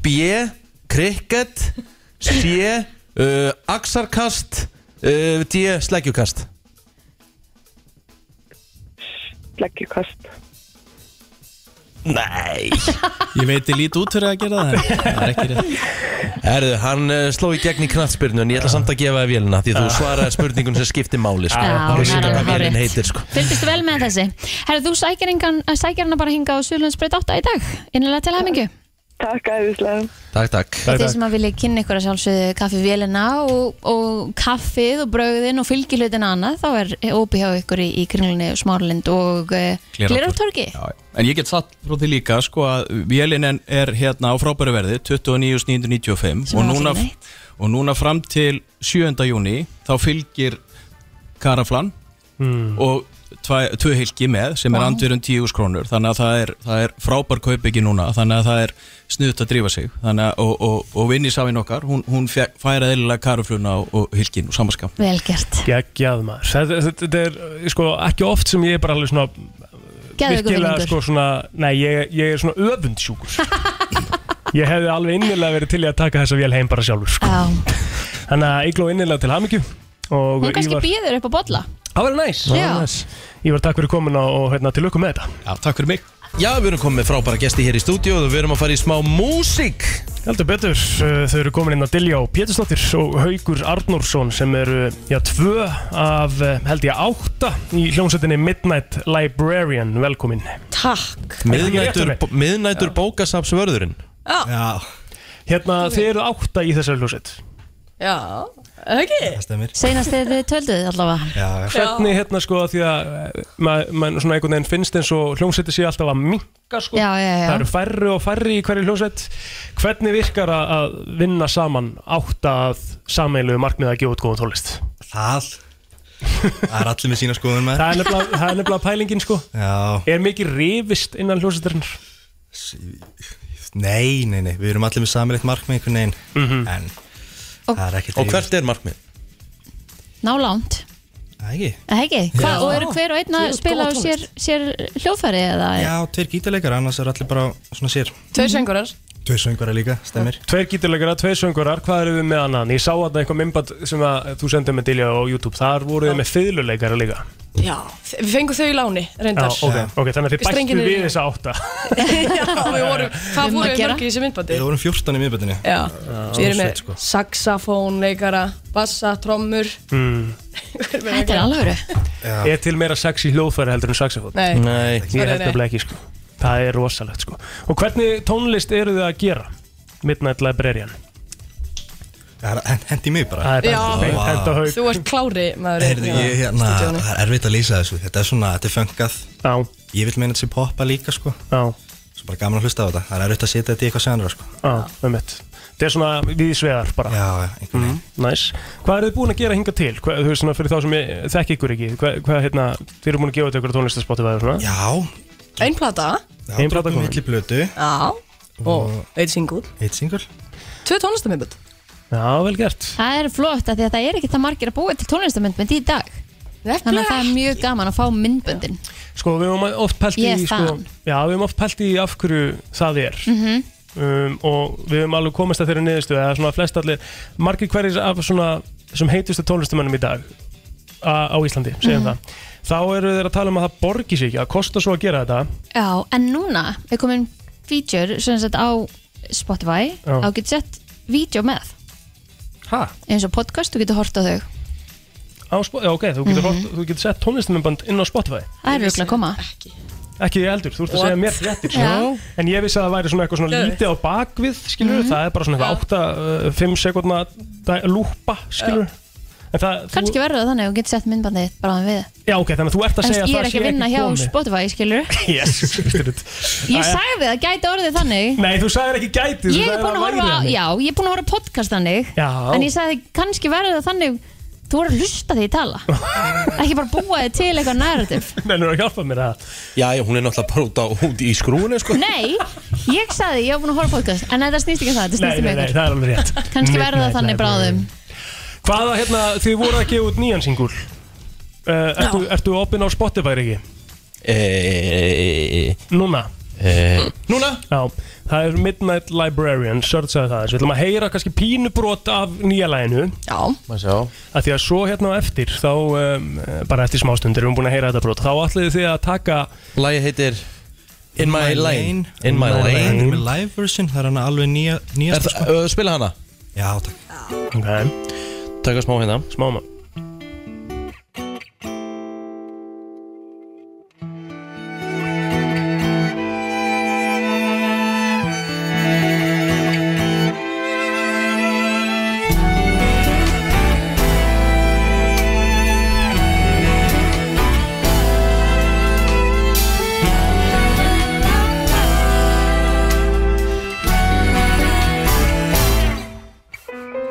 B. Krikket C. Uh, axarkast uh, D. Sleggjukast Leggjukast. Nei Ég veit ég lít út fyrir að gera það Það er ekki rétt Herðu, hann uh, sló í gegn í knattspyrnu En ég ætla samt að gefa það vélina Því þú Ah. svaraði spurningun sem skipti máli sko. Já, Það er það er svona hvað alveg vélin hárrétt. heitir sko. Fylgist vel með þessi Herðu, þú sækir, engan, eh, sækir hana bara hinga á Suðlandsbreyt 8 í dag Innilega til hæmingu Takk æðislega. Takk, takk Þeir sem að vilja kynna ykkur að sjálfsögðu kaffivélina og, og kaffið og brauðin og fylgilutin annað þá er OP hjá ykkur í, í kringlunni Smáralind og uh, Glirartorgi En ég get satt frá því líka sko að vélinen er hérna á frábæru verði 29.995 Sem og er núna, allt í lagi. og núna fram til 7. júni þá fylgir karaflan Hmm. og tvæ- tvö hilki með sem er Vá. andverjum 10.000 krónur þannig að það er, það er frábær kaupbyggi núna þannig að það er snuðt að drífa sig þannig að og, og, og vinni sáin okkar hún, hún fekk- fær eðlilega karafluna og, og hilkin og samaskap Vel gert Geggjað maður þetta, þetta, þetta er eh, sko ekki oft sem ég er bara alveg svona Geðveikur Virkilega vinningur. sko svona Nei, ég, ég er svona öfundsjúkur *laughs* Ég hefði alveg innilega verið til í að taka þessa vél heim bara sjálfur sko. Þannig að ég gló innilega til hamingju og Hún kannski Ívar- býður upp á bolla Það var næs Já. Ívar, takk fyrir komuna og hérna, til lukku með þetta Já, takk fyrir mig Já, við erum komið með frábæra gesti hér í stúdíu og við erum að fara í smá músík Heldur betur, uh, þau eru komin inn að Dilja og Pétursdóttir og Haugur Arnórsson sem eru, já, tvö af, uh, held ég, átta í hljómsveitinni Midnight Librarian, velkomin Takk Miðnætur, miðnætur bókasapsvörðurinn Já. Hérna, þið eru átta í þessari hljómsveit Já, ekki? stemir. Seinast þegar þið tölduð allavega Já. Hvernig hérna sko því að maður ma svona einhvern veginn finnst eins og hljómsveiti sé alltaf að mink sko. Já, já, já Það eru færri og færri í hverju hljómsveit Hvernig virkar að- að vinna saman átta að sameilu markmið að gefa út góða tónlist? Það Það er allir með sína skoðun með Það er nefnilega, það er nefnilega pælingin sko Já, Er mikið rifist innan hljómsveitarinnar? nei, nei, nei, við erum allir með samilegt markmið einhvern veginn Mhm. En Og- það er ekkert Og hvert er markmið? Nálánt Það ekki Það ekki? Hva, Já. og eru hver og einn að Þú sko ert spila á góð sér, sér hljóðfæri eða? Já, tveir gítarleikar, annars er allir bara svona sér Tveir söngurar Tveir söngvara líka, stemmir Tveir gítarleikara, tveir söngurar, hvað eru við með annan? Ég sá að eitthvað mymband sem að þú sendið með Dilja á YouTube Þar voru þið með fiðluleikara líka Já, þ- við fengum þau í láni, reyndar Já, ok, ok, þannig að þið bættu Strengirnir við eru- þessa átta *laughs* Já, við vorum, hvað Um að voru við gera. mörg í þessu myndbandi? Við vorum sko. 14 í miðböndinni Já, við erum með sko. saxafón, leikara, bassa, trommur *laughs* mm. Þetta er alvöru Er til meira sex í hljóðfæri heldur en saxofón? Nei. Nei. Ég held nefnilega ekki sko Það er rosalegt sko Og hvernig tónlist eru þið að gera? Midnight Librarian Hendi mig bara Það er Já, bara beint hent á haug. þú ert klári maður Heyrðu, ég, hérna, það er erfitt að lýsa þessu Þetta er svona, þetta er fönkað Já. Ég vil meina þetta sé poppa líka, sko Já. Svo bara gaman að hlusta á þetta Það er erfitt að setja þetta í eitthvað senra, sko Já, með mitt Það er svona við svegar bara Já, einhvern veginn Næs Hvað eru þið búin að gera hinga til? Hvað, þú veist svona fyrir þá sem ég þekki ykkur ekki Hvað, hvað hérna, þið eru búin að gefa þetta ykkur tónlistarspotti væður svona Já Einn plata, Einn plata dropum komin milli blötu já, og eitt singul Eitt singul Tvö tónlistamömbund Já, vel gert Það er flott af því að það er ekki það margir að búa til tónlistamöndmynd í dag Þannig að það er mjög gaman að fá myndböndin Sko, við höfum oft pælt í Ég er sko, fan. Já, við höfum oft pælt í af hverju það er Mhm. um, og við höfum alveg komist að þeirra niðurstöðu eða svona flest allir, margir hverjir af svona sem heitustu tónlistamönnum í dag a- á Íslandi, segjum Mhm. það þá eru þeir að tala um að það borgi sig ekki að kosta svo að gera þetta Já, en núna er komin feature sem sagt á Spotify Já. á getur sett vídeo með ha? eins og podcast, þú getur hort á þau á, Spo- já, ok, þú Mhm. getur, mm þú getur sett tónlistamönnband inn á Spotify Það er röglega að koma ekki ég heldur, þú ert að segja What? mér réttir Já. en ég vissi að það væri svona eitthvað svona Geðveikt. lítið á bakvið skilur, Mhm. eh, það er bara svona eitthvað 8-5 sekundna lúpa skilur En það, þú, kannski verður það þannig að þú getur sett myndbandið þitt bara á hann við já, ok, þannig að þú ert að Þú veist, segja að ég er það ekki að vinna hjá Spotify, skilur *laughs* Yes, ég sagði það, gæti orðið þannig Nei, þú sagðir ekki gæti ég er búin að horfa, á- já, ég er búin að horfa á podcast þannig Já. en ég sagði kannski verður það þannig þú voru að hlusta því *laughs* tala ekki bara búa þig til eitthvað narrativ Nennur að hjálpa mér að Já, já, hún er náttúrulega bara út, á, út í skrúinu sko. nei, ég sagði ég er búin að horfa á podcast en þetta snýst ekki um það, þetta Nei, snýst um nei, nei, það ykkur er alveg rétt kannski verður það þannig bráðum Hvaða, hérna, þið voru að gefa út nýjan singul uh, Ertu, ertu opinn á Spotify, ekki? e, Núna e, Núna? Já, það er Midnight Librarian Searchaði það, þess við ætlum að heyra kannski pínubrot af nýja læginu Já að Því að svo hérna á eftir þá, um, bara eftir smástundir, við erum búin að heyra þetta brot þá ætliði þið að taka Lægi heitir In My Lane In My Lane In Með live version, það er hana alveg nýja, nýjasta Er það- ö, Spila hana Já, takk Ok Takk smá hérna Smá maður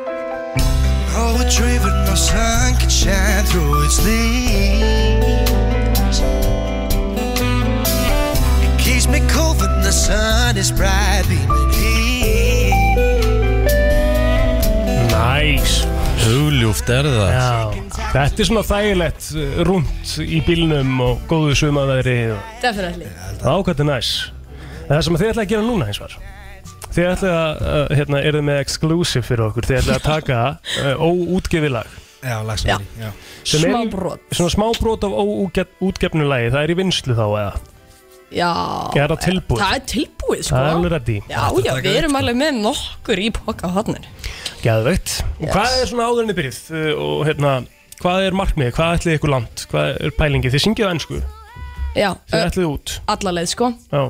Oh, a dream with no sun can shine through its leaves. It keeps me cool when the sun is bright beaming heat. Næs Hugljúft er það Já, þetta er svona þægilegt uh, rúmt í bílnum og góðu sumaðveri og Definitely ákvæmt er næs En Það sem þið ætlaði að gera núna eins var Þið ætlaði að, uh, hérna, eru með exclusive fyrir okkur Þið ætlaði að taka uh, óútgefi lag Já, Já. lagsnari Já, sem er í- Smábrot. Svona smábrot af óútgefnu lagi, það er í vinslu þá eða Já Er það tilbúið? Það er tilbúið sko Það er alveg ready. Já, já, við erum alveg með nokkur í poka hodnir Gæðveitt Og hvað er svona áðurinni byrjið uh, og hérna, hvað er markmiðið, hvað ætlið ykkur land, hvað er pælingið, þið syngið á ennsku, Já, þið ætlið út allarleið sko Já,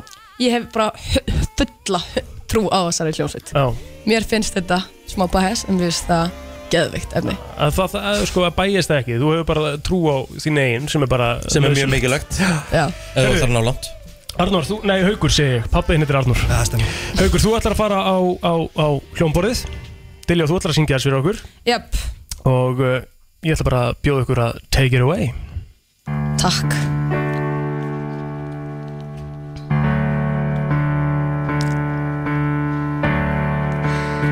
Ég hef bara hu- fulla hu- trú á þessari hljómsveit já Mér finnst þetta smá bæs en mér finnst það geðveikt efni að það, það að, sko, að bæjast það ekki, þú hefur bara trú á þín eigin sem er bara Sem er mjög mikilvægt Já Ef þú þarf að ná langt Arnór, þú, nei, Haugur segi ég, pappið hinn heitir Arnór það stemmi Haugur, þú ætlar að fara á, á, á hljómborðið Dilljá, þú ætlar að syngja þess fyrir okkur Jöp, og uh, ég ætla bara að bjóða ykkur að take it *laughs* away takk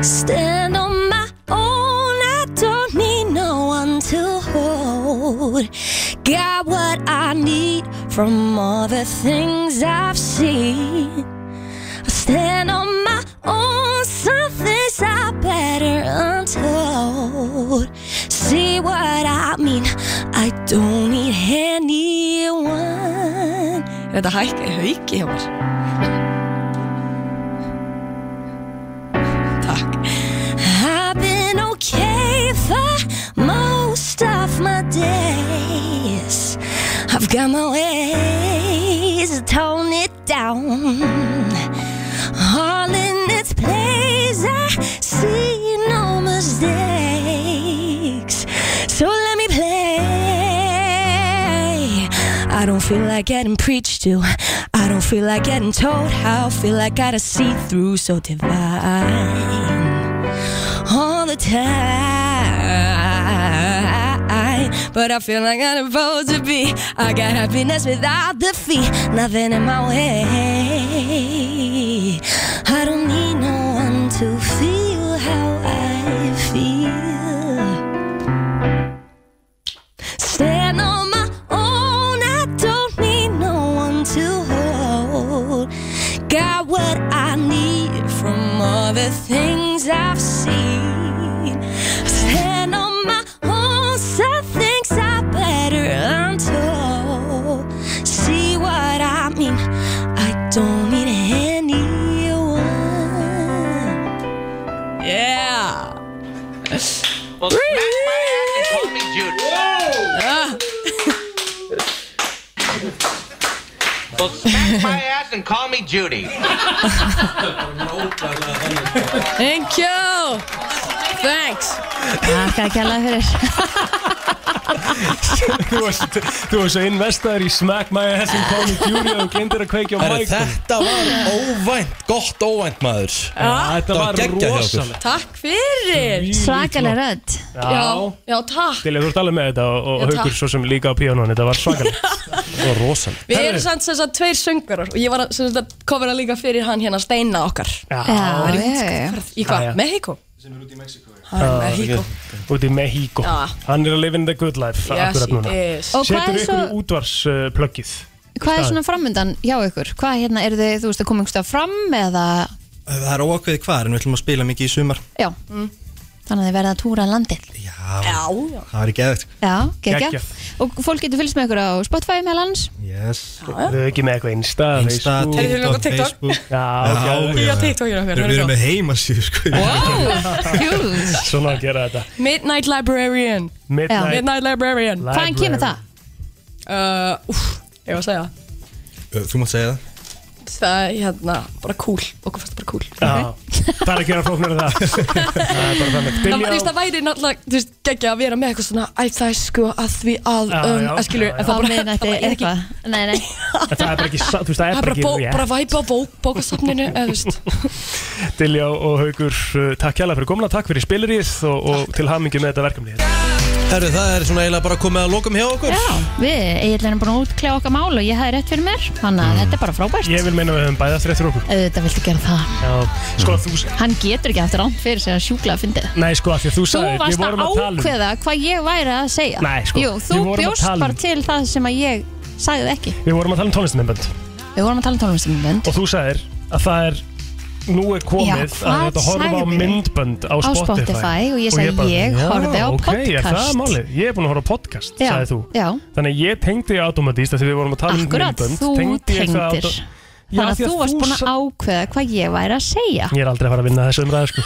Stand on my own, I don't need no one to hold. Got what I need from all the things I've seen. I stand on my own, some things are better untold. See what I mean? I don't need anyone. Er þetta hækki, hauki hjá mér? I've been okay for most of my days. I've got my ways, tone it down. All in its place, I see no mistakes. So let me play. I don't feel like getting preached to. I don't feel like getting told how. Feel like I gotta see through, so divine all the time. But I feel like I'm supposed to be. I got happiness without defeat, nothing in my way. I don't need no one to feel how I feel stand on my own. I don't need no one to hold. Got what I need from all the things I've seen. Stand on my own. Some things are better untold. See what I mean? I don't need anyone. Yeah Ah. *laughs* Well, smack my ass and call me Judy. Thank you Thanks Takk að kjalla fyrir Þú varst þú varst svo investaður í Smack My Ass and Call Me Junior og glindir að kveikja á Herru, mækum þetta var óvænt, gott óvænt maður Þetta var geggjað hjá okkur. rosalegt Takk fyrir Svakalega rödd Já, já, takk Til þú ert alveg með þetta Ah. og, Já, og takk. haugur svo sem líka á píanónu Þetta var *laughs* svakalegt Þetta var rosalegt Við erum samt sem sagt tveir söngarar og ég var að sem sagt að kofra líka fyrir hann hérna Steina okkar Já, já, Í Já, hvað? já. Ah, Mexico? Sem er út í Mexiko Mexiko Út í Mexico Já. Hann er að live in the good life Yes, akkurat núna. he is. Og hvað Setur er svo- ykkur útvarsplöggið Hvað er svona framundan hjá ykkur? Hvað hérna, eru þið, þú veist, að koma einhverstað fram eða, Það er óakveði hvar en við ætlum að spila mikið í sumar já Þannig að þið verða að túra landið Já, það sko. er ekki eðvægt Já, geggja Geggjað. Og fólk getur fylgst með ykkur á Spotify með lands Yes Þau ekki með eitthvað Insta, Insta, Facebook. Heyrðu, við erum TikTok, Facebook Já, ok. Já, TikTok er okkar, Við það er erum með heimasíðu sko Svona að gera þetta Midnight Librarian Midnight- Midnight Librarian Hvaðan kemur það? Uh, úf, ég var að segja Þú mátt segja það Það er hérna bara cool Okkur fannst það bara cool Já, það er ekki að flóknir en það Það er bara þannig Það, þú Diljá, veist, það væri náttúrulega, þú veist, geggja að vera með eitthvað svona Æ, það er sko að því að, Já, um, já, að skilur já, en já. það Á bara- miðnætti það er ekki- eitthvað Nei, nei en það er bara ekki sa- Þú veist, það Það er er bara bara, bó, ekki bara væpa á bók, bókasafninu, eða þú *laughs* veist rétt Diljá og Haugur, uh, takk hjálpa fyrir komuna Takk fyrir spiliríð og, og til hamingi með þetta verkefni Herru, það er svona eiginlega bara komið að lokum hjá okkur Já, við eiginlega erum búin að útkljá okkar mál og ég hafði rétt fyrir mér Þannig að þetta er bara frábært Mm. Ég vil meina að við höfum bæða þrið fyrir okkur Auðvitað viltu gera það Já, Mm. sko að þú s- Hann getur ekki haft rámt fyrir sér að sjúkla að fyndi Nei, sko að því að um- þú Þú sagði varst að ákveða hvað ég væri að segja Nei, sko, Jú, þú við vorum að bjóst tala um- bara til það sem að ég sagði ekki Við vorum að tala um tónlistamimbönd Við vorum að tala um tónlistamimbönd Og þú sagðir að það er Nú er komið Já, að hvað þetta horfa á sagði? myndbönd á Á Spotify, Spotify og ég sagði, bara, ég já, horfði á ok, er það podcast. málið? Ég er búin að horfa á podcast, Já, sagði þú já. Þannig að ég tengdi automatíst Þegar við vorum að tala um Akkurat, myndbönd þú tengdi ég það tengdir auto- Já, Þannig að því að þú varst þú búin að sa- ákveða hvað ég væri að segja Ég er aldrei að fara að vinna þessu *laughs* umræðu sko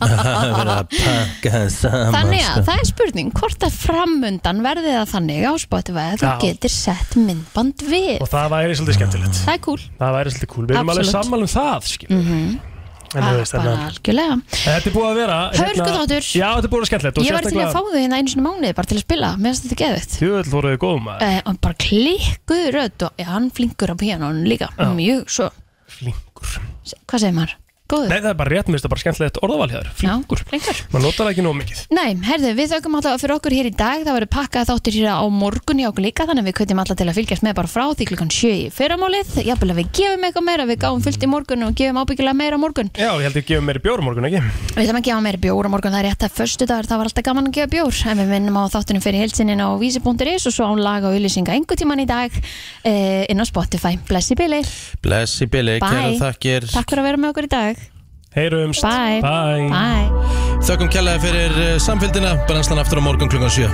Verið að pakka saman Þannig að sko. það er spurning hvort að framundan verði það þannig á Spotify að þú Já. getur sett myndband við Og það væri svolítið skemmtilegt Það er cool Það væri svolítið cool, við erum alveg Absolutt. sammála um það skil. mm -hmm. En þú veist, hérna- Bara þannig að- algjörlega Þetta er búið að vera hérna- Hörguþáttur. Já, þetta er búið að vera skemmtilegt Ég var til að fá þau hérna einu sinni í mánuði bara til að spila Mér finnst þetta geðvitt Þjóðvöld voruðu góðum að uh, Bara klikkuð rödd og ja, hann flinkur á píanónu líka Mjög svo Flinkur Hvað segir maður? Góður? Nei, það er bara rétt, mér finnst það bara skemmtilegt orðavalhjáður Flinkur Flinkur Man notar það ekki nóg mikið Nei, herðu, við þökkum alltaf fyrir okkur hér í dag Það verður pakkað þáttir hér á morgun hjá okkur líka Þannig að við kveitum alltaf til að fylgjast með bara frá því klukkan 7 í fyrramálið Jafnvel að við gefum eitthvað meira Við gáum fullt í morgun og gefum ábyggilega meira á morgun Já, ég held ég gefum meiri bjór á morgun, ekki? Við ætlum að gefa meira bjór á morgun, það er rétt að förstu dagur, það var alltaf gaman að gefa bjór en við minnum á þáttunum fyrir heilsinnin á vísi.is og svo án laga og ylisinga einhver tíman í dag eh, inn á Spotify. Blessi Billy. Bless í billi, kæra Bye. þakkir Um Takk fyrir að vera með okkur í dag. Heyrumst Bye. Bye. Bye. Þökkum kjærlega fyrir eh, samfylgdina Brennslan aftur á morgun klukkan 7